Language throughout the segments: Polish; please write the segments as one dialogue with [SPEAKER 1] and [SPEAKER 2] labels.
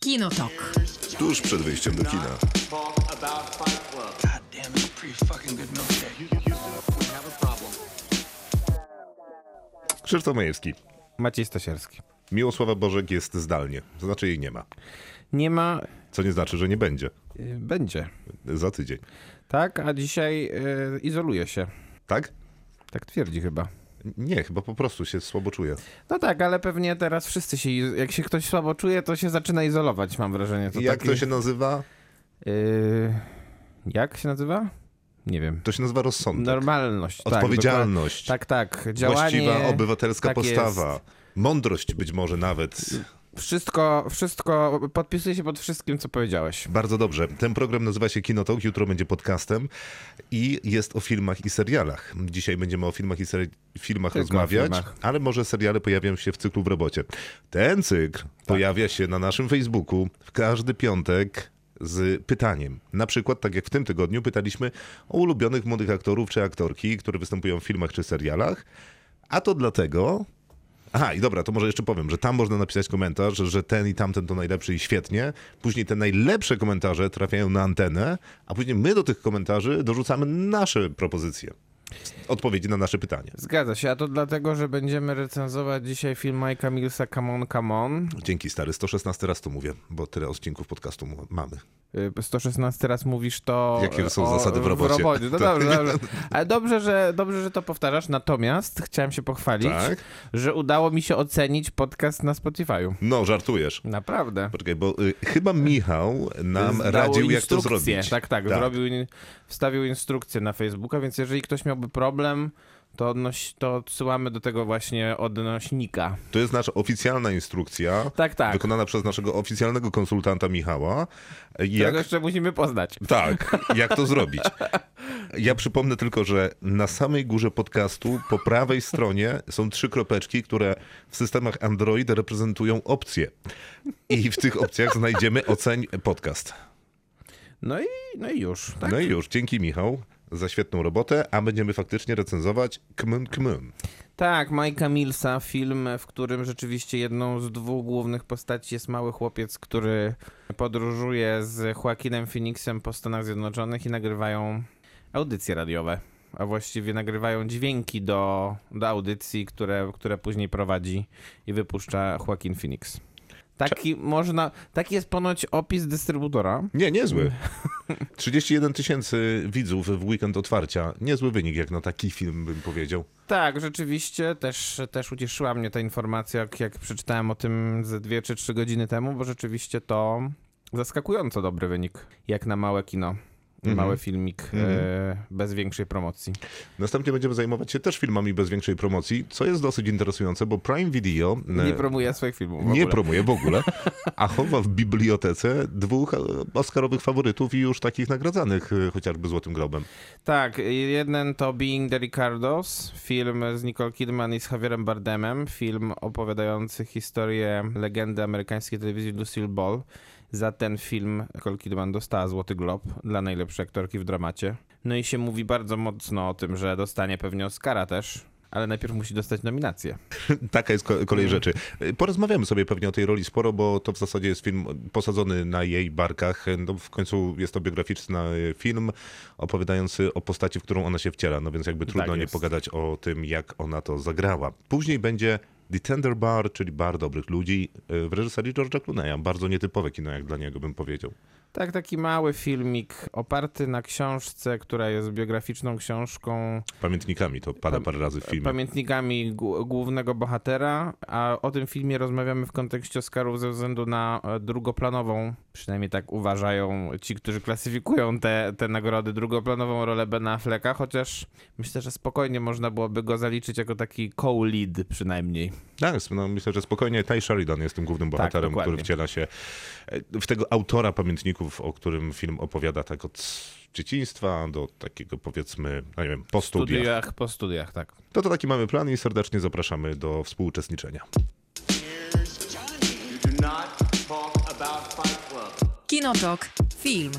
[SPEAKER 1] Kinotok.
[SPEAKER 2] Tuż przed wyjściem do kina.
[SPEAKER 3] God damn, it's a pretty fucking good milkshake.
[SPEAKER 2] Krzysztof Majewski.
[SPEAKER 4] Maciej Stasierski.
[SPEAKER 2] Miłosława Bożek jest zdalnie. To znaczy jej nie ma.
[SPEAKER 4] Nie ma.
[SPEAKER 2] Co nie znaczy, że nie będzie.
[SPEAKER 4] y, Będzie.
[SPEAKER 2] Za tydzień.
[SPEAKER 4] Tak, a dzisiaj y, izoluje się.
[SPEAKER 2] Tak?
[SPEAKER 4] Tak twierdzi chyba.
[SPEAKER 2] Nie, chyba po prostu się słabo czuję.
[SPEAKER 4] No tak, ale pewnie teraz wszyscy się. iz- Jak się ktoś słabo czuje, to się zaczyna izolować, mam wrażenie. To
[SPEAKER 2] Jak
[SPEAKER 4] taki,
[SPEAKER 2] to się nazywa?
[SPEAKER 4] y, jak się nazywa? Nie wiem.
[SPEAKER 2] To się nazywa rozsądek.
[SPEAKER 4] Normalność. tak,
[SPEAKER 2] Odpowiedzialność.
[SPEAKER 4] dokładnie. Tak, tak. Działanie.
[SPEAKER 2] Właściwa obywatelska
[SPEAKER 4] tak
[SPEAKER 2] postawa.
[SPEAKER 4] Jest.
[SPEAKER 2] Mądrość być może nawet.
[SPEAKER 4] Wszystko, wszystko, podpisuję się pod wszystkim, co powiedziałeś.
[SPEAKER 2] Bardzo dobrze. Ten program nazywa się Kinotok, jutro będzie podcastem i jest o filmach i serialach. Dzisiaj będziemy o filmach i seri- filmach
[SPEAKER 4] Tylko o
[SPEAKER 2] rozmawiać,
[SPEAKER 4] filmach.
[SPEAKER 2] ale może seriale pojawią się w cyklu w robocie. Ten cykl pojawia się na naszym Facebooku w każdy piątek z pytaniem. Na przykład, tak jak w tym tygodniu, pytaliśmy o ulubionych młodych aktorów czy aktorki, które występują w filmach czy serialach, a to dlatego, Aha, i dobra, to może jeszcze powiem, że tam można napisać komentarz, że ten i tamten to najlepszy i świetnie. Później te najlepsze komentarze trafiają na antenę, a później my do tych komentarzy dorzucamy nasze propozycje. Odpowiedzi na nasze pytanie.
[SPEAKER 4] Zgadza się, a to dlatego, że będziemy recenzować dzisiaj film Mike'a Millsa Come On, Come On.
[SPEAKER 2] Dzięki stary, 116 raz to mówię, bo tyle odcinków podcastu mu- mamy.
[SPEAKER 4] Y, 116 raz mówisz to.
[SPEAKER 2] Jakie są
[SPEAKER 4] o-
[SPEAKER 2] zasady w robocie?
[SPEAKER 4] No
[SPEAKER 2] Tak.
[SPEAKER 4] dobrze, dobrze. Ale dobrze że, dobrze, że to powtarzasz. Natomiast chciałem się pochwalić,
[SPEAKER 2] Tak?
[SPEAKER 4] że udało mi się ocenić podcast na Spotify'u.
[SPEAKER 2] No, żartujesz.
[SPEAKER 4] Naprawdę.
[SPEAKER 2] Poczekaj, bo y, chyba Michał nam
[SPEAKER 4] Zdało
[SPEAKER 2] radził, jak to
[SPEAKER 4] instrukcję.
[SPEAKER 2] zrobić.
[SPEAKER 4] Tak, tak, Zrobił, in- wstawił instrukcję na Facebooka, więc jeżeli ktoś miałby problem, to, odnoś, to odsyłamy do tego właśnie odnośnika.
[SPEAKER 2] To jest nasza oficjalna instrukcja,
[SPEAKER 4] Tak, tak.
[SPEAKER 2] wykonana przez naszego oficjalnego konsultanta Michała. Jak
[SPEAKER 4] Tego jeszcze musimy poznać.
[SPEAKER 2] Tak, jak to zrobić? Ja przypomnę tylko, że na samej górze podcastu, po prawej stronie są trzy kropeczki, które w systemach Android reprezentują opcje. I w tych opcjach znajdziemy oceń podcast.
[SPEAKER 4] No i, no i już. Tak?
[SPEAKER 2] No i już, dzięki Michał za świetną robotę, a będziemy faktycznie recenzować Kmyn Kmyn.
[SPEAKER 4] Tak, Majka Millsa, film, w którym rzeczywiście jedną z dwóch głównych postaci jest mały chłopiec, który podróżuje z Joaquinem Phoenixem po Stanach Zjednoczonych i nagrywają audycje radiowe. A właściwie nagrywają dźwięki do, do audycji, które, które później prowadzi i wypuszcza Joaquin Phoenix. Taki można, taki jest ponoć opis dystrybutora.
[SPEAKER 2] Nie, niezły. 31 tysięcy widzów w weekend otwarcia. Niezły wynik, jak na taki film bym powiedział.
[SPEAKER 4] Tak, rzeczywiście też, też ucieszyła mnie ta informacja, jak, jak przeczytałem o tym ze dwie czy trzy godziny temu, bo rzeczywiście to zaskakująco dobry wynik, jak na małe kino.
[SPEAKER 2] Mhm.
[SPEAKER 4] Mały filmik e, bez większej promocji.
[SPEAKER 2] Następnie będziemy zajmować się też filmami bez większej promocji, co jest dosyć interesujące, bo Prime Video e,
[SPEAKER 4] Nie promuje swoich filmów. W
[SPEAKER 2] nie
[SPEAKER 4] ogóle.
[SPEAKER 2] promuje w ogóle, a chowa w bibliotece dwóch e, oscarowych faworytów i już takich nagradzanych e, chociażby Złotym Globem.
[SPEAKER 4] Tak, jeden to Being the Ricardos, film z Nicole Kidman i z Javierem Bardemem, film opowiadający historię legendy amerykańskiej telewizji Lucille Ball. Za ten film Nicole Kidman dostała Złoty Glob dla najlepszej aktorki w dramacie. No i się mówi bardzo mocno o tym, że dostanie pewnie Oscara też, ale najpierw musi dostać nominację.
[SPEAKER 2] Taka jest ko- kolej rzeczy. E, Porozmawiamy sobie pewnie o tej roli sporo, bo to w zasadzie jest film posadzony na jej barkach. E, No, w końcu jest to biograficzny e, film opowiadający o postaci, w którą ona się wciela, no więc jakby trudno nie
[SPEAKER 4] jest.
[SPEAKER 2] pogadać o tym, jak ona to zagrała. Później będzie The Tender Bar, czyli Bar Dobrych Ludzi e, w reżyserii George'a Clooney'a. Bardzo nietypowe kino, jak dla niego bym powiedział.
[SPEAKER 4] Tak, taki mały filmik oparty na książce, która jest biograficzną książką
[SPEAKER 2] Pamiętnikami to pada parę razy w filmie.
[SPEAKER 4] pamiętnikami gu- głównego bohatera, a o tym filmie rozmawiamy w kontekście Oscarów ze względu na e, drugoplanową, przynajmniej tak uważają ci, którzy klasyfikują te, te nagrody, drugoplanową rolę Bena Afflecka, chociaż myślę, że spokojnie można byłoby go zaliczyć jako taki co-lead przynajmniej.
[SPEAKER 2] Tak, no myślę, że spokojnie. Ty Sheridan jest tym głównym bohaterem, który
[SPEAKER 4] dokładnie.
[SPEAKER 2] wciela się e, w tego autora pamiętników, o którym film opowiada tak od dzieciństwa do takiego powiedzmy, no nie wiem, po
[SPEAKER 4] W
[SPEAKER 2] studiach.
[SPEAKER 4] studiach, po studiach, tak.
[SPEAKER 2] To to taki mamy plan i serdecznie zapraszamy do współuczestniczenia.
[SPEAKER 3] You do not talk about Fight Club.
[SPEAKER 1] Kinotok. Film.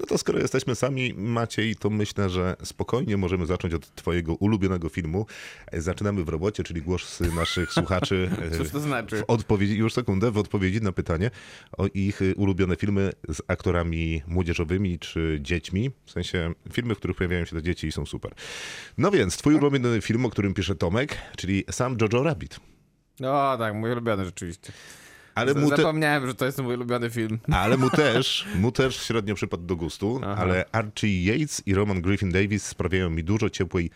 [SPEAKER 2] No to skoro jesteśmy sami, Maciej, to myślę, że spokojnie możemy zacząć od twojego ulubionego filmu. E, Zaczynamy w robocie, czyli głosy naszych słuchaczy. e,
[SPEAKER 4] Cóż to znaczy?
[SPEAKER 2] W odpowiedzi, już sekundę, w odpowiedzi na pytanie o ich y, ulubione filmy z aktorami młodzieżowymi czy dziećmi. W sensie filmy, w których pojawiają się te dzieci i są super. No więc, twój ulubiony film, o którym pisze Tomek, czyli sam Jojo Rabbit.
[SPEAKER 4] O tak, mój ulubiony rzeczywiście.
[SPEAKER 2] Ale
[SPEAKER 4] Z-
[SPEAKER 2] mu, te,
[SPEAKER 4] Zapomniałem, że to jest mój ulubiony film.
[SPEAKER 2] ale mu też, mu też średnio przypadł do gustu,
[SPEAKER 4] Aha.
[SPEAKER 2] ale Archie Yates i Roman Griffin Davis sprawiają mi dużo ciepłej,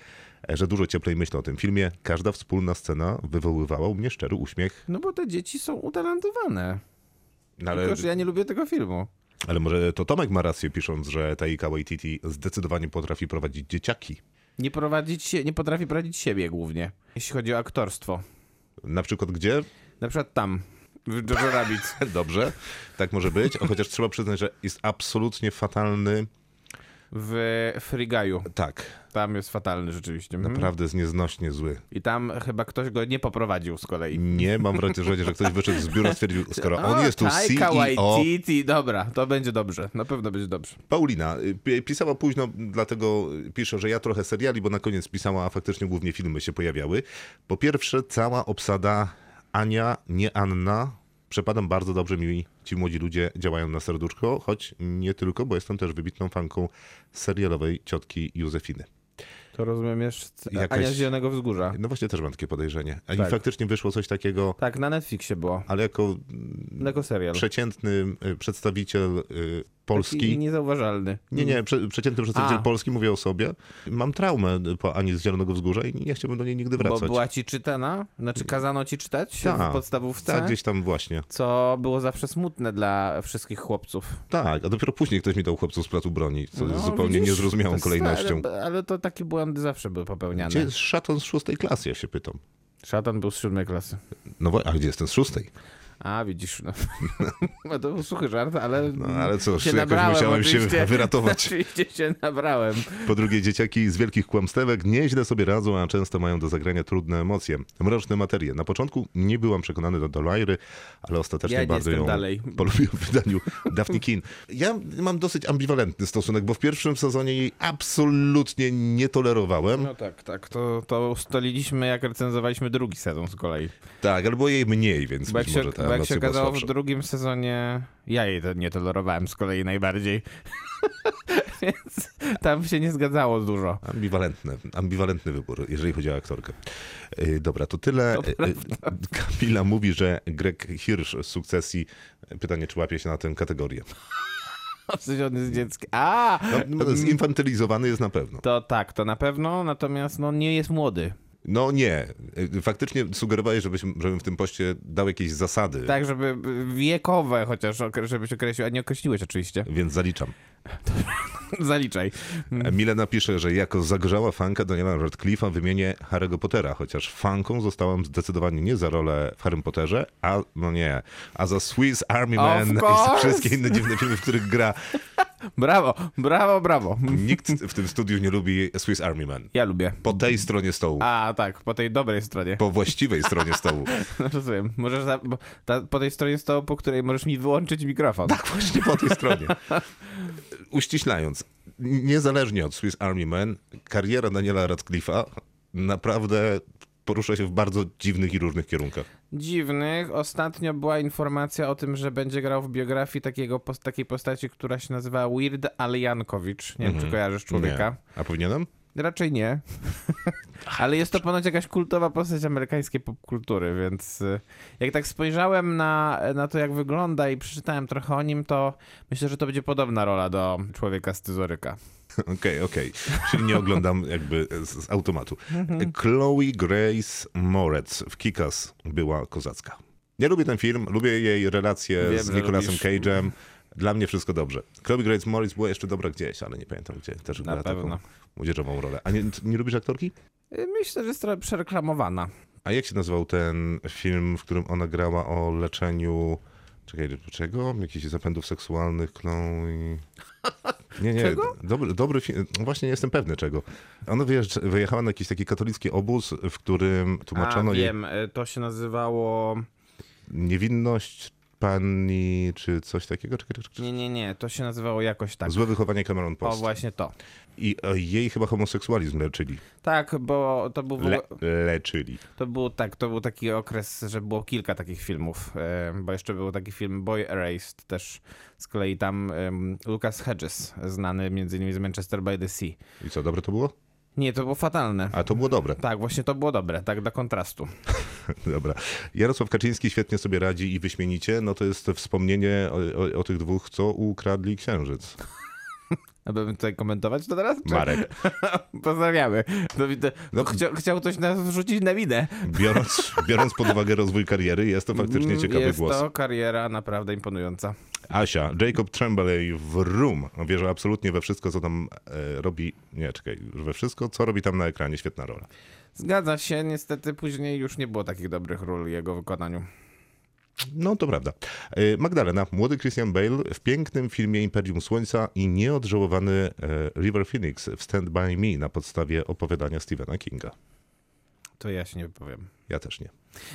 [SPEAKER 2] e, że dużo cieplej myślę o tym filmie. Każda wspólna scena wywoływała u mnie szczery uśmiech.
[SPEAKER 4] No bo te dzieci są utalentowane.
[SPEAKER 2] No
[SPEAKER 4] Tylko, że ja nie lubię tego filmu.
[SPEAKER 2] Ale może to Tomek ma rację pisząc, że Taika Waititi zdecydowanie potrafi prowadzić dzieciaki.
[SPEAKER 4] Nie, prowadzić się, nie potrafi prowadzić siebie głównie, jeśli chodzi o aktorstwo.
[SPEAKER 2] Na przykład gdzie?
[SPEAKER 4] Na przykład tam, w Jojo Rabbit.
[SPEAKER 2] Dobrze, tak może być, o, chociaż trzeba przyznać, że jest absolutnie fatalny.
[SPEAKER 4] W Free Guy'u.
[SPEAKER 2] Tak,
[SPEAKER 4] Tam jest fatalny rzeczywiście. Mhm.
[SPEAKER 2] naprawdę jest nieznośnie zły.
[SPEAKER 4] I tam chyba ktoś go nie poprowadził z kolei.
[SPEAKER 2] Nie mam wrażenia, że ktoś wyszedł z biura i stwierdził, skoro on
[SPEAKER 4] O,
[SPEAKER 2] jest tu E
[SPEAKER 4] Taika
[SPEAKER 2] CEO...
[SPEAKER 4] Waititi. Dobra, to będzie dobrze. Na pewno będzie dobrze.
[SPEAKER 2] Paulina y, pi- pisała późno, dlatego pisze, że ja trochę seriali, bo na koniec pisała, a faktycznie głównie filmy się pojawiały. Po pierwsze, cała obsada Ania, nie Anna. Przepadam bardzo dobrze mi ci młodzi ludzie działają na serduszko, choć nie tylko, bo jestem też wybitną fanką serialowej ciotki Józefiny.
[SPEAKER 4] To rozumiem jeszcze
[SPEAKER 2] Jakaś-
[SPEAKER 4] Ania z Zielonego Wzgórza.
[SPEAKER 2] No właśnie też mam takie podejrzenie. A
[SPEAKER 4] Tak.
[SPEAKER 2] I faktycznie wyszło coś takiego,
[SPEAKER 4] Tak, na Netflixie było.
[SPEAKER 2] ale jako
[SPEAKER 4] No.
[SPEAKER 2] mm,
[SPEAKER 4] Jako serial.
[SPEAKER 2] przeciętny y, przedstawiciel y, Polski.
[SPEAKER 4] Taki niezauważalny.
[SPEAKER 2] Nie, nie, prze, przeciętny przedstawiciel
[SPEAKER 4] Mm. A.
[SPEAKER 2] Polski, mówię o sobie. Mam traumę po Ani z Zielonego Wzgórza i nie chciałbym do niej nigdy
[SPEAKER 4] Bo
[SPEAKER 2] wracać.
[SPEAKER 4] była ci czytana? Znaczy kazano ci czytać
[SPEAKER 2] Tak.
[SPEAKER 4] w podstawówce?
[SPEAKER 2] Tak, gdzieś tam właśnie.
[SPEAKER 4] Co było zawsze smutne dla wszystkich chłopców.
[SPEAKER 2] Tak, a dopiero później ktoś mi dał chłopców z platu broni, co
[SPEAKER 4] No,
[SPEAKER 2] jest zupełnie
[SPEAKER 4] widzisz?
[SPEAKER 2] niezrozumiałą
[SPEAKER 4] To jest-
[SPEAKER 2] kolejnością.
[SPEAKER 4] Ale, ale to takie błędy zawsze były popełniane.
[SPEAKER 2] Gdzie jest szatan z szóstej klasy, ja się pytam.
[SPEAKER 4] Szatan był z siódmej klasy.
[SPEAKER 2] No wo- a gdzie jest ten z szóstej?
[SPEAKER 4] A, widzisz. No. No to był suchy żart, ale...
[SPEAKER 2] No ale cóż,
[SPEAKER 4] się
[SPEAKER 2] jakoś
[SPEAKER 4] nabrałem,
[SPEAKER 2] musiałem się
[SPEAKER 4] oczywiście.
[SPEAKER 2] wyratować.
[SPEAKER 4] Oczywiście się nabrałem.
[SPEAKER 2] Po drugie, dzieciaki z wielkich kłamstewek nieźle sobie radzą, a często mają do zagrania trudne emocje, mroczne materie. Na początku nie byłam przekonany do Dolajry, ale ostatecznie
[SPEAKER 4] Ja nie
[SPEAKER 2] bardzo
[SPEAKER 4] jestem
[SPEAKER 2] ją
[SPEAKER 4] dalej.
[SPEAKER 2] polubiłem w wydaniu Daphne Keen. Ja mam dosyć ambiwalentny stosunek, bo w pierwszym sezonie jej absolutnie nie tolerowałem.
[SPEAKER 4] No tak, tak. To, to ustaliliśmy, jak recenzowaliśmy drugi sezon z kolei.
[SPEAKER 2] Tak, albo jej mniej, więc
[SPEAKER 4] Bo jak
[SPEAKER 2] być
[SPEAKER 4] się,
[SPEAKER 2] może ta
[SPEAKER 4] bo jak się
[SPEAKER 2] relacja była
[SPEAKER 4] okazało w
[SPEAKER 2] słabsza.
[SPEAKER 4] drugim sezonie, ja jej to nie tolerowałem z kolei najbardziej. Więc tam się nie zgadzało dużo.
[SPEAKER 2] Ambiwalentny, ambiwalentny wybór, jeżeli chodzi o aktorkę. Yy, Dobra, to tyle. Yy, Kamila mówi, że Greg Hirsch z sukcesji, y, pytanie czy łapie się na tę kategorię.
[SPEAKER 4] W sensie on jest dzieckiem. A!
[SPEAKER 2] No, zinfantylizowany jest na pewno.
[SPEAKER 4] To tak, to na pewno, natomiast no nie jest młody.
[SPEAKER 2] No nie, Yy, faktycznie sugerowałeś, żebyśmy, żebym w tym poście dał jakieś zasady,
[SPEAKER 4] Tak, żeby wiekowe chociaż, okre- żebyś określił, a nie określiłeś oczywiście.
[SPEAKER 2] więc zaliczam.
[SPEAKER 4] Zaliczaj.
[SPEAKER 2] Milena pisze, że jako zagrzała fanka Daniela Radcliffe'a wymienię Harry'ego Pottera, chociaż fanką zostałam zdecydowanie nie za rolę w Harrym Potterze, a no nie, a za Swiss Army Man i
[SPEAKER 4] course!
[SPEAKER 2] wszystkie inne dziwne filmy, w których gra.
[SPEAKER 4] Brawo, brawo, brawo.
[SPEAKER 2] Nikt w tym studiu nie lubi Swiss Army Man.
[SPEAKER 4] Ja lubię.
[SPEAKER 2] Po tej stronie stołu,
[SPEAKER 4] A tak, po tej dobrej stronie.
[SPEAKER 2] po właściwej stronie stołu.
[SPEAKER 4] No, Rozumiem. Możesz za, bo ta, po tej stronie stołu, po której możesz mi wyłączyć mikrofon.
[SPEAKER 2] Tak, właśnie po tej stronie. Uściślając, niezależnie od Swiss Army Man, kariera Daniela Radcliffe'a naprawdę porusza się w bardzo dziwnych i różnych kierunkach.
[SPEAKER 4] Dziwnych. Ostatnio była informacja o tym, że będzie grał w biografii takiego, pos- takiej postaci, która się nazywa Weird Al Jankowicz. Nie wiem, czy kojarzysz człowieka.
[SPEAKER 2] Mhm. Nie. A powinienem?
[SPEAKER 4] Raczej nie. Ale jest to ponoć jakaś kultowa postać amerykańskiej popkultury, więc y, jak tak spojrzałem na, na to, jak wygląda i przeczytałem trochę o nim, to myślę, że to będzie podobna rola do człowieka z Tyzoryka.
[SPEAKER 2] Okej, okej. Czyli nie oglądam jakby z, z automatu. Chloe Grace Moretz w Kikas była kozacka. Nie lubię ten film, lubię jej relacje
[SPEAKER 4] Wiem,
[SPEAKER 2] z
[SPEAKER 4] że
[SPEAKER 2] Nicolasem
[SPEAKER 4] lubisz.
[SPEAKER 2] Cage'em. Dla mnie wszystko dobrze. Chloe Grace Moretz była jeszcze dobra gdzieś, ale nie pamiętam gdzie. Też
[SPEAKER 4] Na
[SPEAKER 2] grała taką
[SPEAKER 4] pewno.
[SPEAKER 2] młodzieżową rolę. A nie, nie lubisz aktorki?
[SPEAKER 4] Y, Myślę, że jest trochę przereklamowana.
[SPEAKER 2] A jak się nazywał ten film, w którym ona grała o leczeniu... Czekaj, czego? Jakichś zapędów seksualnych, Chloe... Nie, nie,
[SPEAKER 4] Czego?
[SPEAKER 2] dobry, dobry film. No Właśnie nie jestem pewny czego. Ona wyjeżdż, wyjechała na jakiś taki katolicki obóz, w którym
[SPEAKER 4] A,
[SPEAKER 2] tłumaczono jej
[SPEAKER 4] wiem, y, to się nazywało...
[SPEAKER 2] niewinność, Hiszpanii czy coś takiego. Czekaj, czekaj, czekaj.
[SPEAKER 4] Nie, nie, nie, to się nazywało jakoś tak.
[SPEAKER 2] Złe wychowanie Cameron
[SPEAKER 4] O,
[SPEAKER 2] Post.
[SPEAKER 4] właśnie to.
[SPEAKER 2] I e, jej chyba homoseksualizm leczyli.
[SPEAKER 4] Tak, bo to był, w ogóle-
[SPEAKER 2] Le- leczyli.
[SPEAKER 4] to było tak, to był taki okres, że było kilka takich filmów, e, bo jeszcze był taki film Boy Erased też z kolei tam em, Lucas Hedges, znany między innymi z Manchester by the Sea.
[SPEAKER 2] I co, dobre to było?
[SPEAKER 4] Nie, to było fatalne.
[SPEAKER 2] A to było dobre.
[SPEAKER 4] Tak, właśnie to było dobre, tak dla kontrastu.
[SPEAKER 2] Dobra. Jarosław Kaczyński świetnie sobie radzi i wyśmienicie. No to jest wspomnienie o, o, o tych dwóch, co ukradli księżyc.
[SPEAKER 4] Tak. Aby tutaj komentować to teraz? Czy-
[SPEAKER 2] Marek.
[SPEAKER 4] Pozdrawiamy. No, widzę-
[SPEAKER 2] No.
[SPEAKER 4] Chciał, chciał ktoś nas wrzucić na winę.
[SPEAKER 2] Biorąc, biorąc pod uwagę rozwój kariery, jest to faktycznie ciekawy
[SPEAKER 4] Mm, Jest
[SPEAKER 2] głos.
[SPEAKER 4] to kariera naprawdę imponująca.
[SPEAKER 2] Asia, Jacob Tremblay w Room. No, Wierzę absolutnie we wszystko, co tam e, robi. Nie, czekaj, we wszystko, co robi tam na ekranie. Świetna rola.
[SPEAKER 4] Zgadza się, niestety później już nie było takich dobrych ról w jego wykonaniu.
[SPEAKER 2] No to prawda. E, Magdalena, młody Christian Bale w pięknym filmie Imperium Słońca i nieodżałowany e, River Phoenix w Stand By Me na podstawie opowiadania Stephena Kinga.
[SPEAKER 4] To ja się nie wypowiem.
[SPEAKER 2] Ja też nie.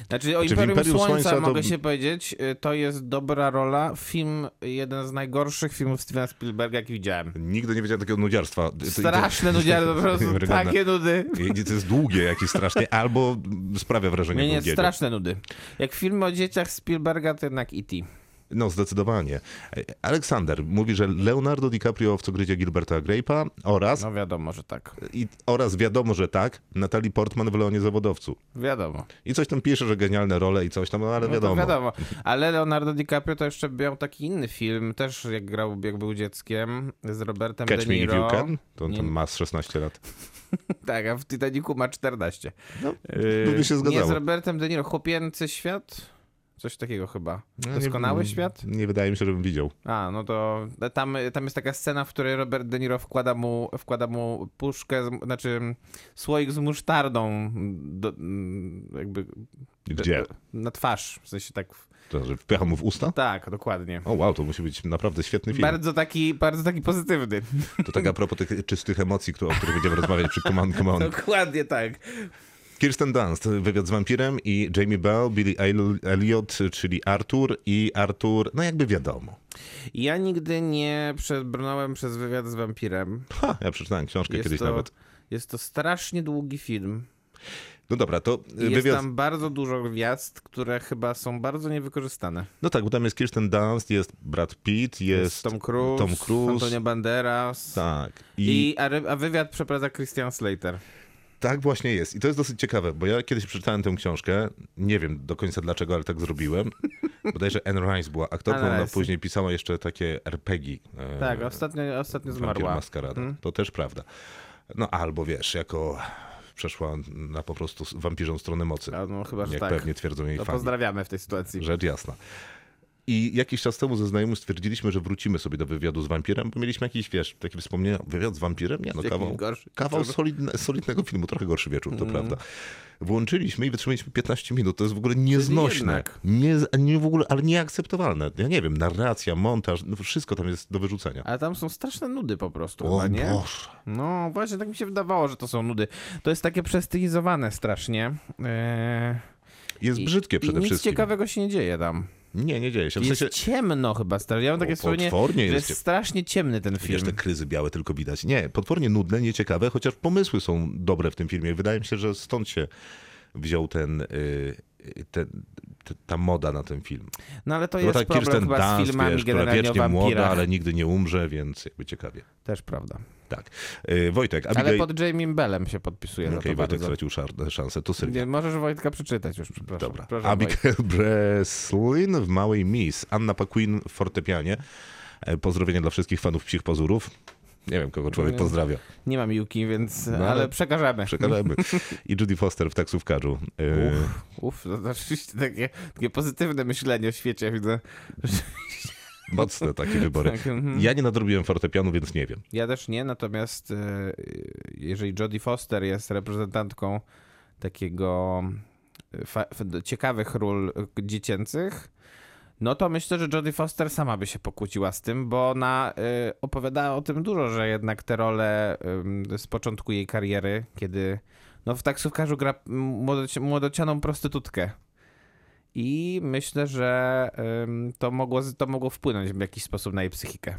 [SPEAKER 4] Znaczy o
[SPEAKER 2] Znaczy, w
[SPEAKER 4] Imperium,
[SPEAKER 2] Imperium
[SPEAKER 4] Słońca,
[SPEAKER 2] Słońca to-
[SPEAKER 4] mogę się powiedzieć, y, to jest dobra rola. Film, jeden z najgorszych filmów Stevena Spielberga, jaki widziałem.
[SPEAKER 2] Nigdy nie wiedziałem takiego nudziarstwa. To- to-
[SPEAKER 4] Straszne nudziary, po prostu
[SPEAKER 2] Wiarygodne.
[SPEAKER 4] takie nudy.
[SPEAKER 2] I To jest długie jakieś strasznie, albo sprawia wrażenie
[SPEAKER 4] Nie, nie,
[SPEAKER 2] długiego.
[SPEAKER 4] straszne nudy. Jak film o dzieciach Spielberga, to jednak E E.T.
[SPEAKER 2] No, zdecydowanie. Aleksander mówi, że Leonardo DiCaprio w Cogryzie Gilberta Grape'a oraz,
[SPEAKER 4] No wiadomo, że tak.
[SPEAKER 2] i, oraz wiadomo, że tak, Natalie Portman w Leonie Zawodowcu.
[SPEAKER 4] Wiadomo.
[SPEAKER 2] I coś tam pisze, że genialne role i coś tam, no ale
[SPEAKER 4] No
[SPEAKER 2] wiadomo.
[SPEAKER 4] To wiadomo. Ale Leonardo DiCaprio to jeszcze miał taki inny film, też jak grał, jak był dzieckiem, z Robertem
[SPEAKER 2] Catch
[SPEAKER 4] De
[SPEAKER 2] me if
[SPEAKER 4] Niro.
[SPEAKER 2] you can. To on
[SPEAKER 4] Nie-
[SPEAKER 2] tam ma z 16 lat.
[SPEAKER 4] Tak, a w Titanicu ma 14.
[SPEAKER 2] No,
[SPEAKER 4] Yy,
[SPEAKER 2] by się
[SPEAKER 4] Nie, z
[SPEAKER 2] zgadzało.
[SPEAKER 4] Robertem De Niro. Chłopięcy świat? Coś takiego chyba.
[SPEAKER 2] No, nie-
[SPEAKER 4] Doskonały świat?
[SPEAKER 2] Nie wydaje mi się, żebym widział.
[SPEAKER 4] A, no to tam, tam jest taka scena, w której Robert De Niro wkłada mu, wkłada mu puszkę, z, znaczy słoik z musztardą do, jakby
[SPEAKER 2] Gdzie?
[SPEAKER 4] na twarz. W sensie tak,
[SPEAKER 2] To, że wpycha mu w usta?
[SPEAKER 4] tak, dokładnie.
[SPEAKER 2] O wow, to musi być naprawdę świetny film.
[SPEAKER 4] Bardzo taki, bardzo taki pozytywny.
[SPEAKER 2] To tak a propos tych czystych emocji, które- o których będziemy rozmawiać przy Command Command.
[SPEAKER 4] Dokładnie tak.
[SPEAKER 2] Kirsten Dunst, wywiad z wampirem i Jamie Bell, Billy Eil- Elliot, czyli Arthur i Arthur, no jakby wiadomo.
[SPEAKER 4] Ja nigdy nie przebrnąłem przez wywiad z wampirem.
[SPEAKER 2] Ha, ja przeczytałem książkę
[SPEAKER 4] Jest
[SPEAKER 2] kiedyś
[SPEAKER 4] to,
[SPEAKER 2] nawet.
[SPEAKER 4] jest to strasznie długi film.
[SPEAKER 2] No dobra, to
[SPEAKER 4] I Jest
[SPEAKER 2] wywiad...
[SPEAKER 4] tam bardzo dużo gwiazd, które chyba są bardzo niewykorzystane.
[SPEAKER 2] No tak, bo tam jest Kirsten Dunst, jest Brad Pitt, jest...
[SPEAKER 4] Tom Cruise,
[SPEAKER 2] Tom Cruise.
[SPEAKER 4] Antonio Banderas.
[SPEAKER 2] Tak. I,
[SPEAKER 4] I, a, ry- a wywiad przeprowadza Christian Slater.
[SPEAKER 2] tak właśnie jest. I to jest dosyć ciekawe, bo ja kiedyś przeczytałem tę książkę, nie wiem do końca dlaczego, ale tak zrobiłem. Bodajże Anne Rice była aktorką,
[SPEAKER 4] Anne
[SPEAKER 2] ona
[SPEAKER 4] Rice.
[SPEAKER 2] później pisała jeszcze takie RPG. e,
[SPEAKER 4] Tak, ostatnio, ostatnio
[SPEAKER 2] Wampir
[SPEAKER 4] zmarła. Hmm?
[SPEAKER 2] Maskarada. To też prawda. No albo wiesz, jako przeszła na po prostu wampirzą stronę mocy.
[SPEAKER 4] A, No, chyba, że
[SPEAKER 2] jak
[SPEAKER 4] tak.
[SPEAKER 2] pewnie twierdzą jej
[SPEAKER 4] To
[SPEAKER 2] fani.
[SPEAKER 4] pozdrawiamy w tej sytuacji.
[SPEAKER 2] Rzecz jasna. I jakiś czas temu ze znajomym stwierdziliśmy, że wrócimy sobie do wywiadu z wampirem, bo mieliśmy jakiś, wiesz, takie wspomnienia, wywiad z wampirem? Nie, no
[SPEAKER 4] Jakiś
[SPEAKER 2] kawał,
[SPEAKER 4] gorszy- Mhm.
[SPEAKER 2] kawał solidne, solidnego filmu, trochę gorszy wieczór, to prawda. Włączyliśmy i wytrzymaliśmy 15 minut, to jest w ogóle nieznośne,
[SPEAKER 4] jednak.
[SPEAKER 2] nie, nie w ogóle, ale nieakceptowalne. Ja nie wiem, narracja, montaż, no wszystko tam jest do wyrzucenia.
[SPEAKER 4] Ale tam są straszne nudy po prostu,
[SPEAKER 2] O
[SPEAKER 4] chyba, nie?
[SPEAKER 2] Boże.
[SPEAKER 4] No właśnie, tak mi się wydawało, że to są nudy. To jest takie przestylizowane strasznie. Eee,
[SPEAKER 2] Jest brzydkie przede
[SPEAKER 4] i nic
[SPEAKER 2] wszystkim.
[SPEAKER 4] ciekawego się nie dzieje tam.
[SPEAKER 2] Nie, nie dzieje się. W
[SPEAKER 4] Jest
[SPEAKER 2] sensie,
[SPEAKER 4] ciemno chyba, stary. Ja mam takie
[SPEAKER 2] O,
[SPEAKER 4] wspomnienie, że
[SPEAKER 2] potwornie jest
[SPEAKER 4] jest
[SPEAKER 2] ciemno.
[SPEAKER 4] strasznie ciemny ten film.
[SPEAKER 2] wiesz, te kryzy białe tylko widać. Nie, potwornie nudne, nieciekawe, chociaż pomysły są dobre w tym filmie. Wydaje mi się, że stąd się wziął ten, y, y, ten t- ta moda na ten film.
[SPEAKER 4] No ale to
[SPEAKER 2] Bo
[SPEAKER 4] jest
[SPEAKER 2] tak
[SPEAKER 4] problem
[SPEAKER 2] Kirsten
[SPEAKER 4] chyba z
[SPEAKER 2] Dunst,
[SPEAKER 4] filmami
[SPEAKER 2] wiesz, która
[SPEAKER 4] generalnie o
[SPEAKER 2] wiecznie
[SPEAKER 4] wampirach.
[SPEAKER 2] młoda, ale nigdy nie umrze, więc jakby ciekawie.
[SPEAKER 4] Też prawda.
[SPEAKER 2] Tak. Y, Wojtek,
[SPEAKER 4] Ale
[SPEAKER 2] Abigail...
[SPEAKER 4] pod Jamie Bellem się podpisuje
[SPEAKER 2] Okej,
[SPEAKER 4] za to
[SPEAKER 2] Wojtek
[SPEAKER 4] bardzo.
[SPEAKER 2] stracił szar- szansę, to Sylwia.
[SPEAKER 4] Nie, możesz Wojtka przeczytać już, przepraszam.
[SPEAKER 2] Dobra.
[SPEAKER 4] Proszę, Wojtek.
[SPEAKER 2] Abigail Breslin w Małej Miss, Anna Paquin w fortepianie. E, Pozdrowienia dla wszystkich fanów psich pozorów. Nie wiem, kogo człowiek
[SPEAKER 4] Nie.
[SPEAKER 2] pozdrawia.
[SPEAKER 4] Nie mam Juki, więc...
[SPEAKER 2] No ale
[SPEAKER 4] ale przekażemy.
[SPEAKER 2] Przekażemy. I Judy Foster w taksówkarzu. E,
[SPEAKER 4] Uff, to rzeczywiście takie, takie pozytywne myślenie o świecie widzę.
[SPEAKER 2] mocne takie wybory.
[SPEAKER 4] Tak, mhm.
[SPEAKER 2] Ja nie nadrobiłem fortepianu, więc nie wiem.
[SPEAKER 4] Ja też nie, natomiast e, jeżeli Jodie Foster jest reprezentantką takiego e, fa- f- ciekawych ról e, dziecięcych, no to myślę, że Jodie Foster sama by się pokłóciła z tym, bo ona e, opowiadała o tym dużo, że jednak te role em, z początku jej kariery, kiedy no w taksówkarzu gra m- młodoci- młodocianą prostytutkę. I myślę, że ym, to mogło, to mogło wpłynąć w jakiś sposób na jej psychikę.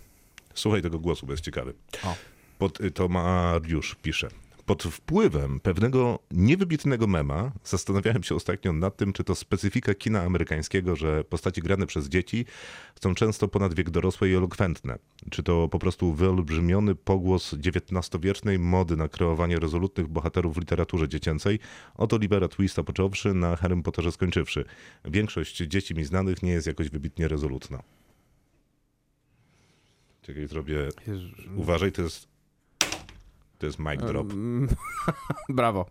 [SPEAKER 2] Słuchaj tego głosu, bo jest ciekawy.
[SPEAKER 4] O.
[SPEAKER 2] Pod, y, to Mariusz pisze. Pod wpływem pewnego niewybitnego mema zastanawiałem się ostatnio nad tym, czy to specyfika kina amerykańskiego, że postaci grane przez dzieci są często ponad wiek dorosły i elokwentne. Czy to po prostu wyolbrzymiony pogłos XIX-wiecznej mody na kreowanie rezolutnych bohaterów w literaturze dziecięcej, od Olivera Twista począwszy, na Harrym Potterze skończywszy. Większość dzieci mi znanych nie jest jakoś wybitnie rezolutna. Czekaj, zrobię Uważaj, to jest. To jest mic drop.
[SPEAKER 4] Ym, Brawo.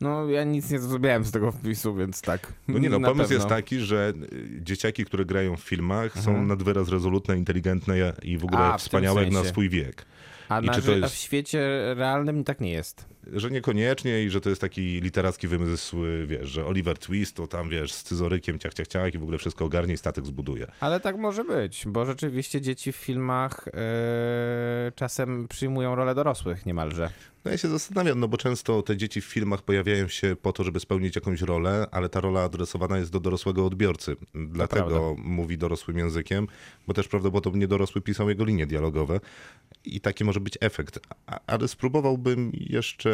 [SPEAKER 4] No, ja nic nie zrozumiałem z tego wpisu, więc tak.
[SPEAKER 2] No nie no,
[SPEAKER 4] Na
[SPEAKER 2] pomysł
[SPEAKER 4] pewno. Mhm.
[SPEAKER 2] jest taki, że y, dzieciaki, które grają w filmach, są nad wyraz rezolutne, inteligentne i w ogóle
[SPEAKER 4] A, w tym
[SPEAKER 2] wspaniałe jak na
[SPEAKER 4] sensie.
[SPEAKER 2] swój wiek.
[SPEAKER 4] A,
[SPEAKER 2] i
[SPEAKER 4] na,
[SPEAKER 2] czy to
[SPEAKER 4] ży- a
[SPEAKER 2] jest-
[SPEAKER 4] w świecie realnym tak nie jest.
[SPEAKER 2] Że niekoniecznie i że to jest taki literacki wymysł, y, wiesz, że Oliver Twist to tam, wiesz, z scyzorykiem ciach, ciach, ciach i w ogóle wszystko ogarnie i statek zbuduje.
[SPEAKER 4] Ale tak może być, bo rzeczywiście dzieci w filmach yy, czasem przyjmują rolę dorosłych niemalże.
[SPEAKER 2] No ja się zastanawiam, no bo często te dzieci w filmach pojawiają się po to, żeby spełnić jakąś rolę, ale ta rola adresowana jest do dorosłego odbiorcy. Dlatego mówi dorosłym językiem, bo też prawdopodobnie dorosły pisał jego linie dialogowe i taki może być efekt. A, ale spróbowałbym jeszcze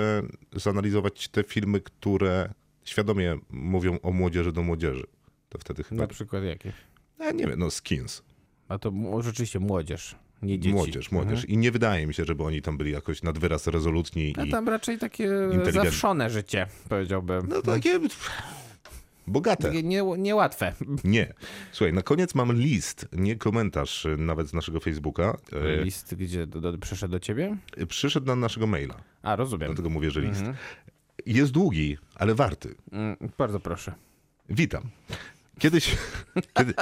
[SPEAKER 2] zanalizować te filmy, które świadomie mówią o młodzieży do młodzieży. To wtedy chyba.
[SPEAKER 4] Na przykład jakie?
[SPEAKER 2] A nie wiem, no skins.
[SPEAKER 4] A to mu- rzeczywiście młodzież, nie dzieci. Mhm.
[SPEAKER 2] Młodzież, młodzież. I nie wydaje mi się, żeby oni tam byli jakoś nad wyraz rezolutni.
[SPEAKER 4] A
[SPEAKER 2] i...
[SPEAKER 4] tam raczej takie
[SPEAKER 2] Inteligentny.
[SPEAKER 4] zawszone życie, powiedziałbym.
[SPEAKER 2] No tak. takie. Bogate.
[SPEAKER 4] Takie nie, niełatwe.
[SPEAKER 2] Nie. Słuchaj, na koniec mam list, nie komentarz y, nawet z naszego Facebooka. E,
[SPEAKER 4] List, gdzie do, do, przyszedł do ciebie?
[SPEAKER 2] Przyszedł na naszego maila,
[SPEAKER 4] A, rozumiem.
[SPEAKER 2] dlatego mówię, że list. Jest długi, ale warty.
[SPEAKER 4] Mm, bardzo proszę.
[SPEAKER 2] Witam. Kiedyś, kiedy,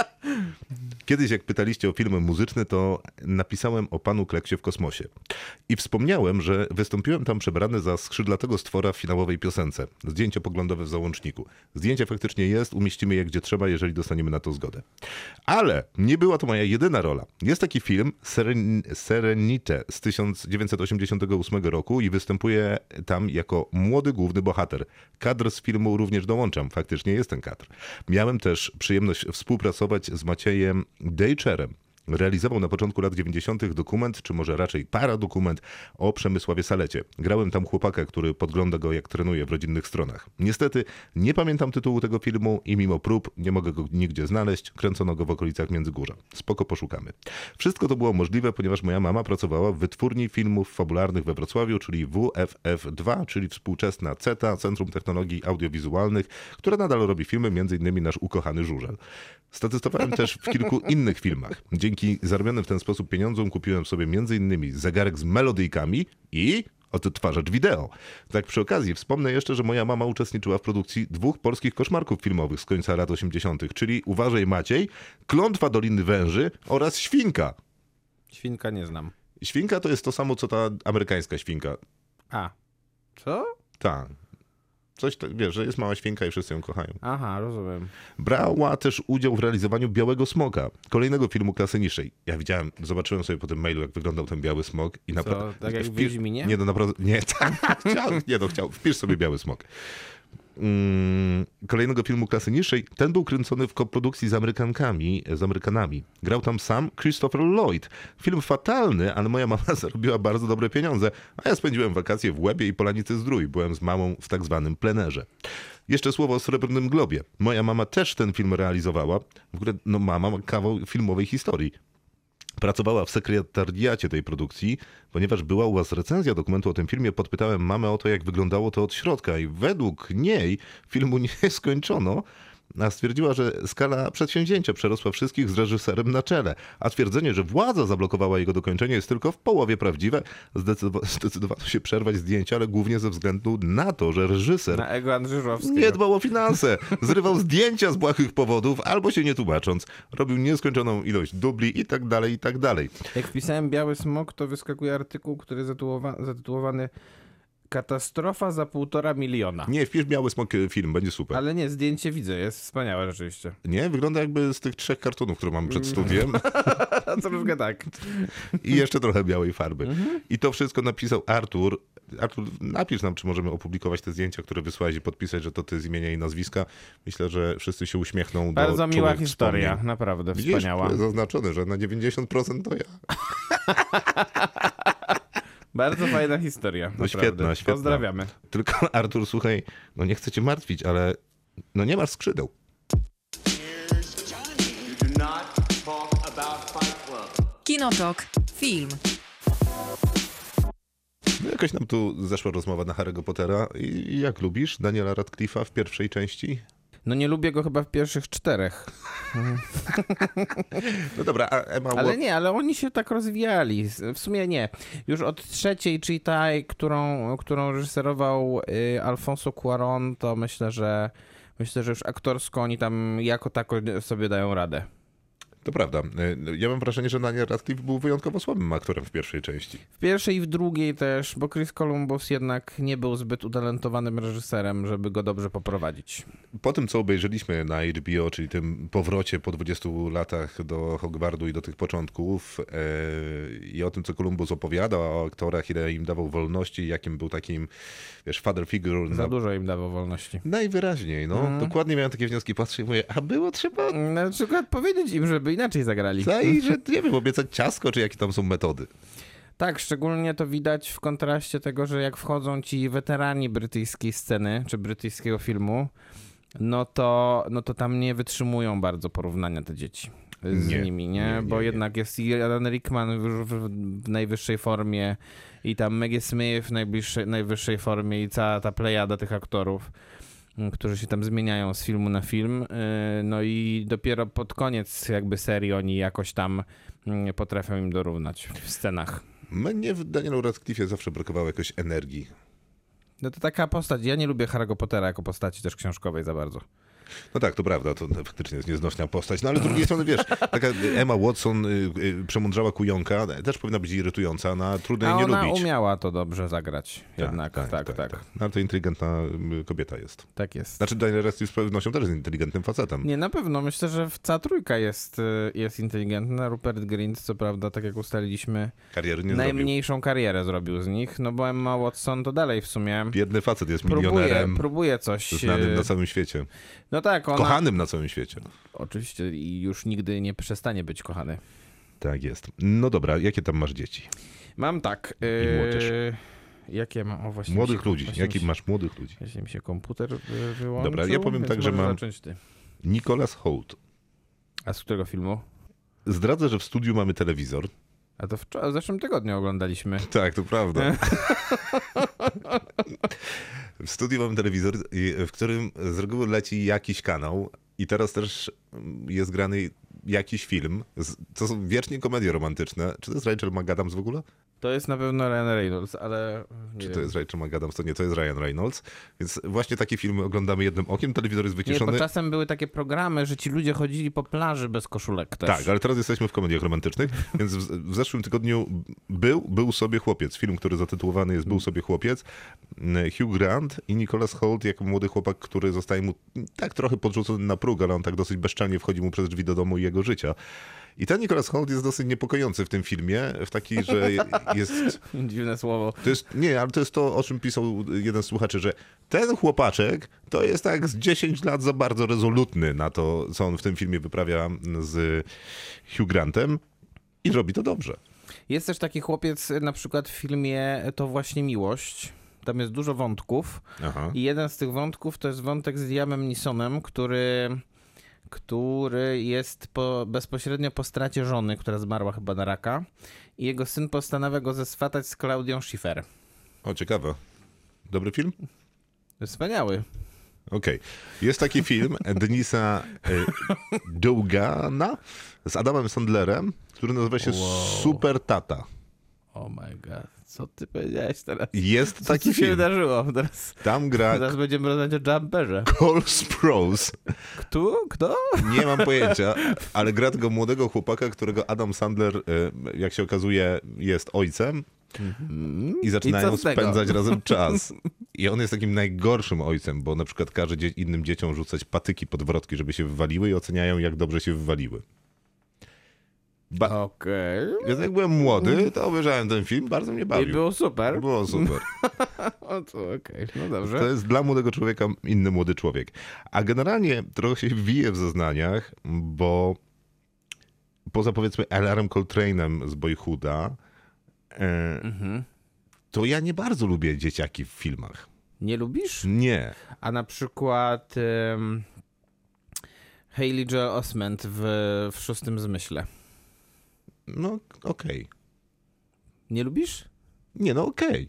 [SPEAKER 2] kiedyś, jak pytaliście o filmy muzyczne, to napisałem o panu Kleksie w kosmosie. I wspomniałem, że wystąpiłem tam przebrany za skrzydlatego stwora w finałowej piosence. Zdjęcie poglądowe w załączniku. Zdjęcie faktycznie jest, umieścimy je gdzie trzeba, jeżeli dostaniemy na to zgodę. Ale nie była to moja jedyna rola. Jest taki film Seren Serenite z 1988 roku i występuje tam jako młody główny bohater. Kadr z filmu również dołączam, faktycznie jest ten kadr. Miałem też przyjemność współpracować z Maciejem Dejczerem. Realizował na początku lat 90. dokument, czy może raczej paradokument o Przemysławie Salecie. Grałem tam chłopaka, który podgląda go jak trenuje w rodzinnych stronach. Niestety nie pamiętam tytułu tego filmu i mimo prób nie mogę go nigdzie znaleźć. Kręcono go w okolicach Międzygórza. Spoko poszukamy. Wszystko to było możliwe, ponieważ moja mama pracowała w wytwórni filmów fabularnych we Wrocławiu, czyli WFF2, czyli współczesna CETA, Centrum Technologii Audiowizualnych, które nadal robi filmy, m.in. nasz ukochany Żurzel. Statystowałem też w kilku innych filmach. Dzięki zarobionym w ten sposób pieniądzom kupiłem sobie m.in. zegarek z melodyjkami i odtwarzacz wideo. Tak przy okazji wspomnę jeszcze, że moja mama uczestniczyła w produkcji dwóch polskich koszmarków filmowych z końca lat 80., czyli Uważaj Maciej, Klątwa Doliny Węży oraz Świnka.
[SPEAKER 4] Świnka nie znam.
[SPEAKER 2] Świnka to jest to samo, co ta amerykańska świnka.
[SPEAKER 4] A, co?
[SPEAKER 2] Ta. Coś, ta- wiesz, że jest mała świnka i wszyscy ją kochają.
[SPEAKER 4] Aha, rozumiem.
[SPEAKER 2] Brała też udział w realizowaniu Białego Smoka, kolejnego filmu klasy niższej. Ja widziałem, zobaczyłem sobie po tym mailu, jak wyglądał ten Biały Smok i naprawdę...
[SPEAKER 4] tak jak w Wiedźminie?
[SPEAKER 2] No, Nie, no naprawdę, nie, tak, chciał, nie, no chciał, wpisz sobie Biały Smok. Mm, kolejnego filmu klasy niższej. Ten był kręcony w koprodukcji z Amerykankami, z Amerykanami. Grał tam sam Christopher Lloyd. Film fatalny, ale moja mama zarobiła bardzo dobre pieniądze, a ja spędziłem wakacje w Łebie i Polanicy Zdrój. Byłem z mamą w tak zwanym plenerze. Jeszcze słowo o Srebrnym Globie. Moja mama też ten film realizowała. W ogóle, no mama ma kawał filmowej historii. Pracowała w sekretariacie tej produkcji, ponieważ była u was recenzja dokumentu o tym filmie, podpytałem mamę o to, jak wyglądało to od środka i według niej filmu nie skończono, a stwierdziła, że skala przedsięwzięcia przerosła wszystkich z reżyserem na czele, a twierdzenie, że władza zablokowała jego dokończenie jest tylko w połowie prawdziwe. Zdecydowa- zdecydowano się przerwać zdjęcia, ale głównie ze względu na to, że reżyser
[SPEAKER 4] Na ego Andrzyżowskiego.
[SPEAKER 2] nie dbał o finanse, zrywał zdjęcia z błahych powodów, albo się nie tłumacząc, robił nieskończoną ilość dubli i tak dalej, i tak dalej.
[SPEAKER 4] Jak wpisałem Biały Smok, to wyskakuje artykuł, który zatytułowa- zatytułowany Katastrofa za półtora miliona.
[SPEAKER 2] Nie, wpisz Biały Smok e, film, będzie super.
[SPEAKER 4] Ale nie, zdjęcie widzę, jest wspaniałe rzeczywiście.
[SPEAKER 2] Nie? Wygląda jakby z tych trzech kartonów, które mam
[SPEAKER 4] Mm.
[SPEAKER 2] przed studiem
[SPEAKER 4] A troszkę tak. Mhm.
[SPEAKER 2] i jeszcze trochę białej farby. I to wszystko napisał Artur Artur, napisz nam, czy możemy opublikować te zdjęcia, które wysłałeś i podpisać, że to ty z imienia i nazwiska. Myślę, że wszyscy się uśmiechną do
[SPEAKER 4] Bardzo miła
[SPEAKER 2] czułych
[SPEAKER 4] historia,
[SPEAKER 2] wspomnień.
[SPEAKER 4] naprawdę
[SPEAKER 2] No, Widzisz, No,
[SPEAKER 4] wspaniała.
[SPEAKER 2] zaznaczone, że na 90% to ja.
[SPEAKER 4] Bardzo fajna historia.
[SPEAKER 2] No
[SPEAKER 4] naprawdę.
[SPEAKER 2] świetna, świetna.
[SPEAKER 4] Pozdrawiamy.
[SPEAKER 2] Tylko Artur, słuchaj, no nie chcę cię martwić, ale no nie masz skrzydeł.
[SPEAKER 3] You do not talk about Fight Club.
[SPEAKER 1] Kinotok. Film.
[SPEAKER 2] No jakoś nam tu zeszła rozmowa na Harry'ego Pottera. I i jak lubisz Daniela Radcliffe'a w pierwszej części?
[SPEAKER 4] No nie lubię go chyba w pierwszych czterech.
[SPEAKER 2] No dobra, a Emma
[SPEAKER 4] Ale
[SPEAKER 2] Watson...
[SPEAKER 4] nie, ale oni się tak rozwijali. W sumie nie. Już od trzeciej, czyli tej, którą, którą reżyserował y, Alfonso Cuaron, to myślę, że myślę, że już aktorsko oni tam jako tako sobie dają radę.
[SPEAKER 2] To prawda. Y, Ja mam wrażenie, że Daniel Radcliffe był wyjątkowo słabym aktorem w pierwszej części.
[SPEAKER 4] W pierwszej i w drugiej też, bo Chris Columbus jednak nie był zbyt utalentowanym reżyserem, żeby go dobrze poprowadzić.
[SPEAKER 2] Po tym, co obejrzeliśmy na HBO, czyli tym powrocie po 20 latach do Hogwartu i do tych początków e, i o tym, co Columbus opowiadał o aktorach, ile im dawał wolności, jakim był takim, wiesz, father figure.
[SPEAKER 4] Za
[SPEAKER 2] na-
[SPEAKER 4] dużo im dawał wolności.
[SPEAKER 2] Najwyraźniej, no.
[SPEAKER 4] Mhm.
[SPEAKER 2] Dokładnie miałem takie wnioski, patrzę i mówię, a było trzeba...
[SPEAKER 4] Na przykład powiedzieć im, żeby inaczej zagrali.
[SPEAKER 2] No i że, nie wiem, obiecać ciasko, czy jakie tam są metody.
[SPEAKER 4] Tak, szczególnie to widać w kontraście tego, że jak wchodzą ci weterani brytyjskiej sceny, czy brytyjskiego filmu, no to, no to tam nie wytrzymują bardzo porównania te dzieci z
[SPEAKER 2] Nie,
[SPEAKER 4] nimi, nie?
[SPEAKER 2] nie, nie,
[SPEAKER 4] Bo
[SPEAKER 2] nie.
[SPEAKER 4] jednak jest Alan Rickman w, w, w najwyższej formie i tam Maggie Smith w najbliższej, najwyższej formie i cała ta plejada tych aktorów, m, którzy się tam zmieniają z filmu na film. Yy, No i dopiero pod koniec jakby serii oni jakoś tam mm, potrafią im dorównać w scenach.
[SPEAKER 2] Mnie w Danielu Radcliffe'ie zawsze brakowało jakoś energii.
[SPEAKER 4] No to taka postać. Ja nie lubię Harry'ego Pottera jako postaci też książkowej za bardzo.
[SPEAKER 2] No tak, to prawda, to faktycznie jest nieznośna postać, no ale z drugiej strony, wiesz, taka Emma Watson, y, y, przemądrzała kujonka, też powinna być irytująca, na trudno jej
[SPEAKER 4] A
[SPEAKER 2] No nie
[SPEAKER 4] ona
[SPEAKER 2] lubić.
[SPEAKER 4] umiała to dobrze zagrać. Jednak tak, tak, tak.
[SPEAKER 2] No, ale to inteligentna y, kobieta jest.
[SPEAKER 4] jest.
[SPEAKER 2] Znaczy Daniel Radcliffe z pewnością też jest inteligentnym facetem.
[SPEAKER 4] Nie, na pewno. Myślę, że w- cała trójka jest, y, jest inteligentna. Rupert Grint, co prawda, tak jak ustaliliśmy,
[SPEAKER 2] Kariery nie zrobił.
[SPEAKER 4] najmniejszą karierę zrobił z nich, no bo Emma Watson to dalej w sumie
[SPEAKER 2] Biedny facet jest
[SPEAKER 4] próbuje,
[SPEAKER 2] milionerem,
[SPEAKER 4] próbuje coś.
[SPEAKER 2] znanym
[SPEAKER 4] y,
[SPEAKER 2] na całym świecie,
[SPEAKER 4] No tak, ona
[SPEAKER 2] kochanym na całym świecie.
[SPEAKER 4] oczywiście i już nigdy nie przestanie być kochany.
[SPEAKER 2] Tak jest. No dobra, jakie tam masz dzieci?
[SPEAKER 4] Mam tak.
[SPEAKER 2] I młodzież.
[SPEAKER 4] y, Jakie mam? O, właśnie mi
[SPEAKER 2] Młodych
[SPEAKER 4] się-
[SPEAKER 2] ludzi.
[SPEAKER 4] właśnie mi
[SPEAKER 2] Jakich
[SPEAKER 4] się-
[SPEAKER 2] masz młodych ludzi?
[SPEAKER 4] Jeśli mi się komputer y, wyłączył.
[SPEAKER 2] Dobra, ja powiem
[SPEAKER 4] więc
[SPEAKER 2] tak, że
[SPEAKER 4] możesz
[SPEAKER 2] mam-
[SPEAKER 4] zacząć ty.
[SPEAKER 2] Nicolas Holt.
[SPEAKER 4] A z którego filmu?
[SPEAKER 2] Zdradzę, że w studiu mamy telewizor.
[SPEAKER 4] A to w, w zeszłym tygodniu oglądaliśmy.
[SPEAKER 2] Tak, to prawda. w studiu mamy telewizor, i- w którym z reguły leci jakiś kanał i teraz też mm, jest grany jakiś film. Z- To są wiecznie komedie romantyczne. Czy to jest Rachel McAdams w ogóle?
[SPEAKER 4] To jest na pewno Ryan Reynolds, ale. e, Nie
[SPEAKER 2] Czy
[SPEAKER 4] wiem.
[SPEAKER 2] to jest Rachel McAdams? To nie, to jest Ryan Reynolds. Więc właśnie takie filmy oglądamy jednym okiem, telewizor jest
[SPEAKER 4] Nie,
[SPEAKER 2] wyciszony.
[SPEAKER 4] bo czasem były takie programy, że ci ludzie chodzili po plaży bez koszulek też.
[SPEAKER 2] Tak, ale teraz jesteśmy w komediach romantycznych, więc w, w zeszłym tygodniu był, był sobie chłopiec. Film, który zatytułowany jest Był sobie chłopiec. Mm, Hugh Grant i Nicholas Holt jako młody chłopak, który zostaje mu tak trochę podrzucony na próg, ale on tak dosyć bezczelnie wchodzi mu przez drzwi do domu i jego życia. I ten Nicholas Holt jest dosyć niepokojący w tym filmie, w taki, że jest...
[SPEAKER 4] Dziwne słowo.
[SPEAKER 2] To jest nie, ale to jest to, o czym pisał jeden z słuchaczy, że ten chłopaczek to jest tak z 10 lat za bardzo rezolutny na to, co on w tym filmie wyprawia z Hugh Grantem i robi to dobrze.
[SPEAKER 4] Jest też taki chłopiec y, na przykład w filmie To właśnie miłość. Tam jest dużo wątków.
[SPEAKER 2] Aha.
[SPEAKER 4] I jeden z tych wątków to jest wątek z Liamem Nisonem, który, który jest po, bezpośrednio po stracie żony, która zmarła chyba na raka. I jego syn postanawia go zeswatać z Klaudią Schiffer.
[SPEAKER 2] O, ciekawe. Dobry film?
[SPEAKER 4] Wspaniały.
[SPEAKER 2] Okej. Jest taki film Denisa e, Dugana z Adamem Sandlerem, który nazywa się Super Tata.
[SPEAKER 4] Oh my god, co ty powiedziałeś teraz?
[SPEAKER 2] Jest
[SPEAKER 4] Co
[SPEAKER 2] taki
[SPEAKER 4] ci się
[SPEAKER 2] film. Tak.
[SPEAKER 4] wydarzyło? Teraz,
[SPEAKER 2] Tam gra
[SPEAKER 4] teraz będziemy rozmawiać o jumperze.
[SPEAKER 2] Cole Sprouse.
[SPEAKER 4] Kto? Kto?
[SPEAKER 2] Nie mam pojęcia, ale gra tego młodego chłopaka, którego Adam Sandler, e, jak się okazuje, jest ojcem. I zaczynają
[SPEAKER 4] Mhm. I co z tego?
[SPEAKER 2] spędzać razem czas. I on jest takim najgorszym ojcem, bo na przykład każe dzie- innym dzieciom rzucać patyki pod wrotki, żeby się wywaliły i oceniają, jak dobrze się wywaliły. Ba-
[SPEAKER 4] Okej.
[SPEAKER 2] więc jak byłem młody, to obejrzałem ten film, bardzo mnie
[SPEAKER 4] I
[SPEAKER 2] bawił.
[SPEAKER 4] było super.
[SPEAKER 2] Było super.
[SPEAKER 4] O, to okej, no
[SPEAKER 2] To
[SPEAKER 4] dobrze.
[SPEAKER 2] jest dla młodego człowieka inny młody człowiek. A generalnie trochę się wije w zeznaniach, bo poza powiedzmy Alarm Coltrane'em z Boyhooda, e,
[SPEAKER 4] Mhm.
[SPEAKER 2] to ja nie bardzo lubię dzieciaki w filmach.
[SPEAKER 4] Nie lubisz?
[SPEAKER 2] Nie.
[SPEAKER 4] A na przykład um, Hayley Joel Osment w, w Szóstym Zmyśle.
[SPEAKER 2] No okej.
[SPEAKER 4] Nie lubisz?
[SPEAKER 2] Nie, no okej.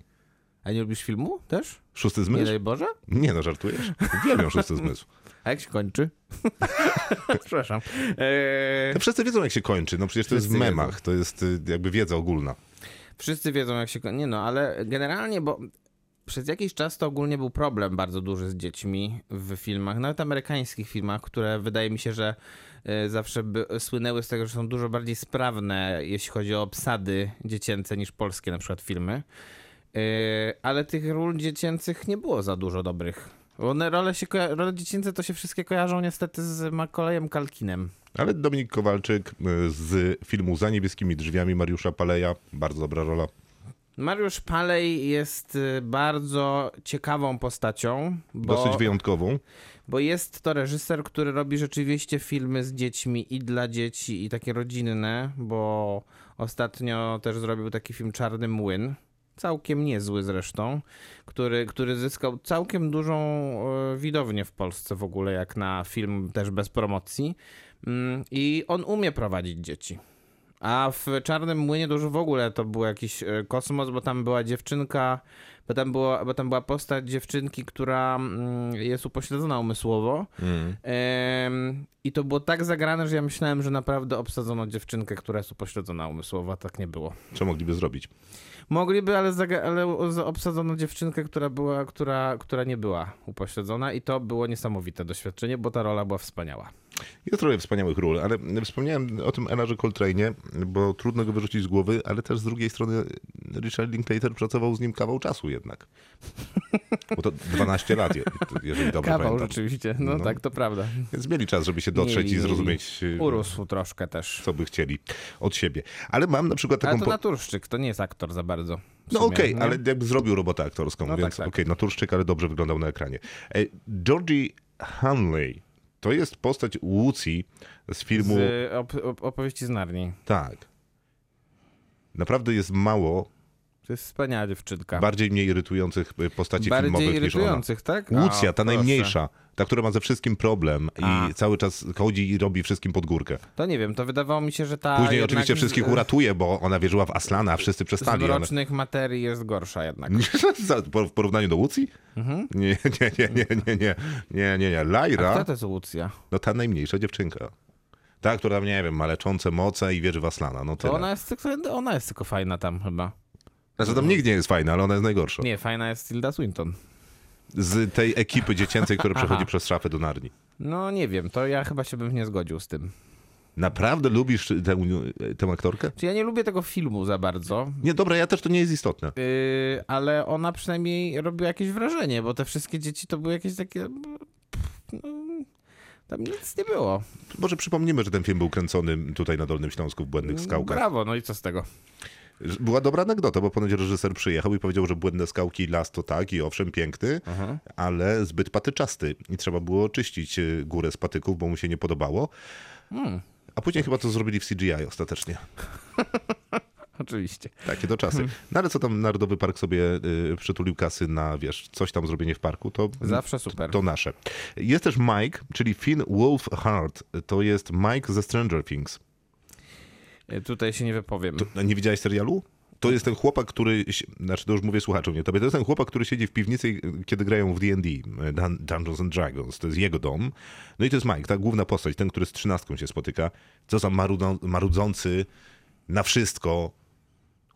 [SPEAKER 4] A nie lubisz filmu też?
[SPEAKER 2] Szósty
[SPEAKER 4] Nie
[SPEAKER 2] zmysł?
[SPEAKER 4] daj Boże?
[SPEAKER 2] Nie no, żartujesz? Uwielbiam szósty zmysł.
[SPEAKER 4] A jak się kończy? Przepraszam. Eee,
[SPEAKER 2] To No, wszyscy wiedzą jak się kończy, no przecież to jest w
[SPEAKER 4] Wszyscy wiedzą.
[SPEAKER 2] memach, to jest y, jakby wiedza ogólna.
[SPEAKER 4] wszyscy wiedzą, jak się kończy. Nie no, ale generalnie, bo przez jakiś czas to ogólnie był problem bardzo duży z dziećmi w filmach, nawet amerykańskich filmach, które wydaje mi się, że e, zawsze by, słynęły z tego, że są dużo bardziej sprawne, jeśli chodzi o obsady dziecięce niż polskie na przykład filmy. E, Ale tych ról dziecięcych nie było za dużo dobrych. Bo One role, się koja- role dziecięce to się wszystkie kojarzą niestety z Makolejem Kalkinem.
[SPEAKER 2] Ale Dominik Kowalczyk y, z filmu Za niebieskimi drzwiami Mariusza Paleja, bardzo dobra rola.
[SPEAKER 4] Mariusz Palej jest y, bardzo ciekawą postacią, bo,
[SPEAKER 2] Dosyć wyjątkową.
[SPEAKER 4] bo jest to reżyser, który robi rzeczywiście filmy z dziećmi i dla dzieci, i takie rodzinne, bo ostatnio też zrobił taki film Czarny Młyn. Całkiem niezły zresztą, który, który zyskał całkiem dużą e, widownię w Polsce w ogóle, jak na film też bez promocji. Mm, I on umie prowadzić dzieci. A w Czarnym Młynie dużo w ogóle to był jakiś e, kosmos, bo tam była dziewczynka, bo tam, było, bo tam była postać dziewczynki, która mm, jest upośledzona umysłowo.
[SPEAKER 2] Mm.
[SPEAKER 4] Em, I to było tak zagrane, że ja myślałem, że naprawdę obsadzono dziewczynkę, która jest upośledzona umysłowo, a tak nie było.
[SPEAKER 2] Co mogliby zrobić?
[SPEAKER 4] Mogliby, ale, zaga- ale u- za- obsadzono dziewczynkę, która, była, która, która nie była upośledzona i to było niesamowite doświadczenie, bo ta rola była wspaniała.
[SPEAKER 2] Jest trochę wspaniałych ról, ale wspomniałem o tym Elarze Coltrane'ie, bo trudno go wyrzucić z głowy, ale też z drugiej strony Richard Linklater pracował z nim kawał czasu jednak. Bo to 12 lat, je- jeżeli dobrze
[SPEAKER 4] Kawał
[SPEAKER 2] pamiętam.
[SPEAKER 4] rzeczywiście, no,
[SPEAKER 2] No.
[SPEAKER 4] tak, to prawda.
[SPEAKER 2] Więc mieli czas, żeby się dotrzeć
[SPEAKER 4] Mieli,
[SPEAKER 2] i
[SPEAKER 4] mieli.
[SPEAKER 2] zrozumieć, y,
[SPEAKER 4] Urósł troszkę też.
[SPEAKER 2] co by chcieli od siebie. Ale mam na przykład
[SPEAKER 4] Ale
[SPEAKER 2] taką...
[SPEAKER 4] to
[SPEAKER 2] po-
[SPEAKER 4] naturszczyk, to nie jest aktor za bardzo. w
[SPEAKER 2] No
[SPEAKER 4] sumie,
[SPEAKER 2] okej,
[SPEAKER 4] nie?
[SPEAKER 2] ale jakby zrobił robotę aktorską,
[SPEAKER 4] No
[SPEAKER 2] więc
[SPEAKER 4] tak, tak.
[SPEAKER 2] okej, naturszczyk, ale dobrze wyglądał na ekranie. E, Georgie Hanley to jest postać Łucji z filmu...
[SPEAKER 4] Z y, op- op- opowieści z Narni.
[SPEAKER 2] Tak. Naprawdę jest mało
[SPEAKER 4] To jest wspaniała dziewczynka.
[SPEAKER 2] bardziej mnie irytujących y, postaci
[SPEAKER 4] Bardziej
[SPEAKER 2] filmowych niż ona.
[SPEAKER 4] irytujących, tak? A,
[SPEAKER 2] Łucja, ta
[SPEAKER 4] proszę.
[SPEAKER 2] najmniejsza, ta, która ma ze wszystkim problem i
[SPEAKER 4] A.
[SPEAKER 2] cały czas chodzi i robi wszystkim pod górkę.
[SPEAKER 4] To nie wiem, to wydawało mi się, że ta.
[SPEAKER 2] Później
[SPEAKER 4] jednak
[SPEAKER 2] oczywiście
[SPEAKER 4] z-
[SPEAKER 2] wszystkich uratuje, bo ona wierzyła w Aslana, a wszyscy
[SPEAKER 4] Z
[SPEAKER 2] przestali. Ona...
[SPEAKER 4] mrocznych materii jest gorsza jednak.
[SPEAKER 2] Za- po- W porównaniu do Łucji?
[SPEAKER 4] Mhm.
[SPEAKER 2] Nie, nie, nie, nie, nie, nie, nie, nie, nie. Lajra.
[SPEAKER 4] Kto to jest Łucja?
[SPEAKER 2] No ta najmniejsza dziewczynka. Ta, która, nie wiem, ma leczące moce i wierzy w Aslana. No
[SPEAKER 4] To
[SPEAKER 2] tyle.
[SPEAKER 4] ona jest, tylko- ona jest tylko fajna tam chyba.
[SPEAKER 2] Znaczy tam nikt nie jest fajny, ale ona jest najgorsza.
[SPEAKER 4] No. Nie, fajna jest Tilda Swinton.
[SPEAKER 2] Z tej ekipy dziecięcej, która przechodzi
[SPEAKER 4] Aha.
[SPEAKER 2] przez szafę do Narni.
[SPEAKER 4] No nie wiem, to ja chyba się bym nie zgodził z tym.
[SPEAKER 2] Naprawdę lubisz tę, tę aktorkę?
[SPEAKER 4] Czy ja nie lubię tego filmu za bardzo,
[SPEAKER 2] Nie, dobra, ja też to nie jest istotne.
[SPEAKER 4] yy, ale ona przynajmniej robiła jakieś wrażenie, bo te wszystkie dzieci to były jakieś takie. pff, No, tam nic nie było.
[SPEAKER 2] Może przypomnimy, że ten film był kręcony tutaj na Dolnym Śląsku w Błędnych Skałkach.
[SPEAKER 4] Brawo, no i co z tego?
[SPEAKER 2] Że Była dobra anegdota, bo ponoć reżyser przyjechał i powiedział, że Błędne Skałki i las to tak i owszem, piękny,
[SPEAKER 4] Mhm.
[SPEAKER 2] ale zbyt patyczasty i trzeba było czyścić y, górę z patyków, bo mu się nie podobało.
[SPEAKER 4] Hmm.
[SPEAKER 2] A później chyba to zrobili w CGI ostatecznie.
[SPEAKER 4] Oczywiście.
[SPEAKER 2] Takie to
[SPEAKER 4] Hmm.
[SPEAKER 2] czasy. No ale co tam Narodowy Park sobie y, przytulił kasy na, wiesz, coś tam zrobienie w parku, to
[SPEAKER 4] Zawsze super.
[SPEAKER 2] Mm. to nasze. Jest też Mike, czyli Finn Wolfhard. To jest Mike ze Stranger Things.
[SPEAKER 4] Yy, Tutaj się nie wypowiem.
[SPEAKER 2] To, No, nie widziałeś serialu? To jest ten chłopak, który. si- Znaczy, to już mówię słuchaczom, nie tobie. To jest ten chłopak, który siedzi w piwnicy, y, kiedy grają w DD, y, Dun Dungeons and Dragons. To jest jego dom. No i to jest Mike, ta główna postać, ten, który z trzynastką się spotyka. Co za marudą, marudzący na wszystko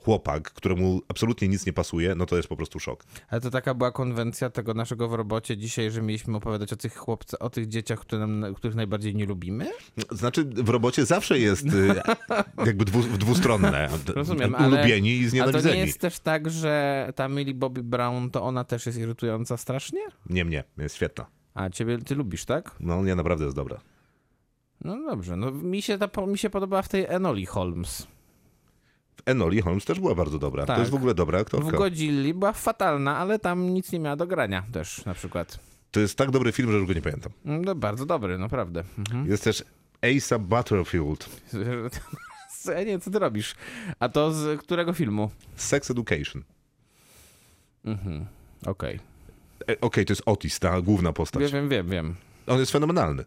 [SPEAKER 2] chłopak, któremu absolutnie nic nie pasuje. No to jest po prostu szok.
[SPEAKER 4] Ale to taka była konwencja tego naszego w robocie dzisiaj, że mieliśmy opowiadać o tych chłopcach, o tych dzieciach, które nam, których najbardziej nie lubimy?
[SPEAKER 2] Znaczy, w robocie zawsze jest y, jakby dwu, dwustronne.
[SPEAKER 4] Rozumiem, ale...
[SPEAKER 2] Tak, Ulubieni i
[SPEAKER 4] A to
[SPEAKER 2] znienawidzeni.
[SPEAKER 4] nie jest też tak, że ta Millie Bobby Brown, to ona też jest irytująca strasznie?
[SPEAKER 2] nie, nie, jest świetna.
[SPEAKER 4] A ciebie, ty lubisz, tak?
[SPEAKER 2] No, nie, naprawdę jest dobra.
[SPEAKER 4] No dobrze, no mi się, ta, po- mi się podobała w tej Enoli Holmes.
[SPEAKER 2] Enoli Holmes też była bardzo dobra.
[SPEAKER 4] Tak.
[SPEAKER 2] To jest w ogóle dobra aktorka.
[SPEAKER 4] W Godzilli była fatalna, ale tam nic nie miała do grania też na przykład.
[SPEAKER 2] To jest tak dobry film, że już go nie pamiętam.
[SPEAKER 4] No, bardzo dobry, naprawdę. Mhm.
[SPEAKER 2] Jest też Asa Butterfield
[SPEAKER 4] Nie, co ty robisz? A to z którego filmu?
[SPEAKER 2] z Sex Education.
[SPEAKER 4] Okej.
[SPEAKER 2] E, Okej, to jest Otis, ta główna postać.
[SPEAKER 4] Ja wiem, wiem, wiem.
[SPEAKER 2] On jest fenomenalny.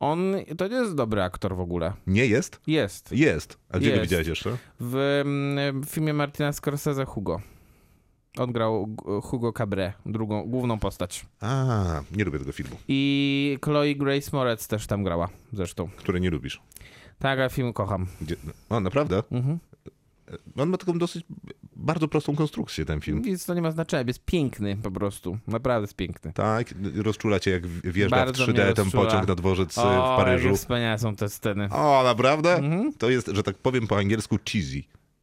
[SPEAKER 4] On to nie jest dobry aktor w ogóle.
[SPEAKER 2] Nie jest?
[SPEAKER 4] Jest.
[SPEAKER 2] Jest. A gdzie go
[SPEAKER 4] Jest.
[SPEAKER 2] widziałeś jeszcze?
[SPEAKER 4] W mm, filmie Martina Scorsese Hugo. On grał G- Hugo Cabré, drugą, główną postać.
[SPEAKER 2] A, nie lubię tego filmu,
[SPEAKER 4] I Chloe Grace Moretz też tam grała zresztą.
[SPEAKER 2] który nie lubisz.
[SPEAKER 4] Tak, a film kocham.
[SPEAKER 2] Gdzie... O, naprawdę?
[SPEAKER 4] Mhm.
[SPEAKER 2] E, On ma taką dosyć bardzo prostą konstrukcję, ten film.
[SPEAKER 4] Nic to nie ma znaczenia, jest piękny po prostu. Naprawdę jest piękny.
[SPEAKER 2] Tak, rozczula cię, jak wjeżdża
[SPEAKER 4] Bardzo
[SPEAKER 2] w 3D
[SPEAKER 4] mnie
[SPEAKER 2] ten
[SPEAKER 4] rozczula.
[SPEAKER 2] pociąg na dworzec y,
[SPEAKER 4] O, Mhm.
[SPEAKER 2] w Paryżu.
[SPEAKER 4] jakie wspaniałe są te sceny.
[SPEAKER 2] O, naprawdę? To jest, że tak powiem po angielsku, cheesy.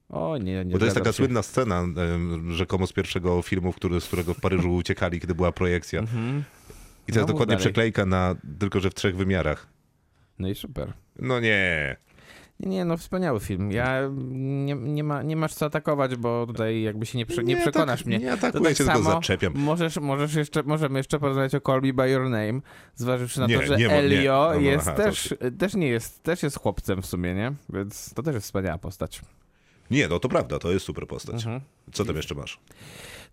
[SPEAKER 4] O nie, nie
[SPEAKER 2] Bo to jest
[SPEAKER 4] zgadzam
[SPEAKER 2] taka
[SPEAKER 4] się.
[SPEAKER 2] słynna scena em, rzekomo z pierwszego filmu, który, z którego w Paryżu uciekali, kiedy była projekcja. I to
[SPEAKER 4] No,
[SPEAKER 2] jest
[SPEAKER 4] mów
[SPEAKER 2] dokładnie
[SPEAKER 4] dalej.
[SPEAKER 2] przeklejka na, tylko że w trzech wymiarach.
[SPEAKER 4] No i super.
[SPEAKER 2] No nie.
[SPEAKER 4] Nie, Nie, no wspaniały film. Ja nie, nie, ma, nie masz co atakować, bo tutaj jakby się nie, prze, nie,
[SPEAKER 2] Nie,
[SPEAKER 4] przekonasz
[SPEAKER 2] tak-
[SPEAKER 4] mnie.
[SPEAKER 2] nie
[SPEAKER 4] To
[SPEAKER 2] atakuję cię, tylko zaczepiam.
[SPEAKER 4] Możesz, możesz jeszcze, możemy jeszcze porozmawiać o Call Me By Your Name, zważywszy na
[SPEAKER 2] Nie,
[SPEAKER 4] to, że
[SPEAKER 2] nie, bo- nie.
[SPEAKER 4] Elio
[SPEAKER 2] No, no,
[SPEAKER 4] jest
[SPEAKER 2] aha, to-
[SPEAKER 4] też, też nie jest, też jest chłopcem w sumie, nie? Więc to też jest wspaniała postać.
[SPEAKER 2] Nie, no to prawda, to jest super postać.
[SPEAKER 4] Mhm.
[SPEAKER 2] Co tam jeszcze masz?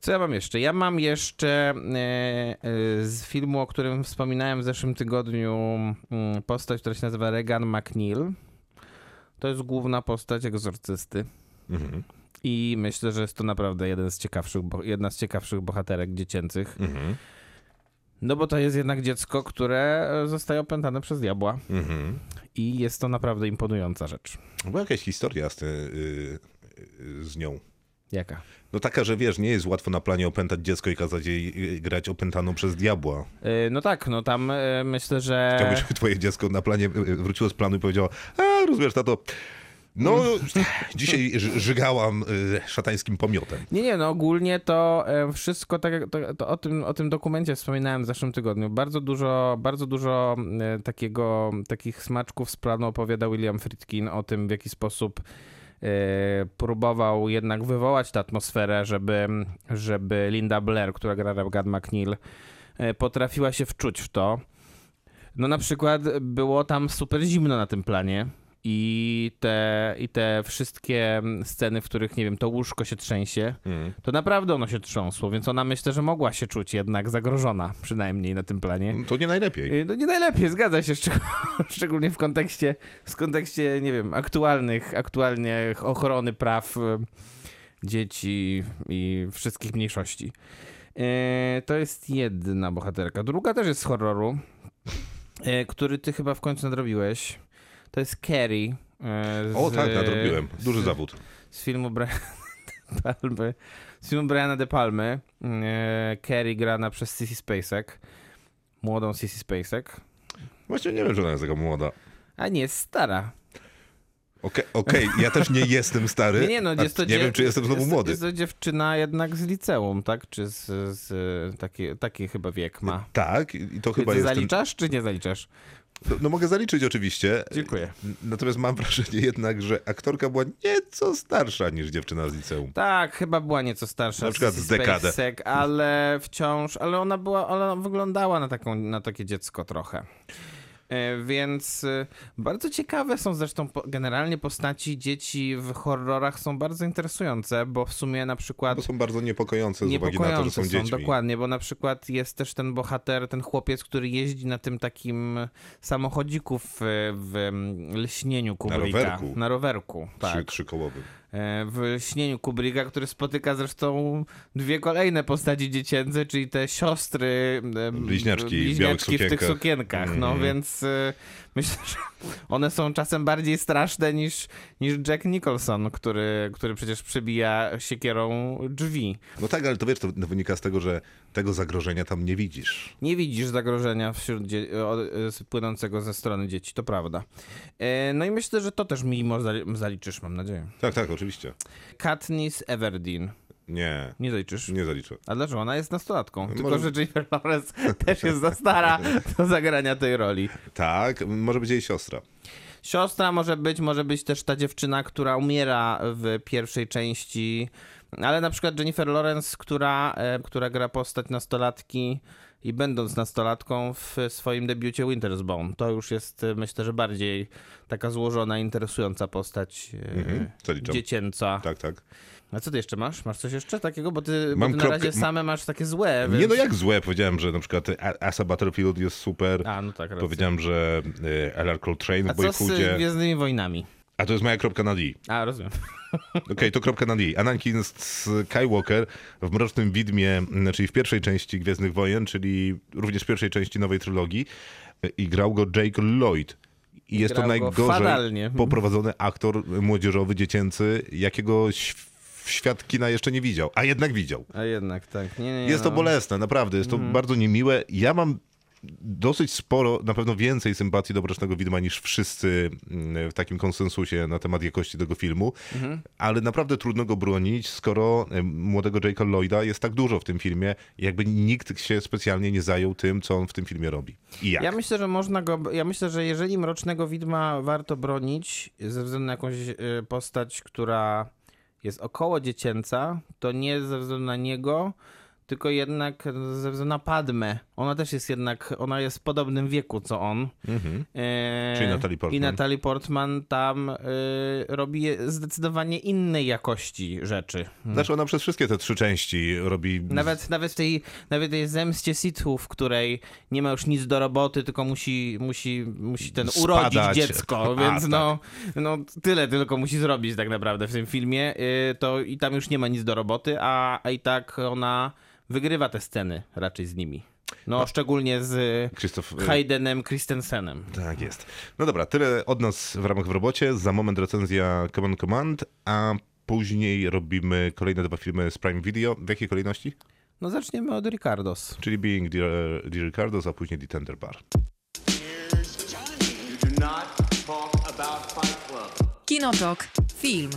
[SPEAKER 4] Co ja mam jeszcze? Ja mam jeszcze e, e, z filmu, o którym wspominałem w zeszłym tygodniu, mm, postać, która się nazywa Regan McNeil. To jest główna postać egzorcysty. I myślę, że jest to naprawdę jeden z ciekawszych, bo- jedna z ciekawszych bohaterek dziecięcych. No bo to jest jednak dziecko, które e, zostaje opętane przez diabła. I jest to naprawdę imponująca rzecz.
[SPEAKER 2] Mhm. Była jakaś historia z, ty, y, y, z nią.
[SPEAKER 4] Jaka?
[SPEAKER 2] No taka, że wiesz, nie jest łatwo na planie opętać dziecko i kazać jej y, grać opętaną przez diabła.
[SPEAKER 4] E, No tak, no tam e, myślę, że...
[SPEAKER 2] Chciałbyś, żeby twoje dziecko na planie y, wróciło z planu i powiedziało, a rozumiesz tato, no
[SPEAKER 4] Mm.
[SPEAKER 2] dzisiaj ż- żygałam y, szatańskim pomiotem.
[SPEAKER 4] Nie, nie, no ogólnie to e, wszystko, tak jak to, to o, tym, o tym dokumencie wspominałem w zeszłym tygodniu, bardzo dużo, bardzo dużo e, takiego, takich smaczków z planu opowiada William Friedkin o tym, w jaki sposób e, próbował jednak wywołać tę atmosferę, żeby, żeby Linda Blair, która gra Regan McNeil, e, potrafiła się wczuć w to. No na przykład było tam super zimno na tym planie i te, i te wszystkie sceny, w których, nie wiem, to łóżko się trzęsie, to naprawdę ono się trząsło, więc ona myślę, że mogła się czuć jednak zagrożona, przynajmniej na tym planie.
[SPEAKER 2] To nie najlepiej.
[SPEAKER 4] Y, No nie najlepiej, zgadza się, szczeg- szczególnie w kontekście, w kontekście, nie wiem, aktualnych, aktualnie ochrony praw y, dzieci i wszystkich mniejszości. Y, To jest jedna bohaterka. Druga też jest z horroru, y, który ty chyba w końcu nadrobiłeś. To jest Carrie. y, Z,
[SPEAKER 2] O tak, nadrobiłem. Duży
[SPEAKER 4] z,
[SPEAKER 2] zawód.
[SPEAKER 4] z filmu Briana De Palmy. Z filmu Briana De Palmy. E, Carrie grana przez Sissy Spacek. Młodą Sissy Spacek.
[SPEAKER 2] Właśnie nie wiem, że ona jest taka młoda.
[SPEAKER 4] A nie, jest stara.
[SPEAKER 2] Okej, okej, ja też nie jestem stary.
[SPEAKER 4] Nie, nie, no,
[SPEAKER 2] a
[SPEAKER 4] jest to
[SPEAKER 2] nie
[SPEAKER 4] dziew-
[SPEAKER 2] wiem, czy jestem znowu
[SPEAKER 4] jest,
[SPEAKER 2] młody.
[SPEAKER 4] Jest to dziewczyna jednak z liceum, tak? Czy z, z taki, taki chyba wiek ma.
[SPEAKER 2] Tak, i to
[SPEAKER 4] Ty,
[SPEAKER 2] chyba
[SPEAKER 4] ty
[SPEAKER 2] jest.
[SPEAKER 4] zaliczasz, czy nie zaliczasz?
[SPEAKER 2] Ten... No mogę zaliczyć oczywiście.
[SPEAKER 4] Dziękuję.
[SPEAKER 2] N- Natomiast mam wrażenie jednak, że aktorka była nieco starsza niż dziewczyna z liceum.
[SPEAKER 4] Tak, chyba była nieco starsza.
[SPEAKER 2] Na przykład
[SPEAKER 4] Sissy
[SPEAKER 2] z dekadę.
[SPEAKER 4] Spacek, ale wciąż, ale ona była, ona wyglądała na, taką, na takie dziecko trochę. E, Więc e, bardzo ciekawe są zresztą po- generalnie postaci dzieci w horrorach są bardzo interesujące, bo w sumie na przykład
[SPEAKER 2] Bo są bardzo niepokojące z uwagi na
[SPEAKER 4] niepokojące
[SPEAKER 2] No to, że są, dziećmi.
[SPEAKER 4] dokładnie, bo na przykład jest też ten bohater, ten chłopiec, który jeździ na tym takim samochodziku w, w mm, lśnieniu Kubricka.
[SPEAKER 2] rowerku.
[SPEAKER 4] Na rowerku, tak.
[SPEAKER 2] Trzy, trzykołowym.
[SPEAKER 4] E, w lśnieniu Kubricka, który spotyka zresztą dwie kolejne postaci dziecięce, czyli te siostry e,
[SPEAKER 2] Bliźniaczki w białych
[SPEAKER 4] bliźniaczki w tych
[SPEAKER 2] sukienkach. Mhm.
[SPEAKER 4] sukienkach. No więc e, myślę, że one są czasem bardziej straszne niż, niż Jack Nicholson, który, który przecież przebija siekierą drzwi.
[SPEAKER 2] No tak, ale to wiesz, to wynika z tego, że tego zagrożenia tam nie widzisz.
[SPEAKER 4] Nie widzisz zagrożenia wśród dzie- o- e, płynącego ze strony dzieci, to prawda. E, No i myślę, że to też mimo zali- zaliczysz, mam nadzieję.
[SPEAKER 2] Tak, tak, oczywiście.
[SPEAKER 4] Katniss Everdeen.
[SPEAKER 2] Nie,
[SPEAKER 4] Nie zaliczysz?
[SPEAKER 2] nie zaliczę.
[SPEAKER 4] A dlaczego? Ona jest nastolatką. Tylko,
[SPEAKER 2] Może-
[SPEAKER 4] że Jennifer Lawrence też jest za stara do zagrania tej roli.
[SPEAKER 2] Tak, może być jej siostra.
[SPEAKER 4] Siostra może być, może być też ta dziewczyna, która umiera w pierwszej części, ale na przykład Jennifer Lawrence, która, e, która gra postać nastolatki i będąc nastolatką w swoim debiucie Winter's Bone. To już jest e, myślę, że bardziej taka złożona, interesująca postać e,
[SPEAKER 2] Mhm, zaliczam.
[SPEAKER 4] dziecięca.
[SPEAKER 2] Tak, tak.
[SPEAKER 4] A co ty jeszcze masz? Masz coś jeszcze takiego? Bo ty, bo
[SPEAKER 2] Mam
[SPEAKER 4] ty na
[SPEAKER 2] kropkę-
[SPEAKER 4] razie
[SPEAKER 2] m-
[SPEAKER 4] same masz takie złe. Więc...
[SPEAKER 2] Nie no jak złe, powiedziałem, że na przykład A- Asa Battlefield jest super.
[SPEAKER 4] A, no tak, racja.
[SPEAKER 2] Powiedziałem, że y, LR Coltrane
[SPEAKER 4] A
[SPEAKER 2] w
[SPEAKER 4] co z e,
[SPEAKER 2] Boyhoodzie.
[SPEAKER 4] Gwiezdnymi Wojnami?
[SPEAKER 2] A to jest moja kropka na D. Okej,
[SPEAKER 4] A, rozumiem.
[SPEAKER 2] to kropka na D. Anakin Skywalker w Mrocznym Widmie, m, czyli w pierwszej części Gwiezdnych Wojen, czyli również w pierwszej części nowej trylogii y, i grał go Jake Lloyd. I jest to
[SPEAKER 4] Grał go Mhm.
[SPEAKER 2] najgorzej
[SPEAKER 4] fatalnie.
[SPEAKER 2] poprowadzony aktor młodzieżowy, dziecięcy, jakiego św- świat kina jeszcze nie widział, a jednak widział.
[SPEAKER 4] A jednak tak. Nie, nie,
[SPEAKER 2] Jest
[SPEAKER 4] no. Mhm.
[SPEAKER 2] to bolesne, naprawdę, jest to bardzo niemiłe. Ja mam dosyć sporo, na pewno więcej sympatii do Mrocznego Widma niż wszyscy mm, w takim konsensusie na temat jakości tego filmu,
[SPEAKER 4] Mhm.
[SPEAKER 2] ale naprawdę trudno go bronić, skoro em, młodego Jake'a Lloyda jest tak dużo w tym filmie, jakby nikt się specjalnie nie zajął tym, co on w tym filmie robi. I jak?
[SPEAKER 4] Ja myślę, że można go. Ja myślę, że jeżeli mrocznego widma warto bronić ze względu na jakąś e, postać, która jest około dziecięca, to nie ze względu na niego, tylko jednak ze względu na Padmę. Ona też jest jednak, ona jest w podobnym wieku co on. E,
[SPEAKER 2] Mhm. Czyli Natalie Portman.
[SPEAKER 4] I Natalie Portman tam e, robi zdecydowanie innej jakości rzeczy.
[SPEAKER 2] Znaczy ona przez wszystkie te trzy części robi...
[SPEAKER 4] Nawet, nawet, w tej, nawet tej zemście sitów, w której nie ma już nic do roboty, tylko musi, musi, musi ten
[SPEAKER 2] Spadać.
[SPEAKER 4] urodzić dziecko,
[SPEAKER 2] A,
[SPEAKER 4] więc
[SPEAKER 2] tak.
[SPEAKER 4] no, no tyle tylko musi zrobić tak naprawdę w tym filmie. Yy, To i tam już nie ma nic do roboty, a, a i tak ona wygrywa te sceny raczej z nimi. No, szczególnie z
[SPEAKER 2] Krzysztof... e,
[SPEAKER 4] Haydenem Christensenem.
[SPEAKER 2] Tak jest. No dobra, tyle od nas w ramach w robocie. Za moment recenzja Command Command, a później robimy kolejne dwa filmy z Prime Video. W jakiej kolejności?
[SPEAKER 4] No zaczniemy od Ricardos.
[SPEAKER 2] Czyli Being Dear, Dear Ricardo, a później The Tender Bar.
[SPEAKER 3] You do not talk about Fight Club.
[SPEAKER 1] Kinotok. Film.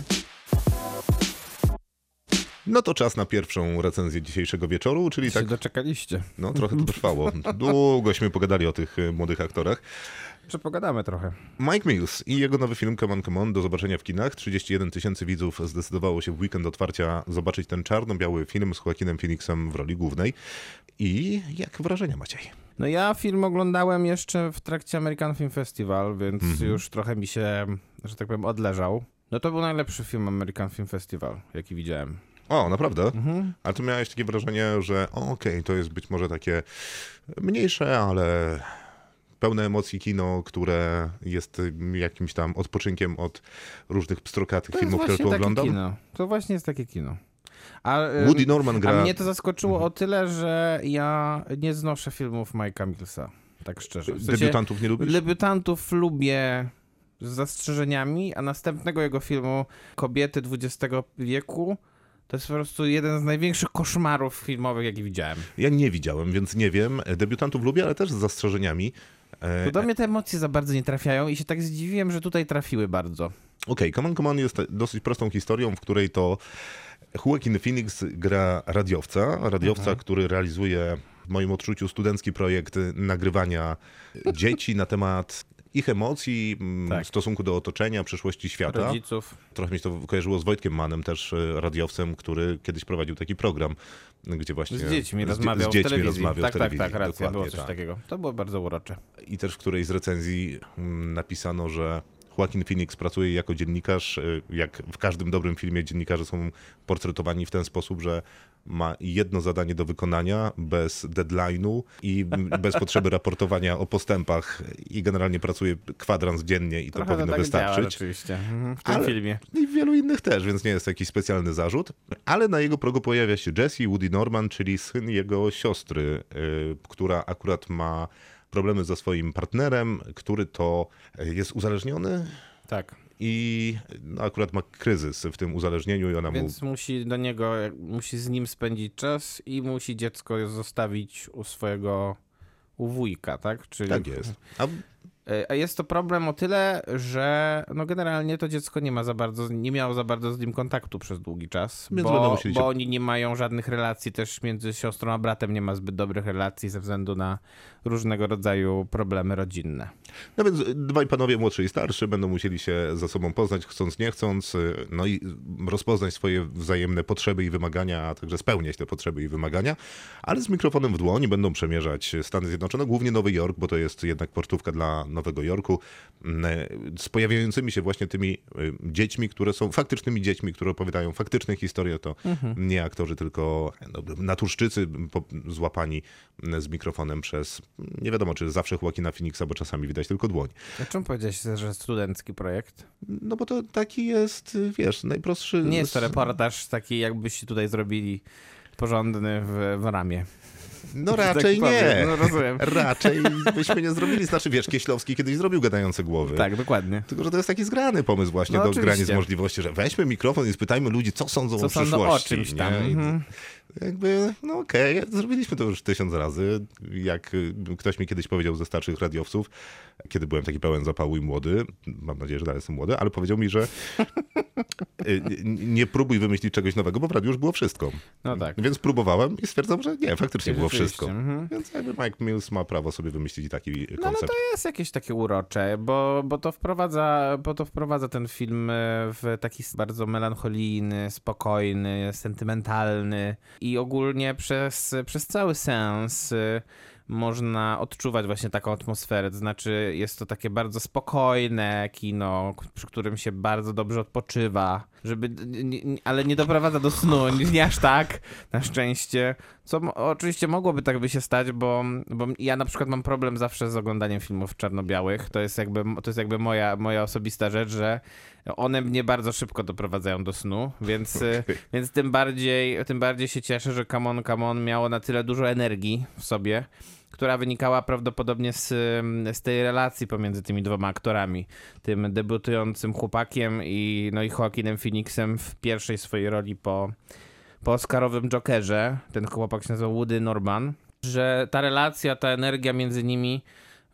[SPEAKER 2] No to czas na pierwszą recenzję dzisiejszego wieczoru, czyli tak,
[SPEAKER 4] doczekaliście.
[SPEAKER 2] no trochę to trwało. Długośmy pogadali o tych e, młodych aktorach.
[SPEAKER 4] Przepogadamy trochę.
[SPEAKER 2] Mike Mills i jego nowy film Come on, Come on do zobaczenia w kinach. 31 tysięcy widzów zdecydowało się w weekend otwarcia zobaczyć ten czarno-biały film z Joaquinem Phoenixem w roli głównej. I jak wrażenia Maciej?
[SPEAKER 4] No ja film oglądałem jeszcze w trakcie American Film Festival, więc
[SPEAKER 2] Mhm.
[SPEAKER 4] już trochę mi się, że tak powiem, odleżał. No to był najlepszy film American Film Festival, jaki widziałem.
[SPEAKER 2] O, naprawdę? A ty miałeś takie wrażenie, że o, okej, to jest być może takie mniejsze, ale pełne emocji kino, które jest y, jakimś tam odpoczynkiem od różnych pstrokatych
[SPEAKER 4] To jest
[SPEAKER 2] filmów, które
[SPEAKER 4] właśnie
[SPEAKER 2] tu
[SPEAKER 4] takie
[SPEAKER 2] oglądam.
[SPEAKER 4] kino. To właśnie jest takie kino. A, em,
[SPEAKER 2] Woody Norman gra... Mhm.
[SPEAKER 4] a mnie to zaskoczyło o tyle, że ja nie znoszę filmów Mike'a Millsa, tak szczerze. W sensie,
[SPEAKER 2] Debiutantów nie lubisz?
[SPEAKER 4] Debiutantów lubię z zastrzeżeniami, a następnego jego filmu Kobiety XX wieku to jest po prostu jeden z największych koszmarów filmowych, jaki widziałem.
[SPEAKER 2] Ja nie widziałem, więc nie wiem. Debiutantów lubię, ale też z zastrzeżeniami. E,
[SPEAKER 4] Bo do mnie te emocje za bardzo nie trafiają i się tak zdziwiłem, że tutaj trafiły bardzo.
[SPEAKER 2] Okej, Come on, Come on jest dosyć prostą historią, w której to Joaquin Phoenix gra radiowca, radiowca,
[SPEAKER 4] Mhm.
[SPEAKER 2] który realizuje w moim odczuciu studencki projekt y, nagrywania dzieci na temat ich emocji, mm,
[SPEAKER 4] Tak.
[SPEAKER 2] stosunku do otoczenia, przyszłości świata.
[SPEAKER 4] Rodziców.
[SPEAKER 2] Trochę mi się to kojarzyło z Wojtkiem Manem, też y, radiowcem, który kiedyś prowadził taki program, y, gdzie właśnie...
[SPEAKER 4] Z dziećmi
[SPEAKER 2] dzie-
[SPEAKER 4] rozmawiał
[SPEAKER 2] z dziećmi
[SPEAKER 4] w telewizji.
[SPEAKER 2] rozmawiał w
[SPEAKER 4] tak,
[SPEAKER 2] telewizji.
[SPEAKER 4] tak, tak, racja,
[SPEAKER 2] dokładnie
[SPEAKER 4] było coś
[SPEAKER 2] tak.
[SPEAKER 4] takiego. To było bardzo urocze.
[SPEAKER 2] I też w którejś z recenzji mm, napisano, że Joaquin Phoenix pracuje jako dziennikarz. y, Jak w każdym dobrym filmie dziennikarze są portretowani w ten sposób, że ma jedno zadanie do wykonania bez deadline'u i m, bez potrzeby raportowania o postępach i generalnie pracuje kwadrans dziennie i to
[SPEAKER 4] Trochę
[SPEAKER 2] powinno
[SPEAKER 4] tak Działa,
[SPEAKER 2] wystarczyć.
[SPEAKER 4] rzeczywiście. Mhm, W tym
[SPEAKER 2] Ale-
[SPEAKER 4] filmie.
[SPEAKER 2] I wielu innych też, więc nie jest to jakiś specjalny zarzut. Ale na jego progu pojawia się Jesse Woody Norman, czyli syn jego siostry, y, która akurat ma problemy ze swoim partnerem, który to y, jest uzależniony
[SPEAKER 4] Tak.
[SPEAKER 2] i no, akurat ma kryzys w tym uzależnieniu i ona mu...
[SPEAKER 4] Więc musi do niego, musi z nim spędzić czas i musi dziecko zostawić u swojego u wujka, tak? Czyli
[SPEAKER 2] Tak jest. A
[SPEAKER 4] E, A jest to problem o tyle, że no generalnie to dziecko nie ma za bardzo, nie miało za bardzo z nim kontaktu przez długi czas,
[SPEAKER 2] Więc będą
[SPEAKER 4] bo,
[SPEAKER 2] musieli się-
[SPEAKER 4] bo oni nie mają żadnych relacji też między siostrą a bratem nie ma zbyt dobrych relacji ze względu na różnego rodzaju problemy rodzinne.
[SPEAKER 2] No więc dwaj panowie, młodszy i starszy, będą musieli się ze sobą poznać, chcąc, nie chcąc, y, no i rozpoznać swoje wzajemne potrzeby i wymagania, a także spełniać te potrzeby i wymagania, ale z mikrofonem w dłoni będą przemierzać Stany Zjednoczone, głównie Nowy Jork, bo to jest jednak portówka dla Nowego Jorku, m, z pojawiającymi się właśnie tymi y, dziećmi, które są faktycznymi dziećmi, które opowiadają faktyczne historie, to
[SPEAKER 4] Mhm.
[SPEAKER 2] nie aktorzy, tylko no, naturszczycy po- złapani m, z mikrofonem przez, m, nie wiadomo, czy zawsze Joaquina Phoenixa, bo czasami widać tylko dłoń.
[SPEAKER 4] A czemu powiedziałeś, że studencki projekt?
[SPEAKER 2] No bo to taki jest, wiesz, najprostszy.
[SPEAKER 4] Nie jest to reportaż taki, jakbyście tutaj zrobili porządny w, w ramie.
[SPEAKER 2] No
[SPEAKER 4] tak
[SPEAKER 2] raczej nie.
[SPEAKER 4] powiem, no rozumiem.
[SPEAKER 2] Raczej byśmy nie zrobili. Znaczy, wiesz, Kieślowski kiedyś zrobił gadające głowy.
[SPEAKER 4] Tak, dokładnie.
[SPEAKER 2] Tylko, że to jest taki zgrany pomysł właśnie
[SPEAKER 4] No,
[SPEAKER 2] do
[SPEAKER 4] oczywiście.
[SPEAKER 2] granic możliwości, że weźmy mikrofon i spytajmy ludzi, co sądzą
[SPEAKER 4] Co
[SPEAKER 2] o
[SPEAKER 4] sądzą
[SPEAKER 2] przyszłości.
[SPEAKER 4] o czymś tam.
[SPEAKER 2] nie? I
[SPEAKER 4] Mhm.
[SPEAKER 2] Jakby, no okej, zrobiliśmy to już tysiąc razy. Jak y, ktoś mi kiedyś powiedział ze starszych radiowców, kiedy byłem taki pełen zapału i młody, mam nadzieję, że dalej jestem młody, ale powiedział mi, że y, n- nie próbuj wymyślić czegoś nowego, bo w radiu już było wszystko.
[SPEAKER 4] No tak.
[SPEAKER 2] Więc próbowałem i stwierdzam, że nie, faktycznie było
[SPEAKER 4] Rzeczywiście,
[SPEAKER 2] wszystko.
[SPEAKER 4] mhm.
[SPEAKER 2] Więc jakby Mike Mills ma prawo sobie wymyślić taki
[SPEAKER 4] No ale
[SPEAKER 2] koncept.
[SPEAKER 4] to jest jakieś takie urocze, bo, bo, to wprowadza, bo to wprowadza ten film e, w taki bardzo melancholijny, spokojny, sentymentalny i ogólnie przez, przez cały sens e, można odczuwać właśnie taką atmosferę. To znaczy jest to takie bardzo spokojne kino, k- przy którym się bardzo dobrze odpoczywa, żeby, n- n- ale nie doprowadza do snu, nie, nie aż tak, na szczęście. Co mo- oczywiście mogłoby tak by się stać, bo, bo ja na przykład mam problem zawsze z oglądaniem filmów czarno-białych. To jest jakby, to jest jakby moja, moja osobista rzecz, że one mnie bardzo szybko doprowadzają do snu, więc, y, więc tym, bardziej, tym bardziej się cieszę, że Come On, Come On miało na tyle dużo energii w sobie, która wynikała prawdopodobnie z, ym, z tej relacji pomiędzy tymi dwoma aktorami. Tym debiutującym chłopakiem i, no i Joaquinem Phoenixem w pierwszej swojej roli po po Oscarowym Jokerze, ten chłopak się nazywał Woody Norman, że ta relacja, ta energia między nimi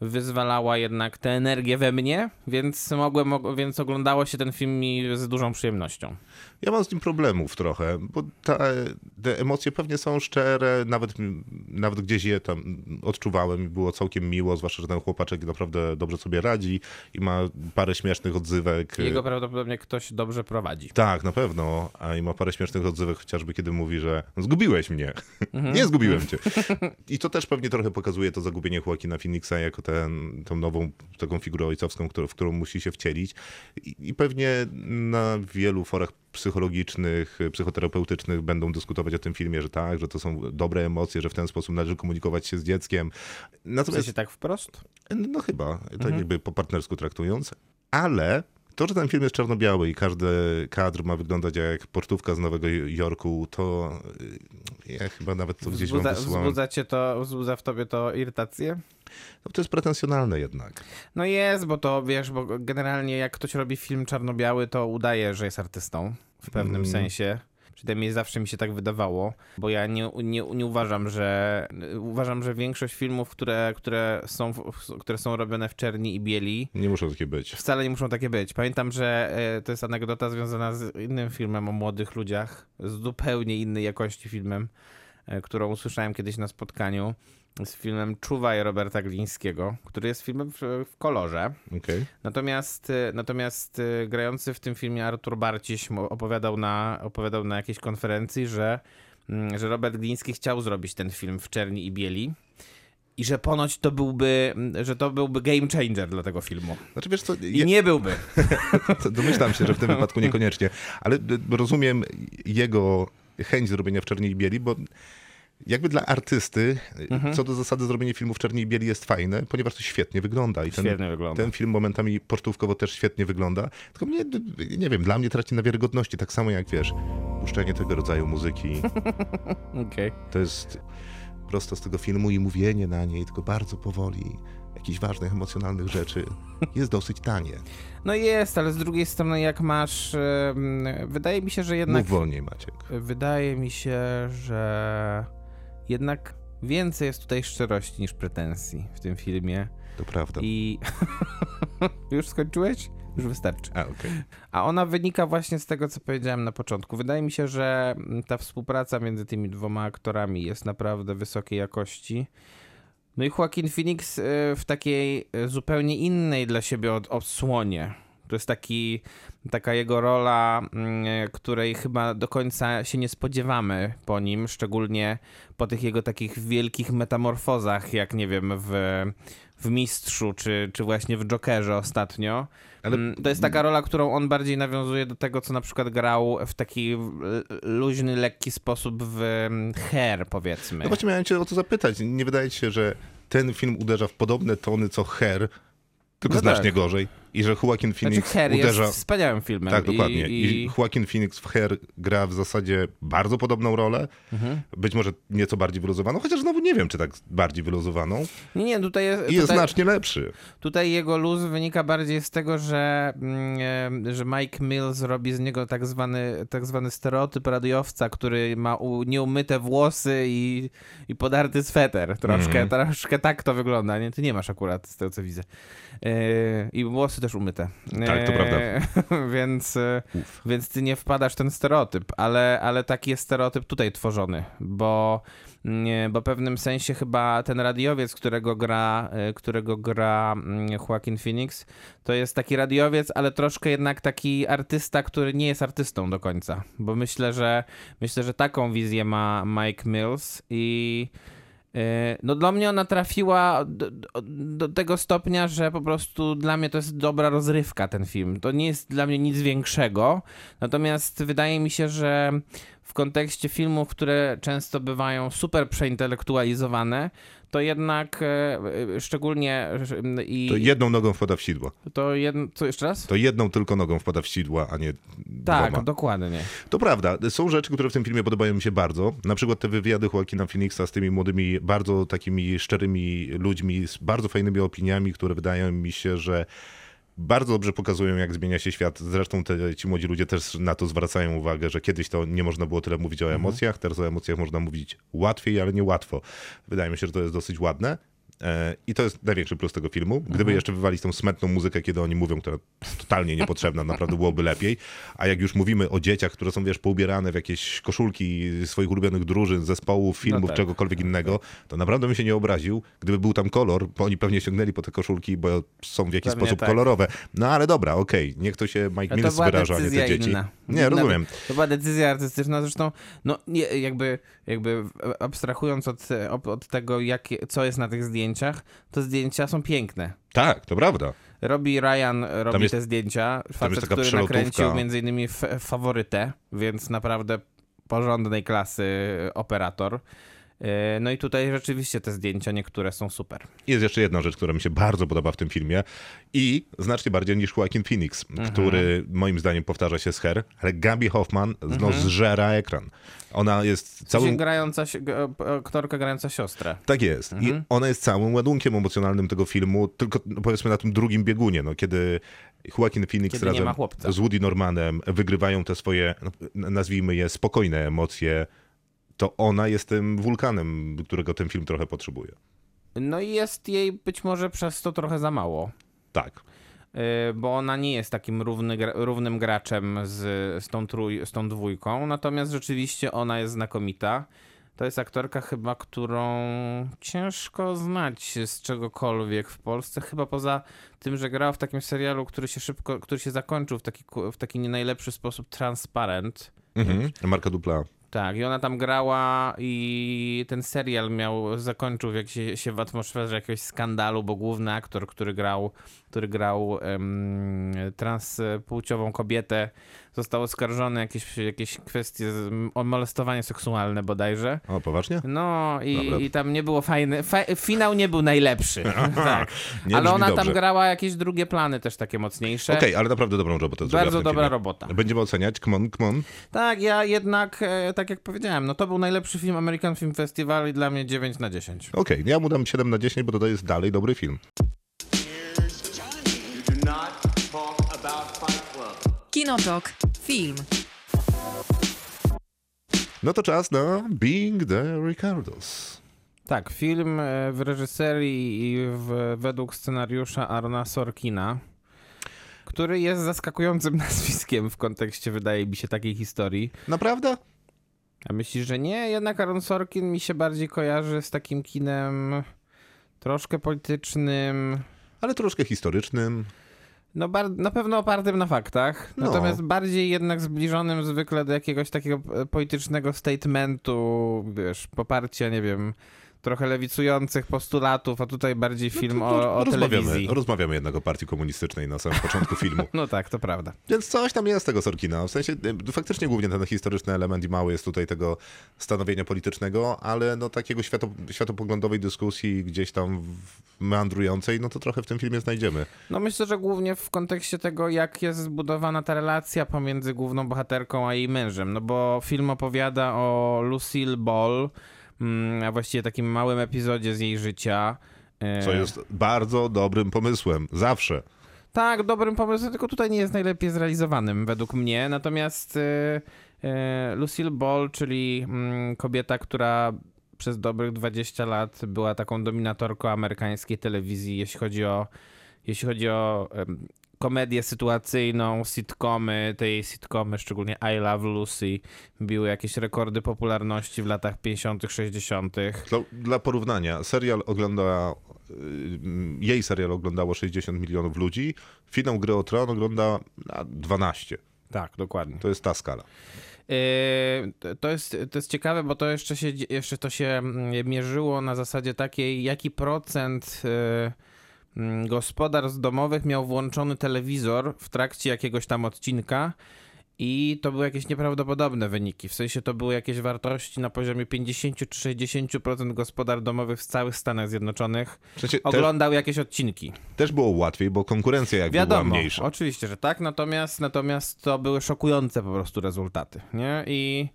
[SPEAKER 4] wyzwalała jednak tę energię we mnie, więc mogłem, og- więc oglądało się ten film mi z dużą przyjemnością.
[SPEAKER 2] Ja mam z nim problemów trochę, bo ta, te emocje pewnie są szczere, nawet, nawet gdzieś je tam odczuwałem i było całkiem miło, zwłaszcza, że ten chłopaczek naprawdę dobrze sobie radzi i ma parę śmiesznych odzywek.
[SPEAKER 4] Jego prawdopodobnie ktoś dobrze prowadzi.
[SPEAKER 2] Tak, na pewno. A i ma parę śmiesznych odzywek, chociażby kiedy mówi, że zgubiłeś mnie. Nie zgubiłem cię. I to też pewnie trochę pokazuje to zagubienie Joaquina Phoenixa jako ten, tą nową taką figurę ojcowską, którą, w którą musi się wcielić. I, I pewnie na wielu forach psychologicznych, psychoterapeutycznych będą dyskutować o tym filmie, że tak, że to są dobre emocje, że w ten sposób należy komunikować się z dzieckiem.
[SPEAKER 4] W
[SPEAKER 2] Natomiast
[SPEAKER 4] sensie tak wprost?
[SPEAKER 2] no chyba, tak jakby po partnersku traktując, ale to, że ten film jest czarno-biały i każdy kadr ma wyglądać jak portówka z Nowego Jorku, to y, ja chyba nawet to gdzieś
[SPEAKER 4] Wzbudza,
[SPEAKER 2] wam wysyłałem.
[SPEAKER 4] wzbudza, cię to, wzbudza w tobie to irytację?
[SPEAKER 2] No, to jest pretensjonalne jednak.
[SPEAKER 4] No jest, bo to wiesz, bo generalnie jak ktoś robi film czarno-biały, to udaje, że jest artystą w pewnym
[SPEAKER 2] Mm.
[SPEAKER 4] sensie. Przynajmniej zawsze mi się tak wydawało, bo ja nie, nie, nie uważam, że uważam, że większość filmów, które, które, są, w- które są robione w czerni i bieli,
[SPEAKER 2] Nie muszą takie być.
[SPEAKER 4] wcale nie muszą takie być. Pamiętam, że e, to jest anegdota związana z innym filmem o młodych ludziach, z zupełnie innej jakości filmem, e, którą usłyszałem kiedyś na spotkaniu. Z filmem Czuwaj Roberta Glińskiego, który jest filmem w, w kolorze.
[SPEAKER 2] Okej.
[SPEAKER 4] Natomiast, y, natomiast y, grający w tym filmie Artur Barciś mo- opowiadał na, opowiadał na jakiejś konferencji, że, mm, że Robert Gliński chciał zrobić ten film w czerni i bieli. I że ponoć to byłby, mm, że to byłby game changer dla tego filmu.
[SPEAKER 2] Znaczy wiesz co,
[SPEAKER 4] I
[SPEAKER 2] ja,
[SPEAKER 4] nie byłby.
[SPEAKER 2] to domyślam się, że w tym wypadku niekoniecznie, ale y, rozumiem jego chęć zrobienia w Czerni i Bieli, bo jakby dla artysty, y,
[SPEAKER 4] Mhm.
[SPEAKER 2] co do zasady zrobienie filmu w Czerni i Bieli jest fajne, ponieważ to świetnie wygląda. I ten,
[SPEAKER 4] Świetnie wygląda.
[SPEAKER 2] Ten film momentami pocztówkowo też świetnie wygląda. Tylko mnie, nie wiem, dla mnie traci na wiarygodności. Tak samo jak wiesz, puszczenie tego rodzaju muzyki
[SPEAKER 4] Okej.
[SPEAKER 2] to jest prosto z tego filmu i mówienie na niej, tylko bardzo powoli, jakichś ważnych, emocjonalnych rzeczy, jest dosyć tanie.
[SPEAKER 4] No jest, ale z drugiej strony jak masz... em, Wydaje mi się, że jednak...
[SPEAKER 2] Mów wolniej, Maciek.
[SPEAKER 4] Wydaje mi się, że jednak Więcej jest tutaj szczerości niż pretensji w tym filmie.
[SPEAKER 2] To prawda.
[SPEAKER 4] I już skończyłeś? Już wystarczy.
[SPEAKER 2] A, okej.
[SPEAKER 4] A ona wynika właśnie z tego, co powiedziałem na początku. Wydaje mi się, że ta współpraca między tymi dwoma aktorami jest naprawdę wysokiej jakości. No i Joaquin Phoenix y, w takiej y, zupełnie innej dla siebie od odsłonie. To jest taki, taka jego rola, mm, której chyba do końca się nie spodziewamy po nim, szczególnie po tych jego takich wielkich metamorfozach, jak nie wiem, w, w Mistrzu, czy, czy właśnie w Jokerze ostatnio.
[SPEAKER 2] Ale-
[SPEAKER 4] Mm, To jest taka rola, którą on bardziej nawiązuje do tego, co na przykład grał w taki l- luźny, lekki sposób w mm, Hair, powiedzmy.
[SPEAKER 2] No właśnie miałem cię o to zapytać. Nie wydaje ci się, że ten film uderza w podobne tony co Her, tylko
[SPEAKER 4] No
[SPEAKER 2] znacznie
[SPEAKER 4] tak.
[SPEAKER 2] gorzej. I że Joaquin
[SPEAKER 4] Znaczy,
[SPEAKER 2] Phoenix
[SPEAKER 4] Hair
[SPEAKER 2] uderza...
[SPEAKER 4] jest wspaniałym filmem.
[SPEAKER 2] Tak, dokładnie.
[SPEAKER 4] I, i...
[SPEAKER 2] I Joaquin Phoenix w Her gra w zasadzie bardzo podobną rolę.
[SPEAKER 4] Mhm.
[SPEAKER 2] Być może nieco bardziej wyluzowaną, chociaż znowu nie wiem, czy tak bardziej wyluzowaną.
[SPEAKER 4] Nie, nie, tutaj jest,
[SPEAKER 2] I jest znaczy-
[SPEAKER 4] tutaj,
[SPEAKER 2] znacznie lepszy.
[SPEAKER 4] tutaj jego luz wynika bardziej z tego, że, mm, e, że Mike Mills robi z niego tak zwany, tak zwany stereotyp radiowca, który ma u, nieumyte włosy i, i podarty sweter.
[SPEAKER 2] Mhm.
[SPEAKER 4] Troszkę, troszkę tak to wygląda. Nie, ty nie masz akurat z tego, co widzę. E, I włosy też umyte.
[SPEAKER 2] Tak, to prawda.
[SPEAKER 4] E, więc, e, więc ty nie wpadasz w ten stereotyp, ale, ale taki jest stereotyp tutaj tworzony, bo, nie, bo w pewnym sensie chyba ten radiowiec, którego gra, e, którego gra mm, Joaquin Phoenix, to jest taki radiowiec, ale troszkę jednak taki artysta, który nie jest artystą do końca, bo myślę, że myślę, że taką wizję ma Mike Mills i E, No dla mnie ona trafiła do, do- do tego stopnia, że po prostu dla mnie to jest dobra rozrywka ten film. To nie jest dla mnie nic większego. Natomiast wydaje mi się, że w kontekście filmów, które często bywają super przeintelektualizowane, to jednak e, e, szczególnie e, i
[SPEAKER 2] To jedną nogą wpada w sidła.
[SPEAKER 4] to jedno, co jeszcze raz?
[SPEAKER 2] To jedną tylko nogą wpada w sidła, a nie
[SPEAKER 4] tak,
[SPEAKER 2] dwoma.
[SPEAKER 4] dokładnie.
[SPEAKER 2] To prawda, są rzeczy, które w tym filmie podobają mi się bardzo. Na przykład te wywiady Joaquina Phoenixa z tymi młodymi, bardzo takimi szczerymi ludźmi, z bardzo fajnymi opiniami, które wydają mi się, że bardzo dobrze pokazują, jak zmienia się świat. Zresztą te, ci młodzi ludzie też na to zwracają uwagę, że kiedyś to nie można było tyle mówić o
[SPEAKER 4] Mhm.
[SPEAKER 2] emocjach, teraz o emocjach można mówić łatwiej, ale nie łatwo. Wydaje mi się, że to jest dosyć ładne. E, I to jest największy plus tego filmu. Gdyby
[SPEAKER 4] Mhm.
[SPEAKER 2] jeszcze wywalić tą smętną muzykę, kiedy oni mówią, która jest totalnie niepotrzebna, naprawdę byłoby lepiej. A jak już mówimy o dzieciach, które są, wiesz, poubierane w jakieś koszulki swoich ulubionych drużyn, zespołów, filmów,
[SPEAKER 4] tak.
[SPEAKER 2] czegokolwiek innego, to naprawdę bym się nie obraził, gdyby był tam kolor, bo oni pewnie sięgnęli po te koszulki, bo są w jakiś
[SPEAKER 4] Pewnie
[SPEAKER 2] sposób
[SPEAKER 4] tak.
[SPEAKER 2] kolorowe. No ale dobra, okej, niech to się Mike
[SPEAKER 4] Ale
[SPEAKER 2] Mills wyraża, a nie te dzieci.
[SPEAKER 4] inna.
[SPEAKER 2] Nie, rozumiem.
[SPEAKER 4] To, była decyzja artystyczna, zresztą no, nie, jakby, jakby e, abstrahując od, ob- od tego, jakie, co jest na tych zdjęciach, to zdjęcia są piękne.
[SPEAKER 2] Tak, to prawda.
[SPEAKER 4] Robi Ryan, robi
[SPEAKER 2] jest-
[SPEAKER 4] te zdjęcia, facet,
[SPEAKER 2] taka
[SPEAKER 4] który
[SPEAKER 2] przelotówka.
[SPEAKER 4] nakręcił między innymi f- faworytę, więc naprawdę porządnej klasy e, operator. Yy, No i tutaj rzeczywiście te zdjęcia niektóre są super.
[SPEAKER 2] Jest jeszcze jedna rzecz, która mi się bardzo podoba w tym filmie i znacznie bardziej niż Joaquin Phoenix,
[SPEAKER 4] Mhm.
[SPEAKER 2] który moim zdaniem powtarza się z Her, ale Gabi Hoffman no,
[SPEAKER 4] Mhm.
[SPEAKER 2] zżera ekran. Ona jest
[SPEAKER 4] Całym...
[SPEAKER 2] całym...
[SPEAKER 4] Grająca, si- g- e, aktorka grająca siostrę.
[SPEAKER 2] Tak jest.
[SPEAKER 4] Mhm.
[SPEAKER 2] I ona jest całym ładunkiem emocjonalnym tego filmu, tylko no, powiedzmy na tym drugim biegunie, no, kiedy Joaquin Phoenix
[SPEAKER 4] Kiedy nie
[SPEAKER 2] razem
[SPEAKER 4] ma chłopca.
[SPEAKER 2] z Woody Normanem wygrywają te swoje, no, nazwijmy je, spokojne emocje, to ona jest tym wulkanem, którego ten film trochę potrzebuje.
[SPEAKER 4] No i jest jej być może przez to trochę za mało.
[SPEAKER 2] Tak.
[SPEAKER 4] Yy, bo ona nie jest takim równy, gra- równym graczem z, z, tą trój, z tą dwójką, natomiast rzeczywiście ona jest znakomita. To jest aktorka chyba, którą ciężko znać z czegokolwiek w Polsce, chyba poza tym, że grała w takim serialu, który się szybko, który się zakończył w taki, ku- w taki nie najlepszy sposób, Transparent.
[SPEAKER 2] Mhm. Marka Dupla.
[SPEAKER 4] Tak, i ona tam grała i ten serial miał, zakończył jak się, się w atmosferze jakiegoś skandalu, bo główny aktor, który grał, który grał em, transpłciową kobietę, został oskarżony o jakieś, jakieś kwestie, z, o molestowanie seksualne bodajże.
[SPEAKER 2] O, poważnie?
[SPEAKER 4] No
[SPEAKER 2] Dobra.
[SPEAKER 4] i, i tam nie było fajny, fa, finał nie był najlepszy, tak.
[SPEAKER 2] Nie
[SPEAKER 4] Ale
[SPEAKER 2] brzmi
[SPEAKER 4] ona
[SPEAKER 2] dobrze.
[SPEAKER 4] tam grała jakieś drugie plany też takie mocniejsze.
[SPEAKER 2] Okej, ale naprawdę dobrą robotę zrobiła
[SPEAKER 4] Bardzo
[SPEAKER 2] w tym
[SPEAKER 4] dobra
[SPEAKER 2] filmie.
[SPEAKER 4] robota.
[SPEAKER 2] Będziemy oceniać, kmon, kmon.
[SPEAKER 4] Tak, ja jednak, e, tak jak powiedziałem, no to był najlepszy film American Film Festival i dla mnie 9 na 10.
[SPEAKER 2] Okej, ja mu dam 7 na 10, bo to jest dalej dobry film.
[SPEAKER 3] Here's Johnny. You do not talk about Fight Club.
[SPEAKER 1] Kinotok. Film.
[SPEAKER 2] No to czas na Being the Ricardos.
[SPEAKER 4] Tak, film e, w reżyserii i w, według scenariusza Arona Sorkina, który jest zaskakującym nazwiskiem w kontekście, wydaje mi się, takiej historii.
[SPEAKER 2] Naprawdę?
[SPEAKER 4] A myślisz, że nie? Jednak Aaron Sorkin mi się bardziej kojarzy z takim kinem troszkę politycznym,
[SPEAKER 2] Ale troszkę historycznym.
[SPEAKER 4] no bar- na pewno opartym na faktach,
[SPEAKER 2] No.
[SPEAKER 4] natomiast bardziej jednak zbliżonym zwykle do jakiegoś takiego e, politycznego statementu, wiesz, poparcia, nie wiem, trochę lewicujących postulatów, a tutaj bardziej film o, o
[SPEAKER 2] No rozmawiamy,
[SPEAKER 4] telewizji.
[SPEAKER 2] rozmawiamy jednak o partii komunistycznej na samym początku filmu.
[SPEAKER 4] No tak, to prawda.
[SPEAKER 2] Więc coś tam jest tego Sorkina. W sensie y, faktycznie głównie ten historyczny element i mały jest tutaj tego stanowienia politycznego, ale no takiego świato, światopoglądowej dyskusji gdzieś tam w- meandrującej, no to trochę w tym filmie znajdziemy.
[SPEAKER 4] No myślę, że głównie w kontekście tego, jak jest zbudowana ta relacja pomiędzy główną bohaterką a jej mężem, no bo film opowiada o Lucille Ball, mm, a właściwie takim małym epizodzie z jej życia. E,
[SPEAKER 2] Co jest bardzo dobrym pomysłem. Zawsze.
[SPEAKER 4] Tak, dobrym pomysłem, tylko tutaj nie jest najlepiej zrealizowanym według mnie. Natomiast e, e, Lucille Ball, czyli mm, kobieta, która przez dobrych 20 lat była taką dominatorką amerykańskiej telewizji, jeśli chodzi o, jeśli chodzi o em, komedię sytuacyjną, sitcomy, te jej sitcomy, szczególnie I Love Lucy, biły jakieś rekordy popularności w latach 50., 60.
[SPEAKER 2] Dla, dla porównania, serial ogląda, y, jej serial oglądało 60 milionów ludzi, finał Gry o Tron ogląda a, 12.
[SPEAKER 4] Tak, dokładnie.
[SPEAKER 2] To jest ta skala.
[SPEAKER 4] Yy, to- to, jest, to jest ciekawe, bo to jeszcze, się, dzie- jeszcze to się mm, mierzyło na zasadzie takiej, jaki procent yy, mm, gospodarstw domowych miał włączony telewizor w trakcie jakiegoś tam odcinka. I to były jakieś nieprawdopodobne wyniki. W sensie to były jakieś wartości na poziomie 50 czy 60% gospodarstw domowych w całych Stanach Zjednoczonych
[SPEAKER 2] W sensie też,
[SPEAKER 4] oglądał jakieś odcinki.
[SPEAKER 2] też było łatwiej, bo konkurencja jakby była
[SPEAKER 4] Wiadomo,
[SPEAKER 2] mniejsza.
[SPEAKER 4] oczywiście, że tak, natomiast, natomiast to były szokujące po prostu rezultaty, nie? I,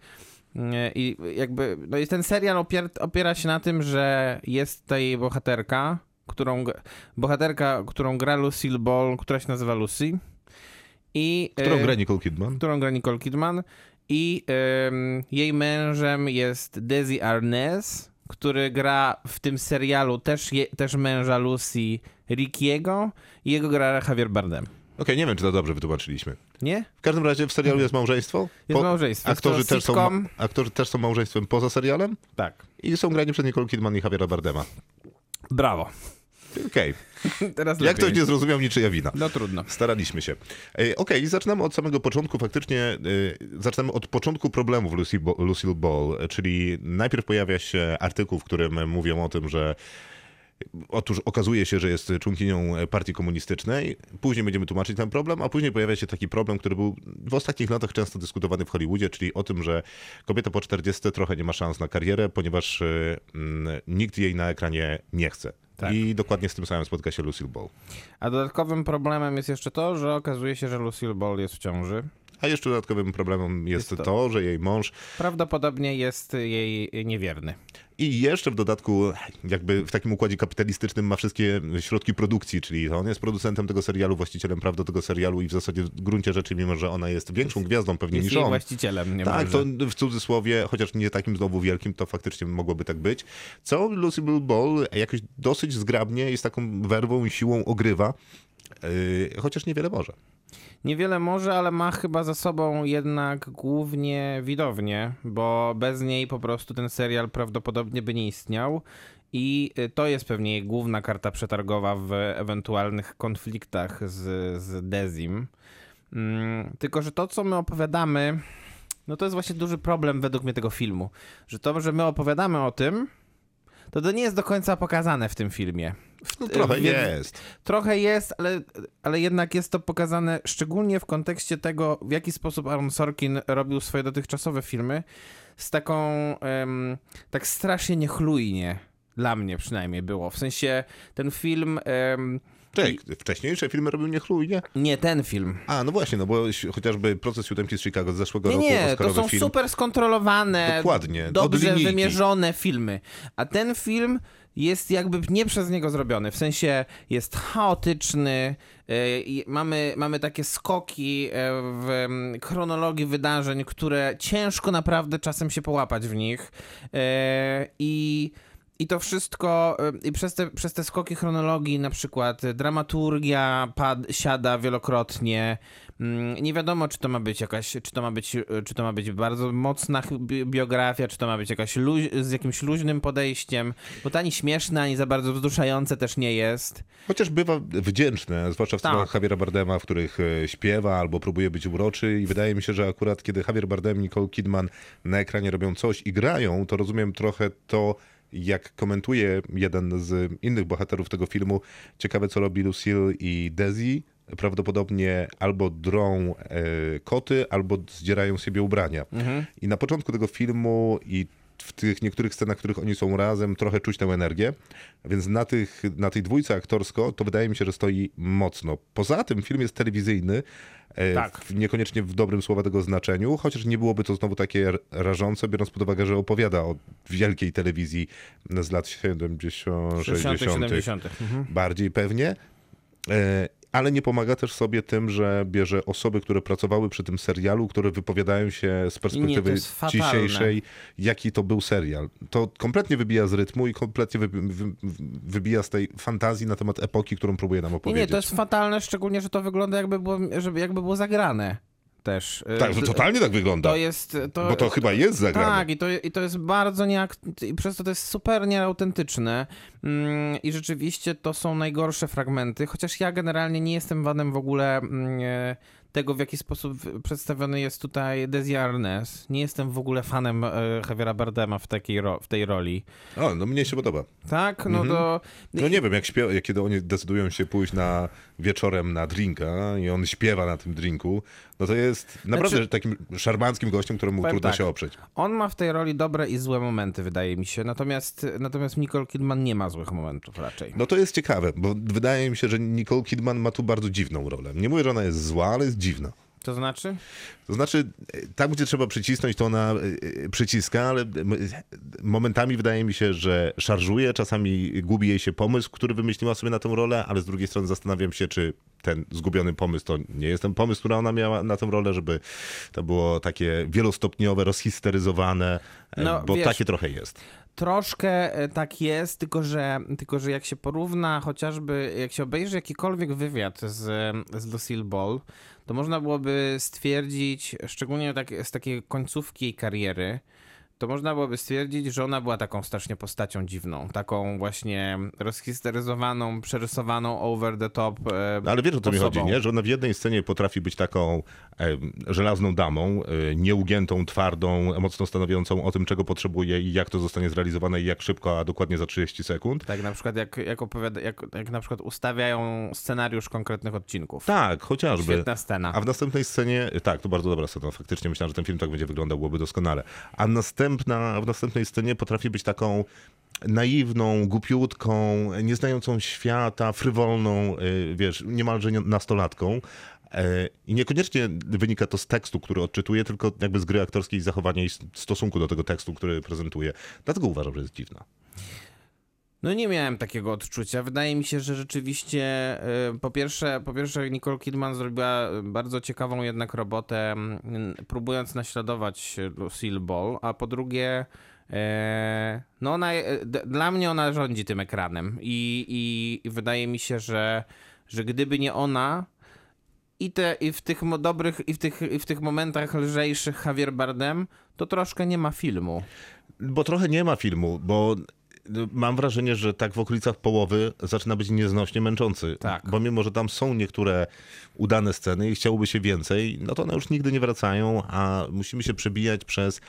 [SPEAKER 4] nie, i jakby, no i ten serial opier, opiera się na tym, że jest ta jej bohaterka, którą, g- bohaterka, którą gra Lucille Ball, która się nazywa Lucy i...
[SPEAKER 2] Którą
[SPEAKER 4] e,
[SPEAKER 2] gra Nicole Kidman?
[SPEAKER 4] którą gra Nicole Kidman i em, jej mężem jest Desi Arnaz, który gra w tym serialu też, je, też męża Lucy Rickiego i jego gra Javier Bardem.
[SPEAKER 2] Okej, nie wiem, czy to dobrze wytłumaczyliśmy.
[SPEAKER 4] Nie?
[SPEAKER 2] W każdym razie w serialu jest małżeństwo.
[SPEAKER 4] Jest małżeństwo. Jest
[SPEAKER 2] Aktorzy
[SPEAKER 4] to
[SPEAKER 2] też, są,
[SPEAKER 4] sitcom.
[SPEAKER 2] aktorzy też są małżeństwem poza serialem
[SPEAKER 4] Tak.
[SPEAKER 2] i są grani przez Nicole Kidman i Javiera Bardema.
[SPEAKER 4] Brawo.
[SPEAKER 2] Okej,
[SPEAKER 4] Teraz
[SPEAKER 2] jak
[SPEAKER 4] lepiej.
[SPEAKER 2] ktoś nie zrozumiał, niczyja wina.
[SPEAKER 4] No trudno.
[SPEAKER 2] Staraliśmy się. E, Okej, i zaczynamy od samego początku. Faktycznie e, zaczynamy od początku problemów Lucy Bo- Lucille Ball, e, czyli najpierw pojawia się artykuł, w którym mówią o tym, że otóż okazuje się, że jest członkinią e, partii komunistycznej. Później będziemy tłumaczyć ten problem, a później pojawia się taki problem, który był w ostatnich latach często dyskutowany w Hollywoodzie, czyli o tym, że kobieta po 40 trochę nie ma szans na karierę, ponieważ e, mm, nikt jej na ekranie nie chce.
[SPEAKER 4] Tak.
[SPEAKER 2] I dokładnie z tym samym spotka się Lucille Ball.
[SPEAKER 4] A dodatkowym problemem jest jeszcze to, że okazuje się, że Lucille Ball jest w ciąży.
[SPEAKER 2] A jeszcze dodatkowym problemem jest,
[SPEAKER 4] Jest to.
[SPEAKER 2] to. że jej mąż
[SPEAKER 4] Prawdopodobnie jest jej niewierny.
[SPEAKER 2] i jeszcze w dodatku jakby w takim układzie kapitalistycznym ma wszystkie środki produkcji, czyli on jest producentem tego serialu, właścicielem praw do tego serialu i w zasadzie w gruncie rzeczy, mimo że ona jest większą gwiazdą pewnie
[SPEAKER 4] Jest
[SPEAKER 2] niż
[SPEAKER 4] jej
[SPEAKER 2] on.
[SPEAKER 4] właścicielem. Nie
[SPEAKER 2] Tak, to w cudzysłowie, chociaż nie takim znowu wielkim, to faktycznie mogłoby tak być. Co Lucille Ball jakoś dosyć zgrabnie i z taką werwą i siłą ogrywa, yy, chociaż niewiele może.
[SPEAKER 4] Niewiele może, ale ma chyba za sobą jednak głównie widownię, bo bez niej po prostu ten serial prawdopodobnie by nie istniał. I y, to jest pewnie jej główna karta przetargowa w ewentualnych konfliktach z, z Dezim. Mm, Tylko, że to, co my opowiadamy, no to jest właśnie duży problem według mnie tego filmu. Że to, że my opowiadamy o tym, to to nie jest do końca pokazane w tym filmie. W,
[SPEAKER 2] No, trochę
[SPEAKER 4] w-
[SPEAKER 2] jest.
[SPEAKER 4] Trochę jest, ale, ale jednak jest to pokazane szczególnie w kontekście tego, w jaki sposób Aaron Sorkin robił swoje dotychczasowe filmy z taką, em, tak strasznie niechlujnie, dla mnie przynajmniej było. W sensie ten film, em,
[SPEAKER 2] Czek, wcześniejsze filmy robił niechlujnie.
[SPEAKER 4] nie ten film.
[SPEAKER 2] A, no właśnie, no bo si- chociażby proces siódemki z Chicago z zeszłego
[SPEAKER 4] Nie,
[SPEAKER 2] roku,
[SPEAKER 4] nie, to
[SPEAKER 2] Oscarowy
[SPEAKER 4] są
[SPEAKER 2] film.
[SPEAKER 4] super skontrolowane,
[SPEAKER 2] Dokładnie, od
[SPEAKER 4] dobrze
[SPEAKER 2] No, linijki.
[SPEAKER 4] wymierzone filmy. A ten film jest jakby nie przez niego zrobiony. W sensie jest chaotyczny, y, i mamy, mamy takie skoki y, w mm, chronologii wydarzeń, które ciężko naprawdę czasem się połapać w nich. Y, E, I I to wszystko, y, i przez te, przez te skoki chronologii, na przykład y, dramaturgia pad, siada wielokrotnie. Mm, Nie wiadomo, czy to ma być jakaś, czy to ma być, y, czy to ma być bardzo mocna ch- bi- biografia, czy to ma być jakaś luź, z jakimś luźnym podejściem, bo to ani śmieszne, ani za bardzo wzruszające też nie jest.
[SPEAKER 2] Chociaż bywa wdzięczne, zwłaszcza w
[SPEAKER 4] Tak.
[SPEAKER 2] filmach Javiera Bardema, w których e, śpiewa albo próbuje być uroczy i wydaje mi się, że akurat kiedy Javier Bardem i Nicole Kidman na ekranie robią coś i grają, to rozumiem trochę to, jak komentuje jeden z innych bohaterów tego filmu, ciekawe co robi Lucille i Daisy, prawdopodobnie albo drą e, koty, albo zdzierają sobie ubrania. I na początku tego filmu i w tych niektórych scenach, w których oni są razem, trochę czuć tę energię. Więc na, tych, na tej dwójce aktorsko to wydaje mi się, że stoi mocno. Poza tym film jest telewizyjny, e,
[SPEAKER 4] Tak.
[SPEAKER 2] w, niekoniecznie w dobrym słowa tego znaczeniu, chociaż nie byłoby to znowu takie r- rażące, biorąc pod uwagę, że opowiada o wielkiej telewizji z lat 70.,
[SPEAKER 4] 60.,
[SPEAKER 2] 60
[SPEAKER 4] 70. Mhm.
[SPEAKER 2] bardziej pewnie. E, Ale nie pomaga też sobie tym, że bierze osoby, które pracowały przy tym serialu, które wypowiadają się z perspektywy
[SPEAKER 4] jest fatalne.
[SPEAKER 2] dzisiejszej, jaki to był serial. To kompletnie wybija z rytmu i kompletnie wy, wy, wybija z tej fantazji na temat epoki, którą próbuje nam
[SPEAKER 4] Nie,
[SPEAKER 2] opowiedzieć.
[SPEAKER 4] nie, to jest fatalne, szczególnie, że to wygląda jakby było, żeby, jakby było zagrane też. Y,
[SPEAKER 2] Tak, to
[SPEAKER 4] d-
[SPEAKER 2] totalnie tak wygląda.
[SPEAKER 4] To jest. To,
[SPEAKER 2] bo to chyba jest zagrane.
[SPEAKER 4] Tak, i to, i to jest bardzo nieakt... i przez to to jest super nieautentyczne mm, i rzeczywiście to są najgorsze fragmenty, chociaż ja generalnie nie jestem wanem w ogóle mm, e, tego, w jaki sposób w- przedstawiony jest tutaj Desi Arnaz. Nie jestem w ogóle fanem e, Javiera Bardema w, takiej ro... w tej roli.
[SPEAKER 2] O, no mnie się podoba.
[SPEAKER 4] Tak? No to...
[SPEAKER 2] No nie wiem, jak, śpiewa, jak kiedy oni decydują się pójść na wieczorem na drinka i on śpiewa na tym drinku, no to jest naprawdę
[SPEAKER 4] Znaczy-
[SPEAKER 2] takim szarmanckim gościem, któremu
[SPEAKER 4] Powiem
[SPEAKER 2] trudno
[SPEAKER 4] tak.
[SPEAKER 2] się oprzeć.
[SPEAKER 4] On ma w tej roli dobre i złe momenty, wydaje mi się. Natomiast, natomiast Nicole Kidman nie ma złych momentów raczej.
[SPEAKER 2] No to jest ciekawe, bo wydaje mi się, że Nicole Kidman ma tu bardzo dziwną rolę. Nie mówię, że ona jest zła, ale jest dziwna.
[SPEAKER 4] To znaczy?
[SPEAKER 2] To znaczy, e, tam gdzie trzeba przycisnąć, to ona e, e, przyciska, ale m- e, momentami wydaje mi się, że szarżuje, czasami gubi jej się pomysł, który wymyśliła sobie na tę rolę, ale z drugiej strony zastanawiam się, czy ten zgubiony pomysł to nie jest ten pomysł, który ona miała na tę rolę, żeby to było takie wielostopniowe, rozhisteryzowane, e,
[SPEAKER 4] No,
[SPEAKER 2] bo
[SPEAKER 4] wiesz-
[SPEAKER 2] takie trochę jest.
[SPEAKER 4] Troszkę e, tak jest, tylko że, tylko że jak się porówna chociażby, jak się obejrzy jakikolwiek wywiad z, e, z Lucille Ball, to można byłoby stwierdzić, szczególnie tak, z takiej końcówki jej kariery, to można byłoby stwierdzić, że ona była taką strasznie postacią dziwną, taką właśnie rozhisteryzowaną, przerysowaną over the top. e,
[SPEAKER 2] No ale wiesz o co mi
[SPEAKER 4] osobą.
[SPEAKER 2] chodzi, nie? Że ona w jednej scenie potrafi być taką e, żelazną damą, e, nieugiętą, twardą, mocno stanowiącą o tym, czego potrzebuje i jak to zostanie zrealizowane i jak szybko, a dokładnie za 30 sekund.
[SPEAKER 4] Tak, na przykład jak, jak opowiada, jak, jak na przykład ustawiają scenariusz konkretnych odcinków.
[SPEAKER 2] Tak, chociażby.
[SPEAKER 4] Świetna scena.
[SPEAKER 2] A w następnej scenie, tak, to bardzo dobra scena, faktycznie myślałem, że ten film tak będzie wyglądał, byłoby doskonale. A następna, w następnej scenie potrafi być taką naiwną, głupiutką, nieznającą świata, frywolną, y, wiesz, niemalże nie- nastolatką. E, I niekoniecznie wynika to z tekstu, który odczytuje, tylko jakby z gry aktorskiej i zachowania i s- stosunku do tego tekstu, który prezentuje. Dlatego uważam, że jest dziwna.
[SPEAKER 4] No nie miałem takiego odczucia. Wydaje mi się, że rzeczywiście y, po pierwsze, po pierwsze Nicole Kidman zrobiła y, bardzo ciekawą jednak robotę, mm, próbując naśladować y, Lucille Ball, a po drugie e, no ona, e, d- dla mnie ona rządzi tym ekranem i, i, i wydaje mi się, że, że gdyby nie ona, i, te, i w tych mo- dobrych, i w tych, i w tych momentach lżejszych Javier Bardem, to troszkę nie ma filmu.
[SPEAKER 2] Bo trochę nie ma filmu, bo no, mam wrażenie, że tak w okolicach połowy zaczyna być nieznośnie męczący.
[SPEAKER 4] Tak.
[SPEAKER 2] Bo mimo, że tam są niektóre udane sceny i chciałoby się więcej, no to one już nigdy nie wracają, a musimy się przebijać przez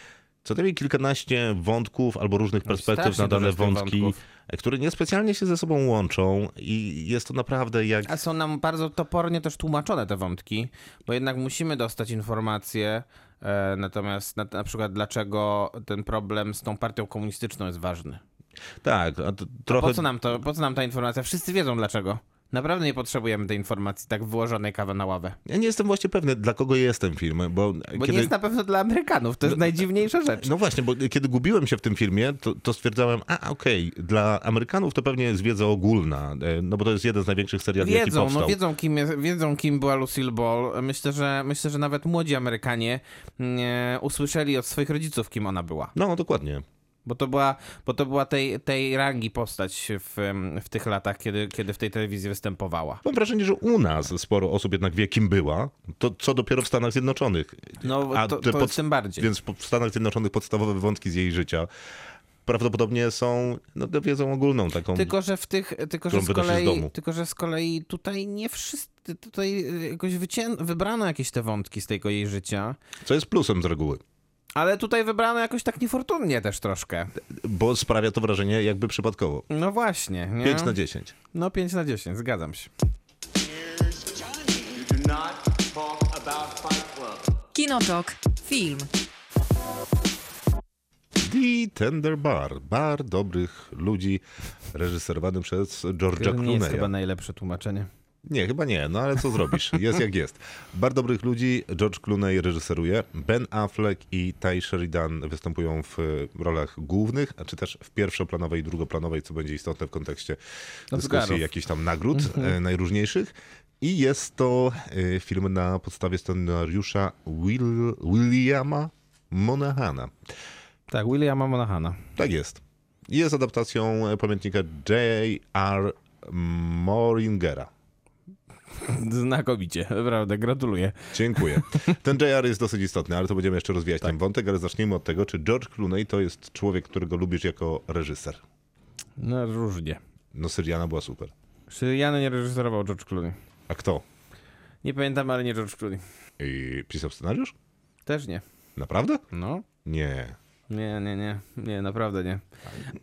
[SPEAKER 2] co najmniej kilkanaście wątków albo różnych perspektyw
[SPEAKER 4] No strasznie
[SPEAKER 2] na dane
[SPEAKER 4] dużo jest tych
[SPEAKER 2] wątki,
[SPEAKER 4] wątków.
[SPEAKER 2] które niespecjalnie się ze sobą łączą i jest to naprawdę jak...
[SPEAKER 4] A są nam bardzo topornie też tłumaczone te wątki, bo jednak musimy dostać informacje. e, Natomiast na, na przykład dlaczego ten problem z tą partią komunistyczną jest ważny.
[SPEAKER 2] Tak, a to trochę...
[SPEAKER 4] Po co nam, to, po co nam ta informacja? Wszyscy wiedzą dlaczego. Naprawdę nie potrzebujemy tej informacji tak wyłożonej kawę na ławę.
[SPEAKER 2] Ja nie jestem właśnie pewny, dla kogo jest ten film, bo,
[SPEAKER 4] Bo nie jest na pewno dla Amerykanów, to jest najdziwniejsza rzecz.
[SPEAKER 2] No właśnie, bo kiedy gubiłem się w tym filmie, to, to stwierdzałem, a okej, dla Amerykanów to pewnie jest wiedza ogólna, e, no bo to jest jeden z największych seriali, jaki
[SPEAKER 4] Wiedzą,
[SPEAKER 2] powstał.
[SPEAKER 4] no wiedzą kim, jest, wiedzą kim była Lucille Ball. Myślę, że myślę, że e, nawet młodzi Amerykanie mm, usłyszeli od swoich rodziców kim ona była.
[SPEAKER 2] No, dokładnie.
[SPEAKER 4] Bo to była, bo to była tej, tej rangi postać w, em, w tych latach, kiedy, kiedy w tej telewizji występowała.
[SPEAKER 2] Mam wrażenie, że u nas sporo osób jednak wie, kim była, to co dopiero w Stanach Zjednoczonych.
[SPEAKER 4] No, to-
[SPEAKER 2] te
[SPEAKER 4] to tym bardziej.
[SPEAKER 2] Więc po- w Stanach Zjednoczonych podstawowe wątki z jej życia prawdopodobnie są no, wiedzą ogólną taką.
[SPEAKER 4] Tylko, że w tych, tylko, że
[SPEAKER 2] którą
[SPEAKER 4] z
[SPEAKER 2] wynosi z
[SPEAKER 4] kolei,
[SPEAKER 2] domu.
[SPEAKER 4] tylko, że z kolei tutaj nie wszyscy, tutaj y, jakoś wycię... wybrano jakieś te wątki z tego jej życia,
[SPEAKER 2] Co jest plusem z reguły,
[SPEAKER 4] ale tutaj wybrano jakoś tak niefortunnie też troszkę.
[SPEAKER 2] bo sprawia to wrażenie jakby przypadkowo.
[SPEAKER 4] No właśnie, nie?
[SPEAKER 2] 5 na 10.
[SPEAKER 4] No 5 na 10, zgadzam się.
[SPEAKER 3] You do not talk about Fight Club.
[SPEAKER 1] Kinotok. Film.
[SPEAKER 2] The Tender Bar. Bar dobrych ludzi, reżyserowany przez
[SPEAKER 4] To
[SPEAKER 2] George'a
[SPEAKER 4] nie jest
[SPEAKER 2] Clooney'a.
[SPEAKER 4] chyba najlepsze tłumaczenie.
[SPEAKER 2] Nie, chyba nie, no ale co zrobisz? Jest jak jest. Bar dobrych ludzi, George Clooney reżyseruje, Ben Affleck i Ty Sheridan występują w e, rolach głównych, a czy też w pierwszoplanowej i drugoplanowej, co będzie istotne w kontekście dyskusji
[SPEAKER 4] Oscarów.
[SPEAKER 2] jakichś tam nagród
[SPEAKER 4] Mhm.
[SPEAKER 2] e, najróżniejszych. I jest to e, film na podstawie scenariusza Will, Williama Monahana.
[SPEAKER 4] Tak, Williama Monahana.
[SPEAKER 2] Tak jest. Jest adaptacją e, pamiętnika J.R. Moringera.
[SPEAKER 4] Znakomicie, naprawdę, gratuluję.
[SPEAKER 2] Dziękuję. Ten JR jest dosyć istotny, ale to będziemy jeszcze rozwijać
[SPEAKER 4] Tak.
[SPEAKER 2] ten wątek, ale zacznijmy od tego, czy George Clooney to jest człowiek, którego lubisz jako reżyser.
[SPEAKER 4] No różnie.
[SPEAKER 2] No Syriana była super.
[SPEAKER 4] Czy Jan nie reżyserował George Clooney?
[SPEAKER 2] A kto?
[SPEAKER 4] Nie pamiętam, ale nie George Clooney.
[SPEAKER 2] I pisał scenariusz?
[SPEAKER 4] Też nie.
[SPEAKER 2] Naprawdę?
[SPEAKER 4] No.
[SPEAKER 2] Nie.
[SPEAKER 4] Nie, nie, nie, nie, naprawdę nie.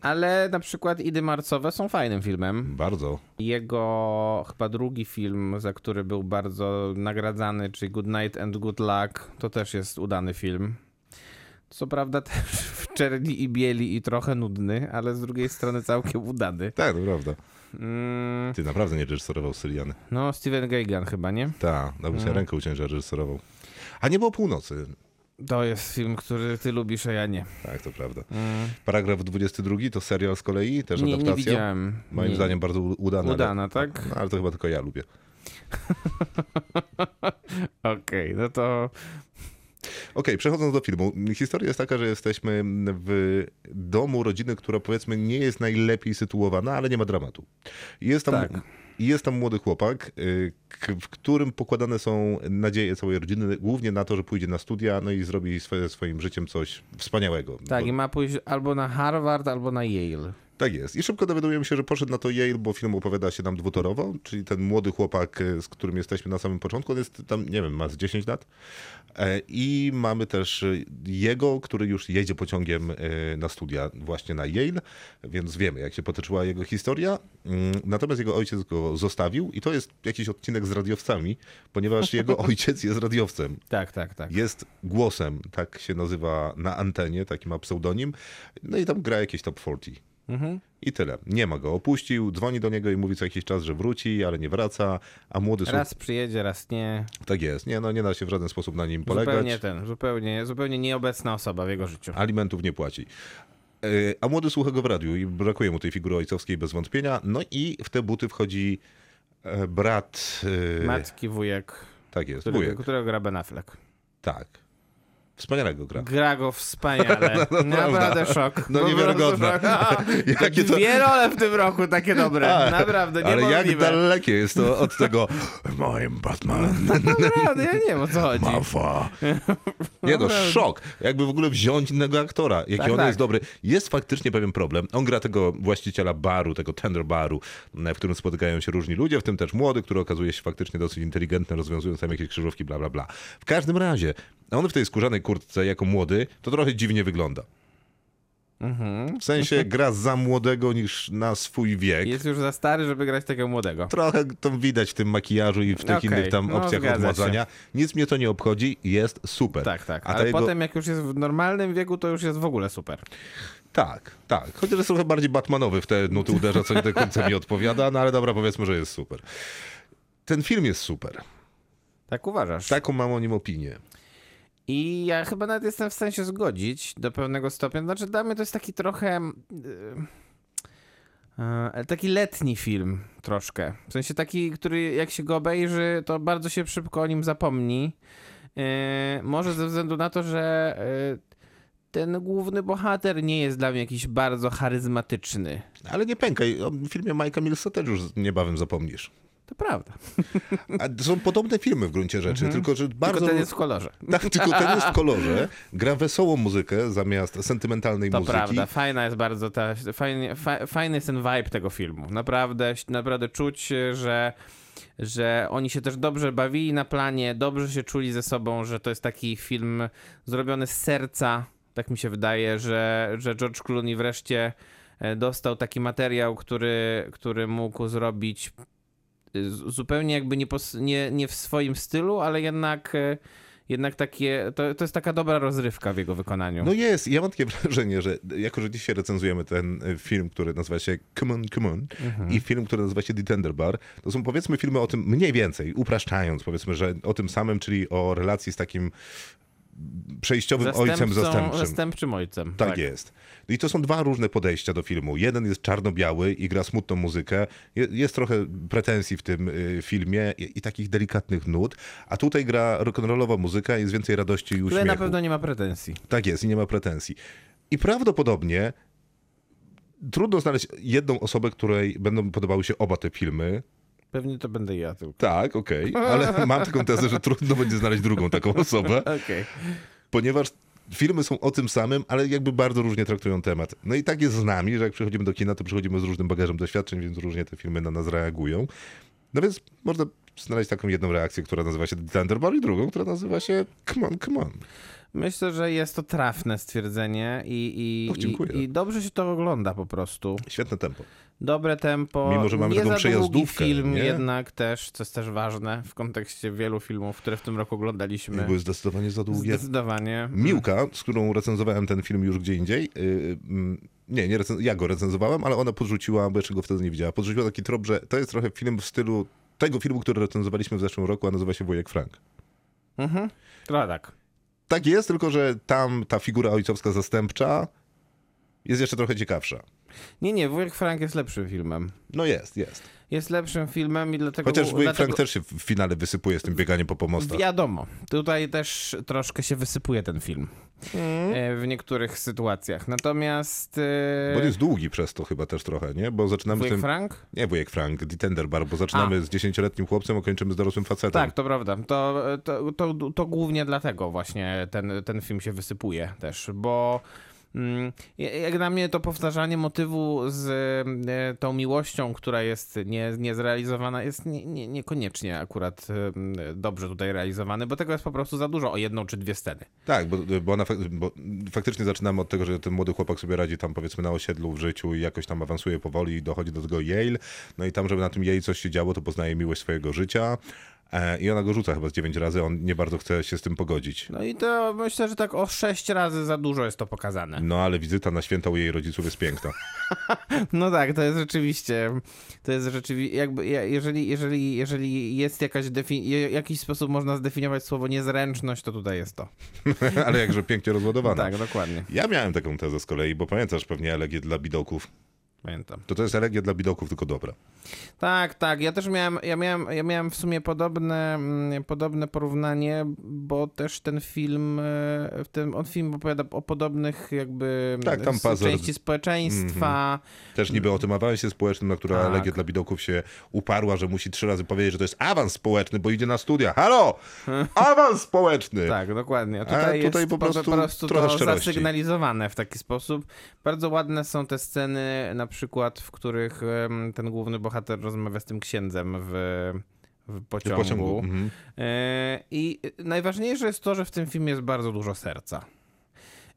[SPEAKER 4] Ale na przykład Idy Marcowe są fajnym filmem.
[SPEAKER 2] Bardzo.
[SPEAKER 4] Jego chyba drugi film, za który był bardzo nagradzany, czyli Good Night and Good Luck, to też jest udany film. Co prawda też w czerni i bieli i trochę nudny, ale z drugiej strony całkiem udany.
[SPEAKER 2] Tak, to prawda.
[SPEAKER 4] Mm,
[SPEAKER 2] Ty naprawdę nie reżyserował Syriany.
[SPEAKER 4] no, Steven Geigan chyba, nie?
[SPEAKER 2] Tak, dałbym
[SPEAKER 4] Mm.
[SPEAKER 2] się rękę uciąć, że reżyserował. A nie było północy.
[SPEAKER 4] To jest film, który ty lubisz, a ja nie.
[SPEAKER 2] Tak, to prawda. Paragraf 22 to serial z kolei, też
[SPEAKER 4] Mm. Nie, nie
[SPEAKER 2] adaptacja.
[SPEAKER 4] widziałem.
[SPEAKER 2] Moim
[SPEAKER 4] nie.
[SPEAKER 2] zdaniem bardzo u- udana. ale-
[SPEAKER 4] Udana, tak?
[SPEAKER 2] No, ale to chyba tylko ja lubię.
[SPEAKER 4] Okej, no to
[SPEAKER 2] Okej, przechodząc do filmu. Historia jest taka, że jesteśmy w domu rodziny, która powiedzmy nie jest najlepiej sytuowana, ale nie ma dramatu. Jest tam,
[SPEAKER 4] Tak.
[SPEAKER 2] jest tam młody chłopak, y, k- w którym pokładane są nadzieje całej rodziny, głównie na to, że pójdzie na studia, no i zrobi swoje, swoim życiem coś wspaniałego.
[SPEAKER 4] tak,
[SPEAKER 2] Bo-
[SPEAKER 4] i ma pójść albo na Harvard, albo na Yale.
[SPEAKER 2] tak jest. I szybko dowiadujemy się, że poszedł na to Yale, bo film opowiada się nam dwutorowo, czyli ten młody chłopak, e, z którym jesteśmy na samym początku, on jest tam, nie wiem, ma z 10 lat. E, I mamy też e, jego, który już jedzie pociągiem e, na studia właśnie na Yale, więc wiemy, jak się potoczyła jego historia. Mm, Natomiast jego ojciec go zostawił i to jest jakiś odcinek z radiowcami, ponieważ jego ojciec jest radiowcem
[SPEAKER 4] Tak, tak, tak.
[SPEAKER 2] jest głosem, tak się nazywa na antenie, taki ma pseudonim, no i tam gra jakieś top 40.
[SPEAKER 4] Mhm.
[SPEAKER 2] I tyle. Nie ma go. Opuścił, dzwoni do niego i mówi co jakiś czas, że wróci, ale nie wraca, a młody słuch-
[SPEAKER 4] Raz przyjedzie, raz nie.
[SPEAKER 2] Tak jest. Nie, no nie da się w żaden sposób na nim polegać.
[SPEAKER 4] Zupełnie tak. ten, zupełnie, zupełnie nieobecna osoba w jego życiu.
[SPEAKER 2] Alimentów nie płaci. Yy, A młody słucha go w radiu i brakuje mu tej figury ojcowskiej bez wątpienia. No i w te buty wchodzi e, brat... yy,
[SPEAKER 4] Matki, wujek,
[SPEAKER 2] Tak jest,
[SPEAKER 4] którego,
[SPEAKER 2] wujek.
[SPEAKER 4] którego gra Ben Affleck.
[SPEAKER 2] Tak. Wspaniałego gra.
[SPEAKER 4] Gra go wspaniale.
[SPEAKER 2] prawda.
[SPEAKER 4] Naprawdę szok.
[SPEAKER 2] No
[SPEAKER 4] Po
[SPEAKER 2] niewiarygodne.
[SPEAKER 4] prostu szok.
[SPEAKER 2] Jakie to- Tak.
[SPEAKER 4] Dwie role w tym roku takie dobre. Naprawdę,
[SPEAKER 2] Ale jak
[SPEAKER 4] niemożliwe.
[SPEAKER 2] dalekie jest to od tego moim Batman
[SPEAKER 4] Naprawdę, ja nie wiem o co chodzi.
[SPEAKER 2] Mafa. Nie no, szok. Jakby w ogóle wziąć innego aktora, jaki
[SPEAKER 4] Tak,
[SPEAKER 2] on
[SPEAKER 4] tak.
[SPEAKER 2] jest dobry. Jest faktycznie pewien problem. On gra tego właściciela baru, tego tender baru, w którym spotykają się różni ludzie, w tym też młody, który okazuje się faktycznie dosyć inteligentny, rozwiązując tam jakieś krzyżówki, bla, bla, bla. W każdym razie, on w tej skórzanej kurtce jako młody, to trochę dziwnie wygląda.
[SPEAKER 4] Mhm.
[SPEAKER 2] W sensie gra za młodego niż na swój wiek.
[SPEAKER 4] Jest już za stary, żeby grać takiego młodego.
[SPEAKER 2] Trochę to widać w tym makijażu i w tych
[SPEAKER 4] Okej,
[SPEAKER 2] innych tam
[SPEAKER 4] no,
[SPEAKER 2] opcjach
[SPEAKER 4] zgadza
[SPEAKER 2] odmładzania. Nic mnie to nie obchodzi, jest super.
[SPEAKER 4] Tak, tak.
[SPEAKER 2] A ta
[SPEAKER 4] Ale
[SPEAKER 2] jego...
[SPEAKER 4] potem jak już jest w normalnym wieku, to już jest w ogóle super.
[SPEAKER 2] Tak, tak. Chociaż jest trochę bardziej Batmanowy w te nuty uderza, co nie do końca mi odpowiada, no ale dobra, powiedzmy, że jest super. Ten film jest super.
[SPEAKER 4] Tak uważasz?
[SPEAKER 2] Taką mam o nim opinię.
[SPEAKER 4] I ja chyba nawet jestem w stanie się zgodzić do pewnego stopnia. Znaczy, dla mnie to jest taki trochę. yy, yy, Taki letni film, troszkę. W sensie taki, który jak się go obejrzy, to bardzo się E, szybko o nim zapomni. Yy, Może ze względu na to, że yy, ten główny bohater nie jest dla mnie jakiś bardzo charyzmatyczny.
[SPEAKER 2] Ale nie pękaj, o filmie Majka Millsa też już niebawem zapomnisz.
[SPEAKER 4] To prawda.
[SPEAKER 2] A są podobne filmy w gruncie rzeczy, tylko że bardzo...
[SPEAKER 4] Mhm. Tylko ten jest w kolorze.
[SPEAKER 2] Tak, tylko ten jest w kolorze, gra wesołą muzykę zamiast sentymentalnej
[SPEAKER 4] To
[SPEAKER 2] muzyki.
[SPEAKER 4] prawda, fajna jest bardzo ta, fajnie, fa, fajny jest ten vibe tego filmu. Naprawdę, naprawdę czuć, e, że, że oni się też dobrze bawili na planie, dobrze się czuli ze sobą, że to jest taki film zrobiony z serca, tak mi się wydaje, że, że George Clooney wreszcie e, dostał taki materiał, który, który mógł zrobić e, z- zupełnie jakby nie, pos, nie, nie w swoim stylu, ale jednak... e, Jednak takie, to, to jest taka dobra rozrywka w jego wykonaniu.
[SPEAKER 2] No jest, ja mam takie wrażenie, że jako, że dzisiaj recenzujemy ten y, film, który nazywa się Come On, Come On
[SPEAKER 4] Mhm.
[SPEAKER 2] i film, który nazywa się The Tender Bar, to są powiedzmy filmy o tym mniej więcej, upraszczając powiedzmy, że o tym samym, czyli o relacji z takim przejściowym ojcem zastępczym.
[SPEAKER 4] Zastępczym ojcem.
[SPEAKER 2] Tak, jest. I to są dwa różne podejścia do filmu. Jeden jest czarno-biały i gra smutną muzykę. Je, jest trochę pretensji w tym y, filmie i, i takich delikatnych nut. A tutaj gra rock'n'rollowa muzyka, jest więcej radości i
[SPEAKER 4] Które
[SPEAKER 2] uśmiechu.
[SPEAKER 4] na pewno nie ma pretensji.
[SPEAKER 2] Tak jest i nie ma pretensji. I prawdopodobnie trudno znaleźć jedną osobę, której będą podobały się oba te filmy.
[SPEAKER 4] Pewnie to będę ja tylko.
[SPEAKER 2] Tak, okej, ale mam taką tezę, że trudno będzie znaleźć drugą taką osobę
[SPEAKER 4] Okej.
[SPEAKER 2] ponieważ filmy są o tym samym, ale jakby bardzo różnie traktują temat. No i tak jest z nami, że jak przychodzimy do kina, to przychodzimy z różnym bagażem doświadczeń, więc różnie te filmy na nas reagują. No więc można znaleźć taką jedną reakcję, która nazywa się Thunderball i drugą, która nazywa się Come on, come on.
[SPEAKER 4] Myślę, że jest to trafne stwierdzenie i,
[SPEAKER 2] Och,
[SPEAKER 4] i,
[SPEAKER 2] dziękuję.
[SPEAKER 4] i, i dobrze się to ogląda po prostu.
[SPEAKER 2] Świetne tempo.
[SPEAKER 4] Tak. Dobre tempo.
[SPEAKER 2] Mimo, że mamy
[SPEAKER 4] nie
[SPEAKER 2] taką
[SPEAKER 4] za długi
[SPEAKER 2] przejazdówkę,
[SPEAKER 4] film
[SPEAKER 2] nie?
[SPEAKER 4] jednak też, co jest też ważne w kontekście wielu filmów, które w tym roku oglądaliśmy.
[SPEAKER 2] Były zdecydowanie za długie.
[SPEAKER 4] Zdecydowanie.
[SPEAKER 2] Miłka, z którą recenzowałem ten film już gdzie indziej. Yy, mm, nie, nie recen- ja go recenzowałem, ale ona podrzuciła, bo jeszcze go wtedy nie widziała. Podrzuciła taki trop, że to jest trochę film w stylu tego filmu, który recenzowaliśmy w zeszłym roku, a nazywa się Wojek Frank.
[SPEAKER 4] Mhm. To tak.
[SPEAKER 2] Tak jest, tylko że tam ta figura ojcowska zastępcza jest jeszcze trochę ciekawsza.
[SPEAKER 4] Nie, nie, Wujek Frank jest lepszym filmem.
[SPEAKER 2] No jest, jest.
[SPEAKER 4] Jest lepszym filmem i dlatego...
[SPEAKER 2] Chociaż Wojek
[SPEAKER 4] dlatego...
[SPEAKER 2] Frank też się w finale wysypuje z tym bieganiem po pomostach.
[SPEAKER 4] Wiadomo, tutaj też troszkę się wysypuje ten film E, w niektórych sytuacjach. Natomiast
[SPEAKER 2] Bo on
[SPEAKER 4] e,
[SPEAKER 2] jest długi przez to chyba też trochę, nie? Bo zaczynamy z
[SPEAKER 4] Wujek
[SPEAKER 2] tym... Tak.
[SPEAKER 4] Frank?
[SPEAKER 2] Nie Wujek Frank, The Tender Bar, bo zaczynamy z dziesięcioletnim chłopcem, a kończymy z dorosłym facetem.
[SPEAKER 4] Tak, to prawda. To, to, to, to głównie dlatego właśnie ten, ten film się wysypuje też, bo mm, jak na mnie to powtarzanie motywu z e, tą miłością, która jest nie- niezrealizowana, jest nie, nie, niekoniecznie akurat em, dobrze tutaj realizowany, bo tego jest po prostu za dużo o jedną czy dwie sceny.
[SPEAKER 2] Tak, bo, bo, ona, fak- bo faktycznie zaczynamy od tego, że ten młody chłopak sobie radzi tam powiedzmy na osiedlu w życiu i jakoś tam awansuje powoli i dochodzi do tego Yale. No i tam, żeby na tym Yale coś się działo, to poznaje miłość swojego życia e, i ona go rzuca chyba z dziewięć razy, on nie bardzo chce się z tym pogodzić.
[SPEAKER 4] No i to myślę, że tak o sześć razy za dużo jest to pokazane.
[SPEAKER 2] No ale wizyta na święta u jej rodziców jest piękna.
[SPEAKER 4] No tak, to jest rzeczywiście, to jest rzeczywiście, jakby, je- jeżeli, jeżeli, jeżeli jest jakaś, defi- je- jakiś sposób można zdefiniować słowo niezręczność, to tutaj jest to.
[SPEAKER 2] ale jakże pięknie rozładowana.
[SPEAKER 4] Tak, dokładnie,
[SPEAKER 2] Ja miałem taką tezę z kolei, bo pamiętasz pewnie elegię dla bidoków.
[SPEAKER 4] pamiętam.
[SPEAKER 2] To to jest elegia dla bidoków, tylko dobra.
[SPEAKER 4] Tak, tak, ja też miałem, ja miałem, ja miałem w sumie podobne, mm, podobne porównanie, bo też ten film, e, w tym, on film opowiada o podobnych jakby
[SPEAKER 2] Tak, tam Mhm.
[SPEAKER 4] s-
[SPEAKER 2] Pazard-
[SPEAKER 4] części społeczeństwa,
[SPEAKER 2] Też niby o tym awansie społecznym, na która
[SPEAKER 4] Tak.
[SPEAKER 2] Legia dla Bidoków się uparła, że musi trzy razy powiedzieć, że to jest awans społeczny, bo idzie na studia. Halo! Awans społeczny!
[SPEAKER 4] Tak, dokładnie. A tutaj,
[SPEAKER 2] tutaj
[SPEAKER 4] jest
[SPEAKER 2] po prostu trochę
[SPEAKER 4] to
[SPEAKER 2] szczerości.
[SPEAKER 4] zasygnalizowane w taki sposób. Bardzo ładne są te sceny, na przykład, w których em, ten główny bohater rozmawia z tym księdzem w, w pociągu.
[SPEAKER 2] pociągu, mhm.
[SPEAKER 4] E, I najważniejsze jest to, że w tym filmie jest bardzo dużo serca.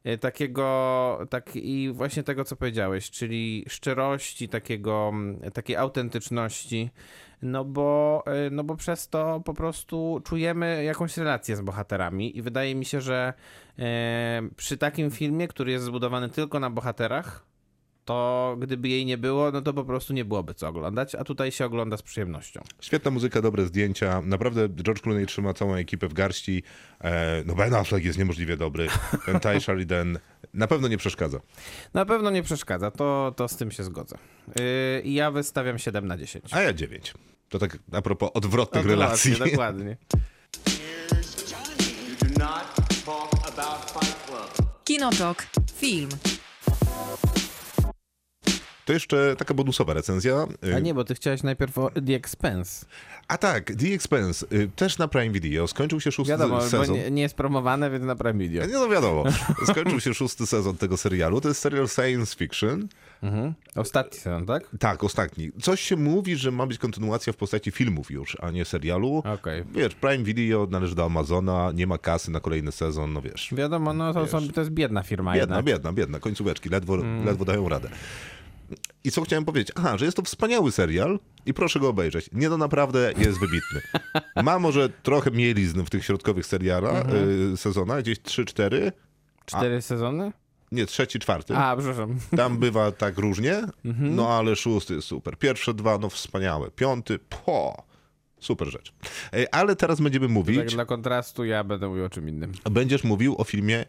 [SPEAKER 4] E, Takiego, tak i właśnie tego, co powiedziałeś, czyli szczerości, takiego, mm, takiej autentyczności, no bo, e, no bo przez to po prostu czujemy jakąś relację z bohaterami i wydaje mi się, że e, przy takim filmie, który jest zbudowany tylko na bohaterach, to gdyby jej nie było, no to po prostu nie byłoby co oglądać, a tutaj się ogląda z przyjemnością.
[SPEAKER 2] Świetna muzyka, dobre zdjęcia. Naprawdę George Clooney trzyma całą ekipę w garści. E, no Ben Affleck jest niemożliwie dobry. Ten Ty Sheridan na pewno nie przeszkadza.
[SPEAKER 4] Na pewno nie przeszkadza, to, to z tym się zgodzę. Yy, i ja wystawiam 7 na 10.
[SPEAKER 2] A ja dziewięć. To tak a propos odwrotnych
[SPEAKER 4] No,
[SPEAKER 2] relacji.
[SPEAKER 4] Dokładnie, dokładnie.
[SPEAKER 3] Here's Johnny. You do not talk about Fight Club.
[SPEAKER 1] Kinotok. Film.
[SPEAKER 2] To jeszcze taka bonusowa recenzja.
[SPEAKER 4] A
[SPEAKER 2] Y,
[SPEAKER 4] nie, bo ty chciałeś najpierw o The Expense.
[SPEAKER 2] A tak, The Expense, y, też na Prime Video. Skończył się szósty
[SPEAKER 4] Wiadomo, bo
[SPEAKER 2] sezon.
[SPEAKER 4] nie, nie jest promowane, więc na Prime Video.
[SPEAKER 2] Nie no wiadomo, skończył się szósty sezon tego serialu. To jest serial science fiction.
[SPEAKER 4] Mhm. Ostatni sezon, tak?
[SPEAKER 2] Tak, ostatni. Coś się mówi, że ma być kontynuacja w postaci filmów już, a nie serialu.
[SPEAKER 4] Okej.
[SPEAKER 2] Wiesz, Prime Video należy do Amazona, nie ma kasy na kolejny sezon, no wiesz.
[SPEAKER 4] Wiadomo, no to, są, to jest biedna firma
[SPEAKER 2] Biedna,
[SPEAKER 4] jednak.
[SPEAKER 2] biedna, biedna, końcóweczki, ledwo,
[SPEAKER 4] Mm.
[SPEAKER 2] ledwo dają radę. I co chciałem powiedzieć? Aha, że jest to wspaniały serial i proszę go obejrzeć. Nie no, naprawdę jest wybitny. Ma może trochę mielizn w tych środkowych serialach,
[SPEAKER 4] Mhm.
[SPEAKER 2] y, sezonach, gdzieś 3-4,
[SPEAKER 4] Cztery sezony?
[SPEAKER 2] nie, trzeci, czwarty.
[SPEAKER 4] A, przepraszam.
[SPEAKER 2] Tam bywa tak różnie,
[SPEAKER 4] Mhm.
[SPEAKER 2] no ale szósty jest super. Pierwsze dwa, no wspaniałe. Piąty, po. Super rzecz. E, Ale teraz będziemy
[SPEAKER 4] Tak
[SPEAKER 2] mówić,
[SPEAKER 4] dla kontrastu ja będę mówił o czym innym.
[SPEAKER 2] będziesz mówił o filmie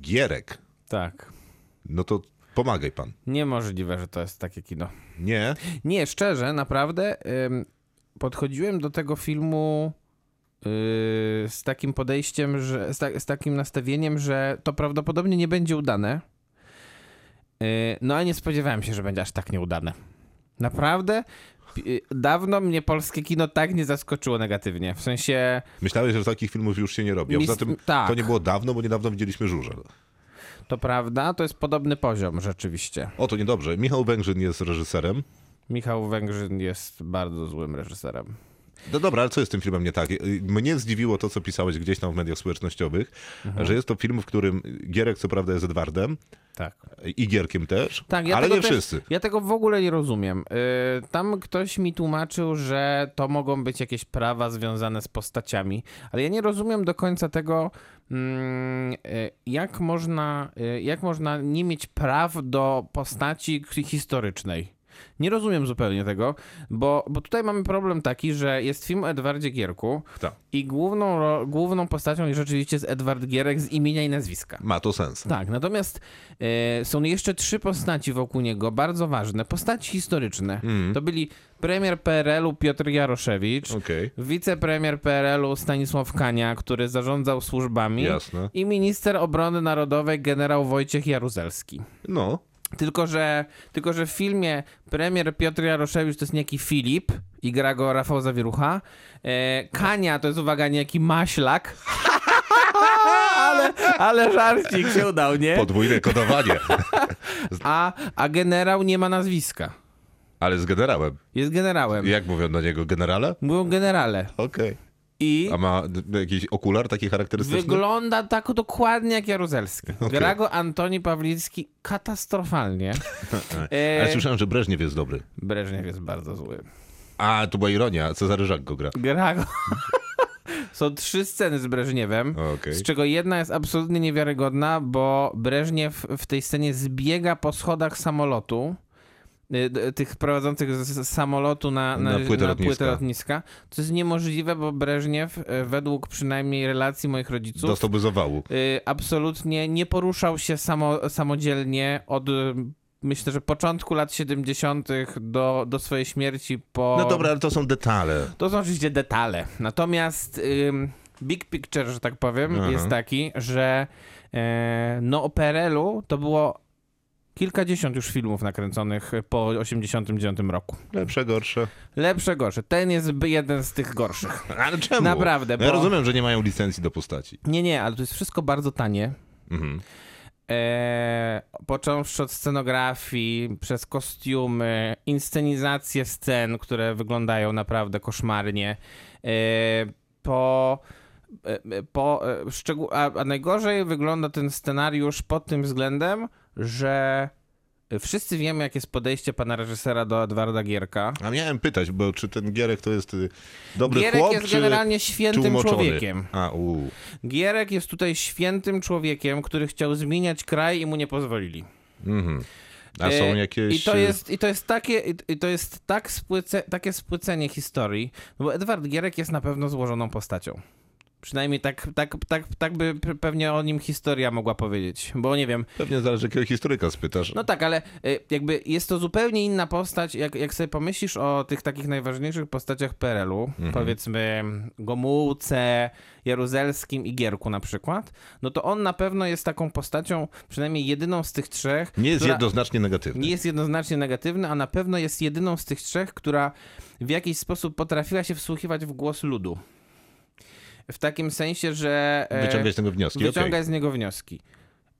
[SPEAKER 2] Gierek.
[SPEAKER 4] Tak.
[SPEAKER 2] No to pomagaj pan.
[SPEAKER 4] Niemożliwe, że to jest takie kino.
[SPEAKER 2] Nie?
[SPEAKER 4] Nie, szczerze, naprawdę ym, podchodziłem do tego filmu yy, z takim podejściem, że, z, ta, z takim nastawieniem, że to prawdopodobnie nie będzie udane. Yy, no ale nie spodziewałem się, że będzie aż tak nieudane. Naprawdę pi- yy, dawno mnie polskie kino tak nie zaskoczyło negatywnie. W sensie
[SPEAKER 2] Myślałeś, że takich filmów już się nie robi. A
[SPEAKER 4] Mis-
[SPEAKER 2] poza tym
[SPEAKER 4] tak.
[SPEAKER 2] to nie było dawno, bo niedawno widzieliśmy Żużel.
[SPEAKER 4] to prawda, to jest podobny poziom rzeczywiście.
[SPEAKER 2] O, to niedobrze. Michał Węgrzyn jest reżyserem.
[SPEAKER 4] Michał Węgrzyn jest bardzo złym reżyserem.
[SPEAKER 2] No dobra, ale co jest z tym filmem nie tak? Y, Mnie zdziwiło to, co pisałeś gdzieś tam w mediach społecznościowych,
[SPEAKER 4] Mhm.
[SPEAKER 2] że jest to film, w którym Gierek co prawda jest Edwardem
[SPEAKER 4] Tak.
[SPEAKER 2] i Gierkiem też,
[SPEAKER 4] Tak, ja
[SPEAKER 2] ale
[SPEAKER 4] tego
[SPEAKER 2] nie
[SPEAKER 4] też,
[SPEAKER 2] wszyscy.
[SPEAKER 4] Ja tego w ogóle nie rozumiem. Yy, tam ktoś mi tłumaczył, że to mogą być jakieś prawa związane z postaciami, ale ja nie rozumiem do końca tego, mm, yy, jak, można, yy, jak można nie mieć praw do postaci k- historycznej. Nie rozumiem zupełnie tego, bo, bo tutaj mamy problem taki, że jest film o Edwardzie Gierku
[SPEAKER 2] Tak.
[SPEAKER 4] i główną, ro- główną postacią rzeczywiście jest Edward Gierek z imienia i nazwiska.
[SPEAKER 2] Ma to sens.
[SPEAKER 4] Tak, natomiast e, są jeszcze trzy postaci wokół niego, bardzo ważne, postaci historyczne. To byli premier PRL-u Piotr Jaroszewicz,
[SPEAKER 2] Mm. Okej.
[SPEAKER 4] wicepremier PRL-u Stanisław Kania, który zarządzał służbami
[SPEAKER 2] Jasne.
[SPEAKER 4] i minister obrony narodowej generał Wojciech Jaruzelski.
[SPEAKER 2] No.
[SPEAKER 4] Tylko że, tylko, że w filmie premier Piotr Jaroszewicz to jest niejaki Filip i gra go Rafał Zawierucha. E, Kania to jest, uwaga, niejaki Maślak. ale, ale żarcik się udał, nie?
[SPEAKER 2] Podwójne kodowanie.
[SPEAKER 4] A, a generał nie ma nazwiska.
[SPEAKER 2] Ale z generałem.
[SPEAKER 4] Jest generałem.
[SPEAKER 2] Jak mówią na niego? Generale?
[SPEAKER 4] Mówią generale.
[SPEAKER 2] Okej.
[SPEAKER 4] I
[SPEAKER 2] A ma d- jakiś okular taki charakterystyczny?
[SPEAKER 4] wygląda tak dokładnie jak Jaruzelski. Gra go Antoni Pawlicki katastrofalnie.
[SPEAKER 2] Ale
[SPEAKER 4] E,
[SPEAKER 2] słyszałem, że Breżniew jest dobry.
[SPEAKER 4] Breżniew jest bardzo zły.
[SPEAKER 2] A, to była ironia. Cezary Żak go gra.
[SPEAKER 4] Gra go... Są trzy sceny z Breżniewem,
[SPEAKER 2] Okej.
[SPEAKER 4] z czego jedna jest absolutnie niewiarygodna, bo Breżniew w tej scenie zbiega po schodach samolotu, y, d- tych prowadzących z- z samolotu na, na,
[SPEAKER 2] Na płytę
[SPEAKER 4] na płytę
[SPEAKER 2] lotniska.
[SPEAKER 4] lotniska, co jest niemożliwe, bo Breżniew, y, według przynajmniej relacji moich rodziców,
[SPEAKER 2] Dostałby zawału.
[SPEAKER 4] y, absolutnie nie poruszał się samo, samodzielnie od... y, Myślę, że początku lat 70. do, do swojej śmierci po.
[SPEAKER 2] No dobra, ale to są detale.
[SPEAKER 4] To są oczywiście detale. Natomiast ym, big picture, że tak powiem,
[SPEAKER 2] Aha.
[SPEAKER 4] jest taki, że e, no o PRL-u to było kilkadziesiąt już filmów nakręconych po 89 roku.
[SPEAKER 2] Lepsze, gorsze.
[SPEAKER 4] Lepsze, gorsze. Ten jest by- jeden z tych gorszych.
[SPEAKER 2] Ale czemu?
[SPEAKER 4] Naprawdę,
[SPEAKER 2] Ja
[SPEAKER 4] bo-
[SPEAKER 2] rozumiem, że nie mają licencji do postaci.
[SPEAKER 4] Nie, nie, ale to jest wszystko bardzo tanie.
[SPEAKER 2] Mhm.
[SPEAKER 4] E, począwszy od scenografii, przez kostiumy, inscenizację scen, które wyglądają naprawdę koszmarnie, e, po, e, e, po e, szczegół, a, a najgorzej wygląda ten scenariusz pod tym względem, że wszyscy wiemy, jakie jest podejście pana reżysera do Edwarda Gierka.
[SPEAKER 2] A miałem pytać, bo czy ten Gierek to jest y, dobry
[SPEAKER 4] Gierek
[SPEAKER 2] chłop,
[SPEAKER 4] jest
[SPEAKER 2] czy,
[SPEAKER 4] generalnie
[SPEAKER 2] czy
[SPEAKER 4] świętym
[SPEAKER 2] umoczony?
[SPEAKER 4] człowiekiem.
[SPEAKER 2] A, u.
[SPEAKER 4] Gierek jest tutaj świętym człowiekiem, który chciał zmieniać kraj i mu nie pozwolili.
[SPEAKER 2] Mhm. A są
[SPEAKER 4] E,
[SPEAKER 2] jakieś...
[SPEAKER 4] I to
[SPEAKER 2] y,
[SPEAKER 4] jest, i to jest, takie, i- i to jest tak spłyce, takie spłycenie historii, no bo Edward Gierek jest na pewno złożoną postacią. Przynajmniej tak, tak, tak, tak by pe- pewnie o nim historia mogła powiedzieć. Bo nie wiem,
[SPEAKER 2] Pewnie zależy, jakiego historyka spytasz.
[SPEAKER 4] no tak, ale y, jakby jest to zupełnie inna postać, jak, jak sobie pomyślisz o tych takich najważniejszych postaciach PRL-u,
[SPEAKER 2] Mhm.
[SPEAKER 4] powiedzmy Gomułce, Jaruzelskim i Gierku na przykład, no to on na pewno jest taką postacią, przynajmniej jedyną z tych trzech.
[SPEAKER 2] Nie jest
[SPEAKER 4] która-
[SPEAKER 2] jednoznacznie negatywny.
[SPEAKER 4] nie jest jednoznacznie negatywny, a na pewno jest jedyną z tych trzech, która w jakiś sposób potrafiła się wsłuchiwać w głos ludu. W takim sensie, że. e,
[SPEAKER 2] Wyciągać z tego wnioski.
[SPEAKER 4] Wyciągać
[SPEAKER 2] Okej.
[SPEAKER 4] z niego wnioski.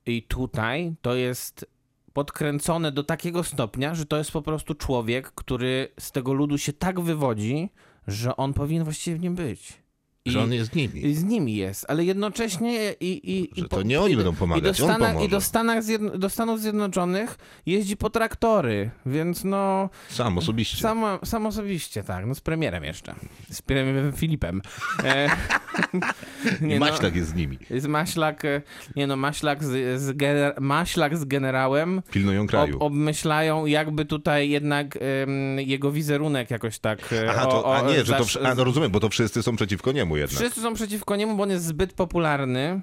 [SPEAKER 4] I tutaj to jest podkręcone do takiego stopnia, że to jest po prostu człowiek, który z tego ludu się tak wywodzi, że on powinien właściwie w nim być. I-
[SPEAKER 2] Że on jest z nimi.
[SPEAKER 4] i z nimi jest, ale jednocześnie i, i, i
[SPEAKER 2] Że to nie oni
[SPEAKER 4] i do-
[SPEAKER 2] będą pomagać,
[SPEAKER 4] i do,
[SPEAKER 2] on
[SPEAKER 4] Stanach,
[SPEAKER 2] pomoże.
[SPEAKER 4] I do, Stanach Zjedno- do Stanów Zjednoczonych jeździ po traktory, więc no
[SPEAKER 2] Sam osobiście.
[SPEAKER 4] sam, sam osobiście, tak, no z premierem jeszcze, z premierem Filipem. E,
[SPEAKER 2] I
[SPEAKER 4] no,
[SPEAKER 2] Maślak jest z nimi.
[SPEAKER 4] Z Maślak, e, nie no, Maślak z, z, gener- Maślak z generałem
[SPEAKER 2] Pilnują kraju.
[SPEAKER 4] ob, obmyślają jakby tutaj jednak em, jego wizerunek jakoś tak e,
[SPEAKER 2] Aha, to,
[SPEAKER 4] o- o-
[SPEAKER 2] a nie, że to...
[SPEAKER 4] zasz-
[SPEAKER 2] wsz- A, no rozumiem, bo to wszyscy są przeciwko niemu jednak.
[SPEAKER 4] Wszyscy są przeciwko niemu, bo on jest zbyt popularny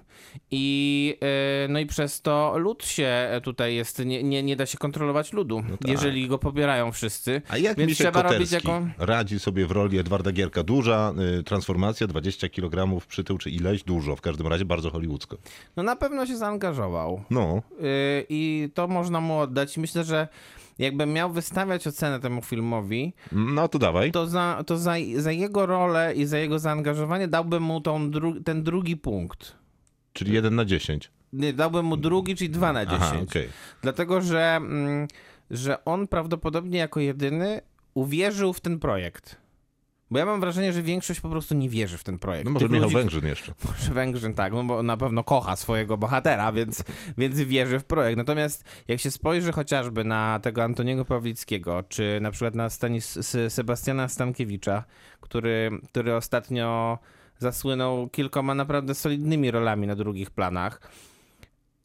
[SPEAKER 4] i e, no i przez to lud się e, tutaj jest, nie, nie, nie da się kontrolować ludu,
[SPEAKER 2] tak.
[SPEAKER 4] jeżeli go pobierają wszyscy.
[SPEAKER 2] A jak
[SPEAKER 4] Więc
[SPEAKER 2] Misiek
[SPEAKER 4] trzeba robić
[SPEAKER 2] Koterski
[SPEAKER 4] jaką...
[SPEAKER 2] radzi sobie w roli Edwarda Gierka? Duża y, transformacja, 20 kg przytył czy ileś, dużo, w każdym razie bardzo hollywoodzko.
[SPEAKER 4] No na pewno się zaangażował
[SPEAKER 2] No,
[SPEAKER 4] E, i to można mu oddać. Myślę, że jakbym miał wystawiać ocenę temu filmowi,
[SPEAKER 2] no to dawaj.
[SPEAKER 4] to za, to za, za jego rolę i za jego zaangażowanie dałbym mu tą dru- ten drugi punkt.
[SPEAKER 2] Czyli 1 na 10.
[SPEAKER 4] Nie, dałbym mu drugi, czyli dwa na dziesięć.
[SPEAKER 2] Aha, okej. No
[SPEAKER 4] Dlatego, że, mm, że on prawdopodobnie jako jedyny uwierzył w ten projekt. Bo ja mam wrażenie, że większość po prostu nie wierzy w ten projekt.
[SPEAKER 2] No może
[SPEAKER 4] Tych
[SPEAKER 2] Michał
[SPEAKER 4] ludzi,
[SPEAKER 2] Węgrzyn jeszcze.
[SPEAKER 4] Może Węgrzyn, tak, no bo na pewno kocha swojego bohatera, więc, więc wierzy w projekt. Natomiast jak się spojrzy chociażby na tego Antoniego Pawlickiego, czy na przykład na Stanis- S- Sebastiana Stankiewicza, który, który ostatnio zasłynął kilkoma naprawdę solidnymi rolami na drugich planach,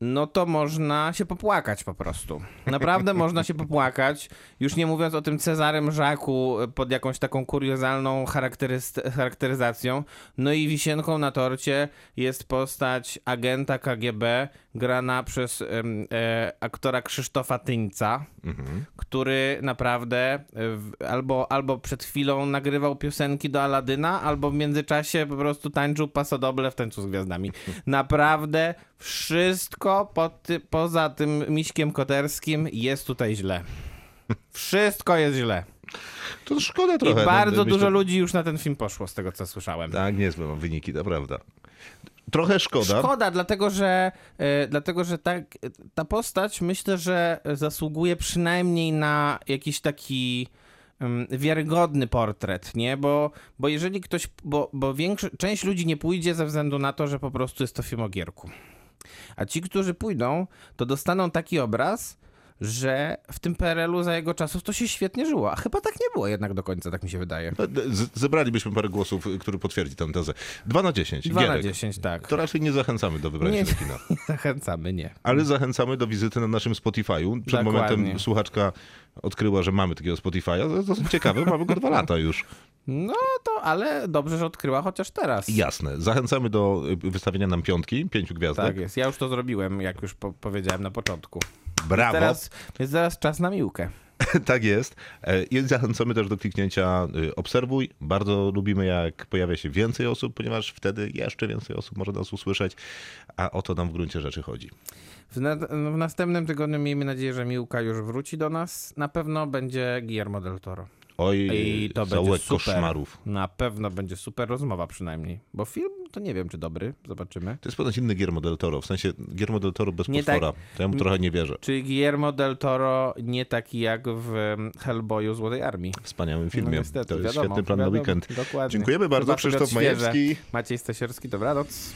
[SPEAKER 4] no to można się popłakać po prostu. Naprawdę można się popłakać. Już nie mówiąc o tym Cezarym Żaku y, pod jakąś taką kuriozalną charakteryst- charakteryzacją. No i wisienką na torcie jest postać agenta KGB grana przez em, e, aktora Krzysztofa Tyńca, który naprawdę e, w, albo, albo przed chwilą nagrywał piosenki do Aladyna, albo w międzyczasie po prostu tańczył pasodoble w tańcu z gwiazdami. Naprawdę wszystko po ty, poza tym miśkiem koterskim jest tutaj źle. Wszystko jest źle.
[SPEAKER 2] To szkoda
[SPEAKER 4] I
[SPEAKER 2] trochę. no,
[SPEAKER 4] bardzo
[SPEAKER 2] myślę-
[SPEAKER 4] dużo ludzi już na ten film poszło, z tego co słyszałem.
[SPEAKER 2] Tak, niezłe mam wyniki, to prawda. Trochę szkoda.
[SPEAKER 4] Szkoda, dlatego że, e, dlatego, że tak, e, ta postać myślę, że zasługuje przynajmniej na jakiś taki em, wiarygodny portret, nie? Bo, bo jeżeli ktoś, bo, bo większo- część ludzi nie pójdzie ze względu na to, że po prostu jest to film o gierku. A ci, którzy pójdą, to dostaną taki obraz, że w tym PRL-u za jego czasów to się świetnie żyło. A chyba tak nie było jednak do końca, tak mi się wydaje.
[SPEAKER 2] No, Z- zebralibyśmy parę głosów, y, który potwierdzi tę tezę. 2 na 10.
[SPEAKER 4] 2
[SPEAKER 2] Gierek.
[SPEAKER 4] na 10, tak.
[SPEAKER 2] To raczej nie zachęcamy do wybrania
[SPEAKER 4] Nie.
[SPEAKER 2] się do kina.
[SPEAKER 4] Zachęcamy, nie.
[SPEAKER 2] Ale zachęcamy do wizyty na naszym Spotify'u. Przed
[SPEAKER 4] Dokładnie.
[SPEAKER 2] momentem słuchaczka odkryła, że mamy takiego Spotify'a. To jest dosyć ciekawe, mamy go dwa lata już.
[SPEAKER 4] No to, ale dobrze, że odkryła chociaż teraz.
[SPEAKER 2] Jasne. Zachęcamy do y, wystawienia nam piątki, pięciu gwiazdek.
[SPEAKER 4] Tak jest. Ja już to zrobiłem, jak już po powiedziałem na początku.
[SPEAKER 2] Brawo.
[SPEAKER 4] Teraz, jest zaraz czas na miłkę.
[SPEAKER 2] Tak jest. E, I zachęcamy też do kliknięcia y, obserwuj. Bardzo lubimy, jak pojawia się więcej osób, ponieważ wtedy jeszcze więcej osób może nas usłyszeć, a o to nam w gruncie rzeczy chodzi.
[SPEAKER 4] W, na, w następnym tygodniu miejmy nadzieję, że miłka już wróci do nas. Na pewno będzie Guillermo del Toro.
[SPEAKER 2] Oj,
[SPEAKER 4] I to będzie
[SPEAKER 2] całe
[SPEAKER 4] super.
[SPEAKER 2] koszmarów.
[SPEAKER 4] Na pewno będzie super rozmowa przynajmniej. Bo film to nie wiem, czy dobry. Zobaczymy.
[SPEAKER 2] To jest ponoć inny Giermo del Toro, w sensie Giermo del Toro bez
[SPEAKER 4] Nie
[SPEAKER 2] potwora. To ja mu trochę nie wierzę.
[SPEAKER 4] Czy Guillermo del Toro nie taki jak w em, Hellboyu Złotej Armii?
[SPEAKER 2] Wspaniałym
[SPEAKER 4] No
[SPEAKER 2] filmie.
[SPEAKER 4] niestety,
[SPEAKER 2] to jest
[SPEAKER 4] wiadomo,
[SPEAKER 2] świetny plan
[SPEAKER 4] wiadomo,
[SPEAKER 2] na weekend.
[SPEAKER 4] Dokładnie.
[SPEAKER 2] Dziękujemy bardzo,
[SPEAKER 4] Zobaczmy go
[SPEAKER 2] Krzysztof
[SPEAKER 4] odświeże.
[SPEAKER 2] Majewski.
[SPEAKER 4] Maciej Stasierski, dobranoc.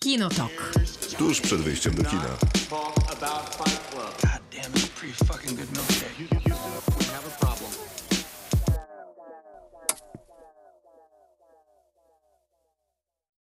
[SPEAKER 1] Kinotok.
[SPEAKER 5] Tuż przed wyjściem do kina.
[SPEAKER 3] Talk about Fight Club.
[SPEAKER 6] God damn, it's a pretty fucking good movie.